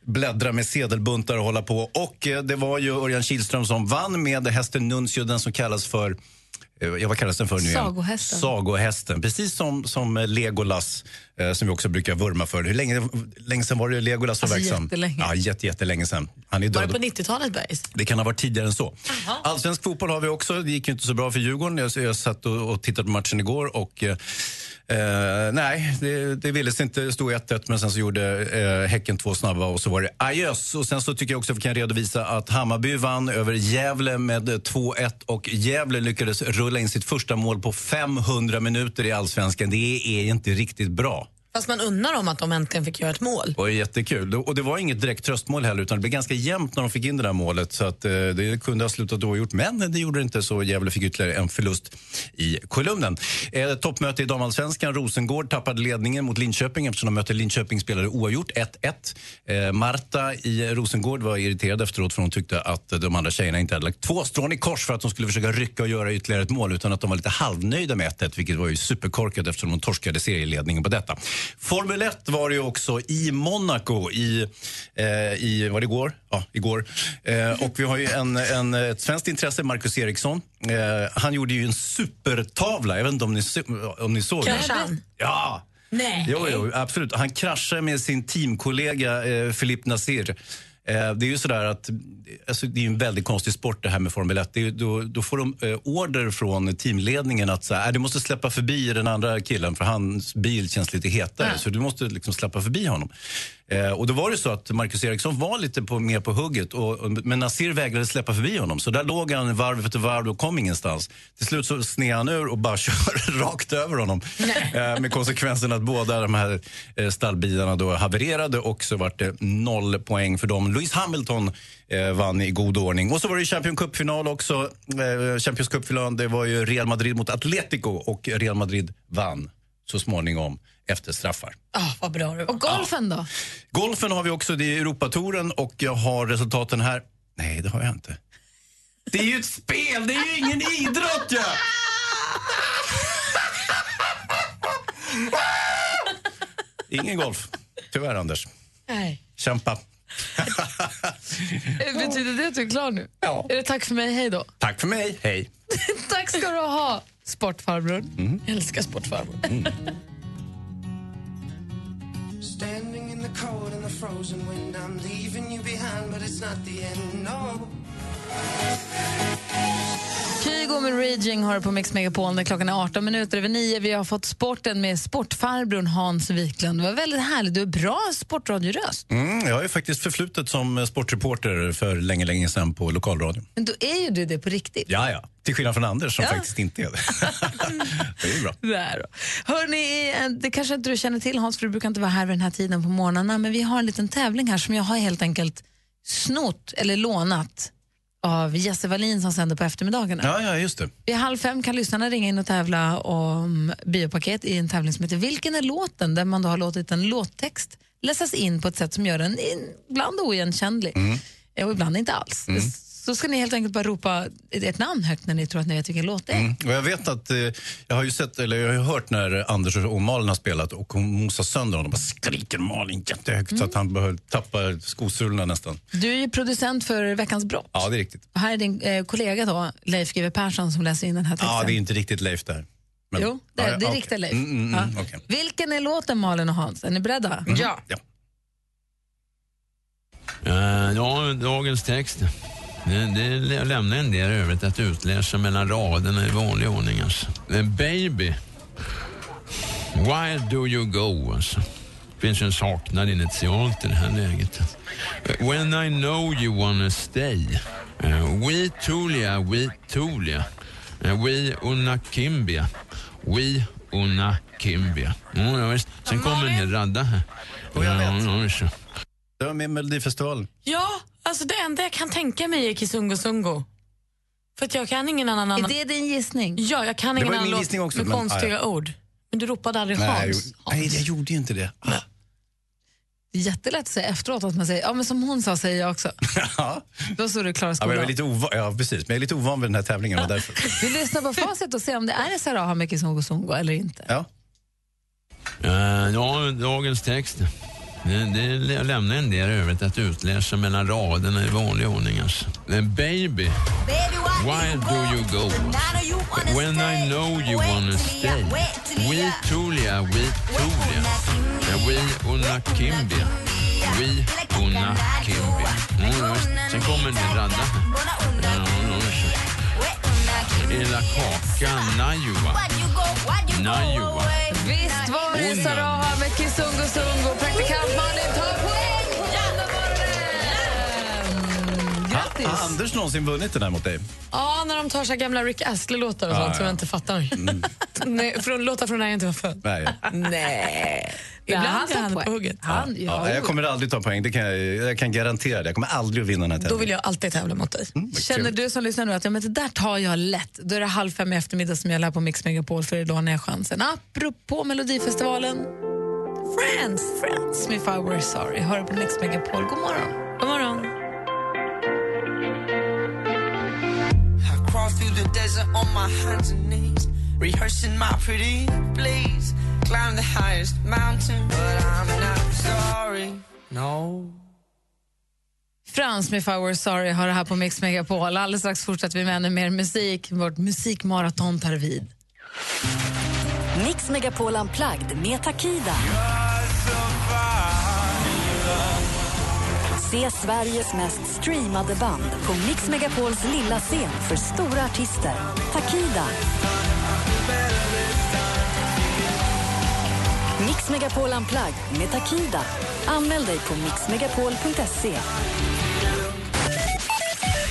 Speaker 6: bläddra med sedelbuntar och hålla på. Och eh, det var ju Örjan Kihlström som vann med hästen Nuncio, den som kallas för eh, Ja, vad kallas den för nu igen?
Speaker 1: Sagohästen.
Speaker 6: Sagohästen. Precis som, som eh, Legolas, eh, som vi också brukar vurma för. Hur länge, länge sedan var det Legolas var
Speaker 2: Alltså,
Speaker 6: verksam?
Speaker 2: jättelänge.
Speaker 6: Ja, jätte, jättelänge sedan. Han är
Speaker 2: Var det
Speaker 6: död.
Speaker 2: på 90-talet, Bergs?
Speaker 6: Det kan ha varit tidigare än så. Allsvensk fotboll har vi också. Det gick ju inte så bra för Djurgården. Jag, jag satt och, och tittade på matchen igår och eh, eh, nej, det, det ville sig inte. Det stod 1-1 men sen så gjorde eh, Häcken två snabba och så var det ajöss. Och sen så tycker jag också att vi kan redovisa att Hammarby vann över Gävle med eh, 2-1 och Gävle lyckades rulla in sitt första mål på 500 minuter i allsvenskan. Det är inte riktigt bra.
Speaker 2: Fast man undrar om att de äntligen fick göra ett mål.
Speaker 6: Det var jättekul. Och det var inget direkt tröstmål heller utan det blev ganska jämnt när de fick in det där målet. Så att, eh, det kunde ha slutat oavgjort men det gjorde det inte så Gävle fick ytterligare en förlust i kolumnen. Eh, toppmöte i damallsvenskan. Rosengård tappade ledningen mot Linköping eftersom de mötte Linköping spelade oavgjort 1-1. Eh, Marta i Rosengård var irriterad efteråt för hon tyckte att eh, de andra tjejerna inte hade lagt två strån i kors för att de skulle försöka rycka och göra ytterligare ett mål utan att de var lite halvnöjda med 1-1 vilket var ju superkorkat eftersom de torskade serieledningen på detta. Formel 1 var det ju också i Monaco i, eh, i var det igår? Ja, igår. Eh, och vi har ju en, en, ett svenskt intresse, Marcus Eriksson. Eh, han gjorde ju en supertavla, jag vet inte om ni, se- om ni såg
Speaker 2: Kraschade han?
Speaker 6: Ja!
Speaker 2: Nej.
Speaker 6: Jo, jo, absolut. Han kraschar med sin teamkollega eh, Filip Nasir. Eh, det är ju sådär att alltså, det är ju en väldigt konstig sport det här med Formel 1. Det är, ju- då, då får de eh, order från teamledningen att så här, "Äh, du måste släppa förbi den andra killen för hans bil känns lite hetare. Så du måste liksom släppa förbi honom. Eh, och då var det så att Marcus Eriksson var lite på, mer på hugget och, och- men Nasir vägrade släppa förbi honom. Så där låg han varv efter varv och kom ingenstans. Till slut så sned han ur och bara kör rakt över honom. Eh, med konsekvensen att båda de här eh, stallbilarna då havererade och så vart det noll poäng för dem. Lewis Hamilton eh, vann i god ordning. Och så var det ju Champions Cup-final också. Eh, Champions Cup-finalen, det var ju Real Madrid mot Atletico och Real Madrid vann så småningom efter straffar.
Speaker 2: Ah, vad bra det var.
Speaker 1: Och golfen då?
Speaker 6: Golfen har vi också, det är Europatouren och jag har resultaten här. Nej, det har jag inte. Det är ju ett spel, det är ju ingen idrott ju! Ingen golf. Tyvärr, Anders.
Speaker 1: Nej.
Speaker 6: Kämpa.
Speaker 1: Eh, Betyder det att du är klar nu?
Speaker 6: Ja.
Speaker 1: Är det tack för mig, hej då?
Speaker 6: Tack för mig. Hej.
Speaker 1: tack ska du ha, sportfarbrorn.
Speaker 6: Mm.
Speaker 2: Jag älskar sportfarbrorn.
Speaker 15: Standing in the cold and the frozen wind, I'm leaving you behind, but it's not the end, no.
Speaker 1: Kygo med Raging har du på Mix Megapol när klockan är 18 minuter över 9. Vi har fått sporten med sportfarbrorn Hans Wiklund. Det var väldigt härligt. Du har bra sportradioröst.
Speaker 6: Mm, jag har ju faktiskt förflutet som eh, sportreporter för länge, länge sedan på lokalradion.
Speaker 1: Men då är ju du det på riktigt.
Speaker 6: Ja, ja. Till skillnad från Anders som
Speaker 1: Ja.
Speaker 6: faktiskt inte är det. det är ju bra.
Speaker 1: Där då. Hörrni, eh, det kanske inte du känner till Hans, för du brukar inte vara här vid den här tiden på morgnarna, men vi har en liten tävling här som jag har helt enkelt snott eller lånat av Jesse Wallin som sänder på eftermiddagarna.
Speaker 6: Ja, ja, just det.
Speaker 1: Vid halv fem kan lyssnarna ringa in och tävla om biopaket i en tävling som heter Vilken är låten? Där man då har låtit en låttext
Speaker 6: Mm.
Speaker 1: läsas in på ett sätt som gör den in- ibland oigenkännlig. Eh, Och ibland inte alls. Så ska ni helt enkelt bara ropa ett namn högt när ni tror att ni vet vilken låt det är.
Speaker 6: Mm. Och jag vet att eh, jag har ju sett, eller jag har ju hört när Anders och Malin har spelat och hon mosar sönder honom. Bara skriker Malin jättehögt så
Speaker 1: Mm.
Speaker 6: att han behöver tappa skosulorna nästan.
Speaker 1: Du är ju producent för Veckans brott.
Speaker 6: Ja, det är riktigt.
Speaker 1: Och här är din eh, kollega då, Leif GW Persson, som läser in den här texten.
Speaker 6: Ja, det är inte riktigt Leif där.
Speaker 1: Jo, det, är- det är
Speaker 6: okej.
Speaker 1: riktiga Leif.
Speaker 6: Mm, mm, mm,
Speaker 1: ja.
Speaker 6: okej.
Speaker 1: Vilken är låten, Malin och Hans? Är ni beredda?
Speaker 6: Mm.
Speaker 1: Ja.
Speaker 11: Eh, ja, dagens text. Det, det lä- lämnar en del övrigt att utläsa mellan raderna i vanlig ordning. Alltså. Eh, Baby, why do you go? Alltså. Det finns ju en saknad initialt i det här läget. Eh, When I know you wanna stay. Eh, We Tulia, we Tulia. Eh, We una Kimbia. We una Kimbia. Mm, ja, visst. Sen kommer en hel radda här. Ja, ja, visst.
Speaker 6: Det var med i Melodifestivalen.
Speaker 2: Ja, alltså det enda jag kan tänka mig är Kisungo Sungo. För att jag kan ingen annan... annan...
Speaker 1: Är det din gissning?
Speaker 2: Ja, jag kan
Speaker 6: Det
Speaker 2: ingen
Speaker 6: var ju
Speaker 2: annan
Speaker 6: min
Speaker 2: låt
Speaker 6: gissning också,
Speaker 2: med
Speaker 6: men- ah,
Speaker 2: konstiga
Speaker 6: ja, ja.
Speaker 2: ord. Men du ropade aldrig
Speaker 6: Nej, jag,
Speaker 2: Hans.
Speaker 6: gjorde- nej, jag gjorde ju inte det.
Speaker 1: Jättelätt att säga efteråt att man säger, ja men som hon sa säger jag också.
Speaker 6: Ja,
Speaker 1: Då står du Klara
Speaker 6: Ja, men jag
Speaker 1: skolan.
Speaker 6: är lite ovan, ja, precis. Men jag är lite ovan vid den här tävlingen. Och därför.
Speaker 1: Vi lyssnar på facit och ser om det är Saraha med Kizungo Sungo eller inte.
Speaker 11: Eh, ja, dagens text. Det, det lä- lämnar en del övrigt att utläsa mellan raderna i vanlig ordning. Alltså. Eh, Baby, why do you go? When I know you wanna stay. We Tulia, we Tulia. Eh, We una Kimbia. We una Kimbia. Mm, ja, visst. Sen kommer en hel radda. här. Ja, ja, visst. Hela kakan, Najua. Najua.
Speaker 1: Visst var det Saraha med Kizungo Sungo. Praktikant Malin tar poäng!
Speaker 6: Har har Anders någonsin vunnit den här mot dig?
Speaker 2: Ja, när de tar så här gamla Rick Astley-låtar och
Speaker 6: Ja,
Speaker 2: sånt
Speaker 6: ja. Mm.
Speaker 2: som jag inte fattar. Nej, från, låtar från när jag inte var född.
Speaker 6: Nej.
Speaker 2: Nej. Ibland
Speaker 1: han
Speaker 2: är
Speaker 1: tar
Speaker 2: han på
Speaker 1: poäng.
Speaker 2: hugget.
Speaker 6: Ja, ja, jag kommer aldrig ta poäng, det kan jag, jag kan garantera det. Jag kommer aldrig att vinna den här
Speaker 2: Då
Speaker 6: tävlingen. Mm.
Speaker 2: vill jag alltid tävla mot dig.
Speaker 1: Känner du som lyssnar nu att ja, men det där tar jag lätt, då är det halv fem i eftermiddag som jag lär på Mix Megapol för idag när jag chansen. Apropå Melodifestivalen, Friends, Friends med If I Were Sorry. Hör du på Mix Megapol. God morgon. God morgon.
Speaker 15: I crawl through the desert on my hands and knees, rehearsing my pretty please. Climb the highest mountain, but I'm not sorry. No.
Speaker 1: Frans med If I Were Sorry har det här på Mix Megapol. Alldeles strax fortsätter vi med ännu mer musik. Vårt musikmaraton tar vid.
Speaker 7: Mix Megapol Unplugged med Takida. Se Sveriges mest streamade band på Mix Megapols lilla scen för stora artister. Takida. Mix Megapol Unplugged med Takida. Anmäl dig på mixmegapol.se.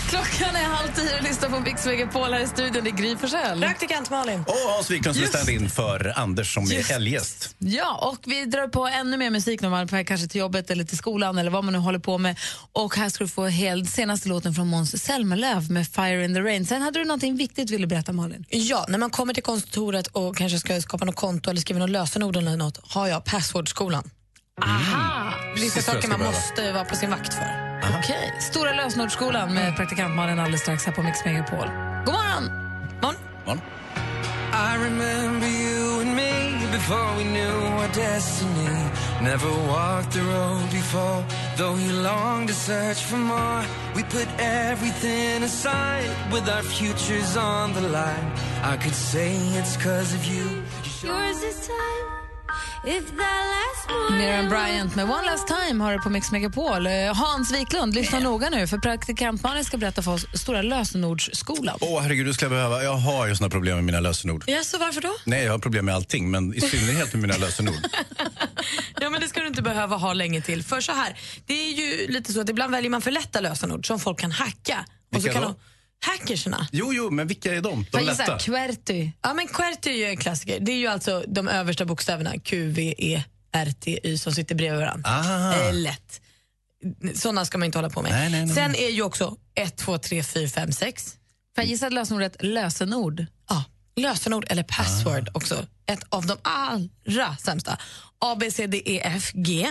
Speaker 1: Klockan är halv tio och lyssnar på Mix Megapol här i studion. Det är Gry Forssell.
Speaker 2: Praktikant Malin.
Speaker 6: Och Hans Wiklund som stand in för Anders som
Speaker 1: Just.
Speaker 6: är helgest.
Speaker 1: Ja, och vi drar på ännu mer musik när man är på väg kanske till jobbet eller till skolan eller vad man nu håller på med. Och här ska du få hel, senaste låten från Måns Zelmerlöw med Fire in the Rain. Sen hade du någonting viktigt du ville berätta, Malin.
Speaker 2: Ja, när man kommer till kontoret och kanske ska skapa något konto eller skriva något lösenord eller något, har jag passwordskolan. Aha! Vissa
Speaker 1: Precis vad jag
Speaker 2: saker
Speaker 1: ska
Speaker 2: man
Speaker 1: behöva.
Speaker 2: måste vara på sin vakt för.
Speaker 1: Okej. Stora lösenordsskolan med praktikant Malin alldeles strax här på Mix Megapol. God morgon!
Speaker 15: I remember you and me before we knew our destiny. Never walked the road before, though he longed to search for more. We put everything aside with our futures on the line. I could say it's cause of you.
Speaker 26: Yours is time. If that last
Speaker 1: Miriam Bryant med One Last Time har du på Mix Megapol. Eh, Hans Wiklund, lyssna noga nu för praktikant Malin ska berätta för oss Stora lösenordsskolan.
Speaker 6: Åh herregud, du skulle jag behöva. Jag har ju såna problem med mina lösenord.
Speaker 2: Ja, så varför då?
Speaker 6: Nej, jag har problem med allting, men i synnerhet med mina lösenord.
Speaker 2: Ja, men det ska du inte behöva ha länge till. För så här, det är ju lite så att ibland väljer man för lätta lösenord som folk kan hacka. Och så
Speaker 6: Vilka
Speaker 2: kan
Speaker 6: då?
Speaker 2: de, hackerserna.
Speaker 6: Jo, jo, men vilka är de? De
Speaker 2: Man gissar
Speaker 6: lätta?
Speaker 1: QWERTY.
Speaker 2: Ja, men QWERTY är ju en klassiker. Det är ju alltså de översta bokstäverna Q, V, E, R, T, Y som sitter bredvid varandra.
Speaker 6: Ah.
Speaker 2: Det är lätt. Sådana ska man inte hålla på med.
Speaker 6: Nej, nej, nej.
Speaker 2: Sen är ju också 1, 2, 3, 4, 5, 6.
Speaker 1: Får jag gissa att lösenordet lösenord?
Speaker 2: Ja, lösenord eller password
Speaker 6: Ah. Mhm.
Speaker 2: också. Ett av de allra sämsta. A, B, C, D, E, F, G.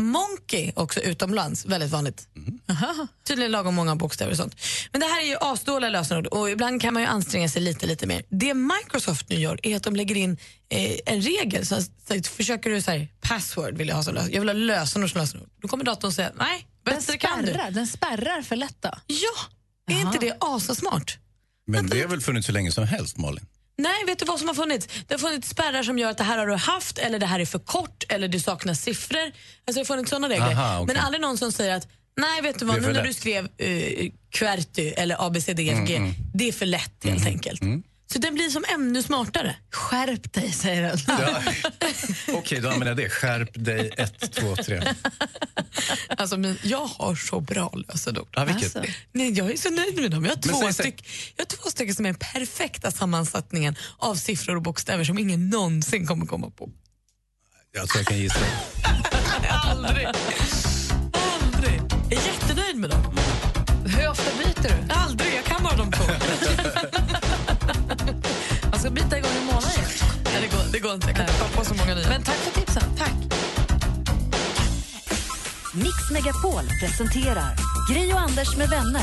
Speaker 2: Monkey också utomlands, väldigt vanligt.
Speaker 1: Mm-hmm.
Speaker 2: Tydligen lagom många bokstäver och sånt. Men det här är ju asdåliga lösenord och ibland kan man ju anstränga sig lite, lite mer. Det Microsoft nu gör är att de lägger in eh, en regel. Så, så, försöker du så här, password vill jag ha som lösenord, jag vill ha lösenord som lösenord. Då kommer datorn säga, nej,
Speaker 1: Den
Speaker 2: bättre kan du.
Speaker 1: spärrar, den spärrar för lätta.
Speaker 2: Ja, är inte det asasmart?
Speaker 6: Men det har väl funnits så länge som helst, Malin?
Speaker 2: Nej, vet du vad som har funnits? Det har funnits spärrar som gör att det här har du haft, eller det här är för kort, eller du saknar siffror. Alltså det har funnits sådana regler.
Speaker 6: Aha, okej.
Speaker 2: Men aldrig någon som säger att nej, vet
Speaker 6: Det
Speaker 2: du vad,
Speaker 6: är
Speaker 2: nu
Speaker 6: för
Speaker 2: när
Speaker 6: lätt.
Speaker 2: du skrev uh, QWERTY eller ABCDFG,
Speaker 6: Mm, mm.
Speaker 2: E det är för lätt helt enkelt. Så den blir som ännu smartare.
Speaker 1: Skärp dig, säger den.
Speaker 6: Okej, då använder jag det. Skärp dig, ett, två, tre.
Speaker 2: Alltså, men jag har så bra lösenord.
Speaker 6: Ja, vilket?
Speaker 2: Nej, jag är så nöjd med dem. Jag har,
Speaker 6: Men
Speaker 2: två
Speaker 6: säg, säg.
Speaker 2: styck, jag har två stycken som är den perfekta sammansättningen av siffror och bokstäver som ingen någonsin kommer komma på.
Speaker 6: Jag tror jag kan gissa.
Speaker 2: Aldrig. Aldrig. Jag är jättenöjd med dem.
Speaker 1: Hur ofta byter
Speaker 2: du? Aldrig, jag kan bara de två.
Speaker 1: Man ska byta igång i månaden.
Speaker 2: Nej, det, går, det går inte, jag kan inte komma på så många nya.
Speaker 1: Men tack för tipsen. Tack.
Speaker 7: Mix Megapol presenterar Gri och Anders med vänner.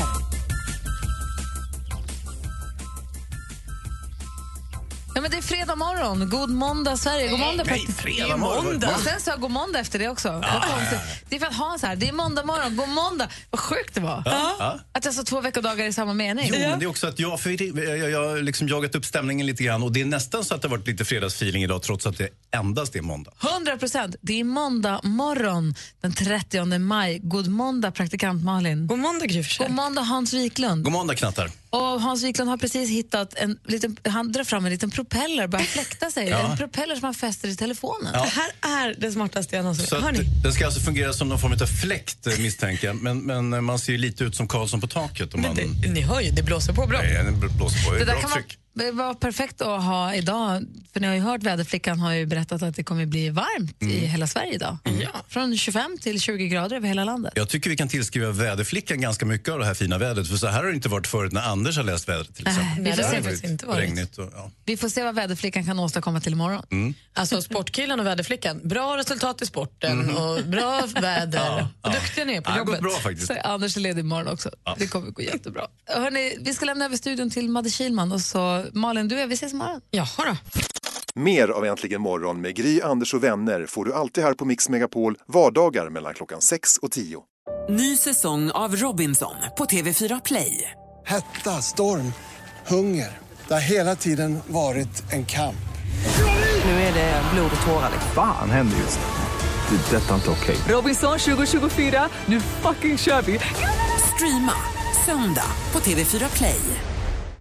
Speaker 1: Ja, men det är fredag morgon. God måndag, Sverige. God måndag,
Speaker 6: Nej,
Speaker 1: praktiskt-
Speaker 6: fredag Det är morgon. Ah, måndag.
Speaker 1: Och sen sa jag god måndag efter det också. Vad konstigt. Det är för att Hans här. Det är måndag morgon. God måndag. Vad sjukt det var.
Speaker 6: Ja. Ja.
Speaker 1: Att jag sa två veckodagar i samma mening.
Speaker 6: Jo, men det är också att jag har jag, jag, jag liksom jagat upp stämningen lite grann och det är nästan så att det har varit lite fredagsfeeling idag trots att det endast är måndag.
Speaker 1: 100 procent. Det är måndag morgon den 30 maj. God måndag, praktikant Malin.
Speaker 2: God måndag, Gry
Speaker 1: God måndag, Hans Wiklund.
Speaker 6: God måndag knattar.
Speaker 1: Och Hans Wiklund har precis hittat en liten, han drar fram en liten propeller och börjar fläkta sig.
Speaker 6: Ja.
Speaker 1: En propeller som han fäster i telefonen.
Speaker 6: Ja. Det
Speaker 2: här är det smartaste jag
Speaker 6: Så
Speaker 2: någonsin
Speaker 6: att, den ska alltså fungera som någon form av fläkt eh, misstänker jag. Men, men eh, man ser ju lite ut som Karlsson på taket. Om man...
Speaker 2: Ni hör ju, det blåser på bra.
Speaker 6: Nej, det blåser på. Det
Speaker 1: Det
Speaker 6: är
Speaker 1: där
Speaker 6: bra
Speaker 1: kan
Speaker 6: tryck.
Speaker 1: vara, vara perfekt att ha idag, för ni har ju hört väderflickan har ju berättat att det kommer bli varmt
Speaker 6: Mm.
Speaker 1: i hela Sverige idag. Från 25 till 20 grader över hela landet.
Speaker 6: Jag tycker vi kan tillskriva väderflickan ganska mycket av det här fina vädret. För så här har det inte varit förut när Anders har läst vädret till
Speaker 1: Nej,
Speaker 6: exempel.
Speaker 1: vi får
Speaker 6: Det har
Speaker 1: se
Speaker 6: ju
Speaker 1: faktiskt inte varit.
Speaker 6: Regnigt och, ja.
Speaker 1: Vi får se vad väderflickan kan åstadkomma till imorgon.
Speaker 6: mm.
Speaker 2: Alltså sportkillen och väderflickan, bra resultat i sporten och bra väder.
Speaker 1: Mhm. Ja,
Speaker 2: och duktiga ni är på
Speaker 1: Ja, det
Speaker 2: jobbet.
Speaker 1: går bra faktiskt. Så Anders är ledig imorgon också. Det kommer gå jättebra. Hörrni, vi ska lämna över studion till Madde Kilman och så Malin, du och jag, vi ses imorgon.
Speaker 2: Jaha då.
Speaker 3: Mer av Äntligen morgon med Gry, Anders och vänner får du alltid här på Mix Megapol vardagar mellan klockan 6 och 10.
Speaker 15: Ny säsong av Robinson på TV4 Play.
Speaker 27: Hetta, storm, hunger. Det har hela tiden varit en kamp.
Speaker 15: Nu är det blod och tårar.
Speaker 11: Fan händer just nu. Det. är Detta är inte okej.
Speaker 15: Robinson 2024, nu fucking kör vi! Streama söndag på TV4 Play.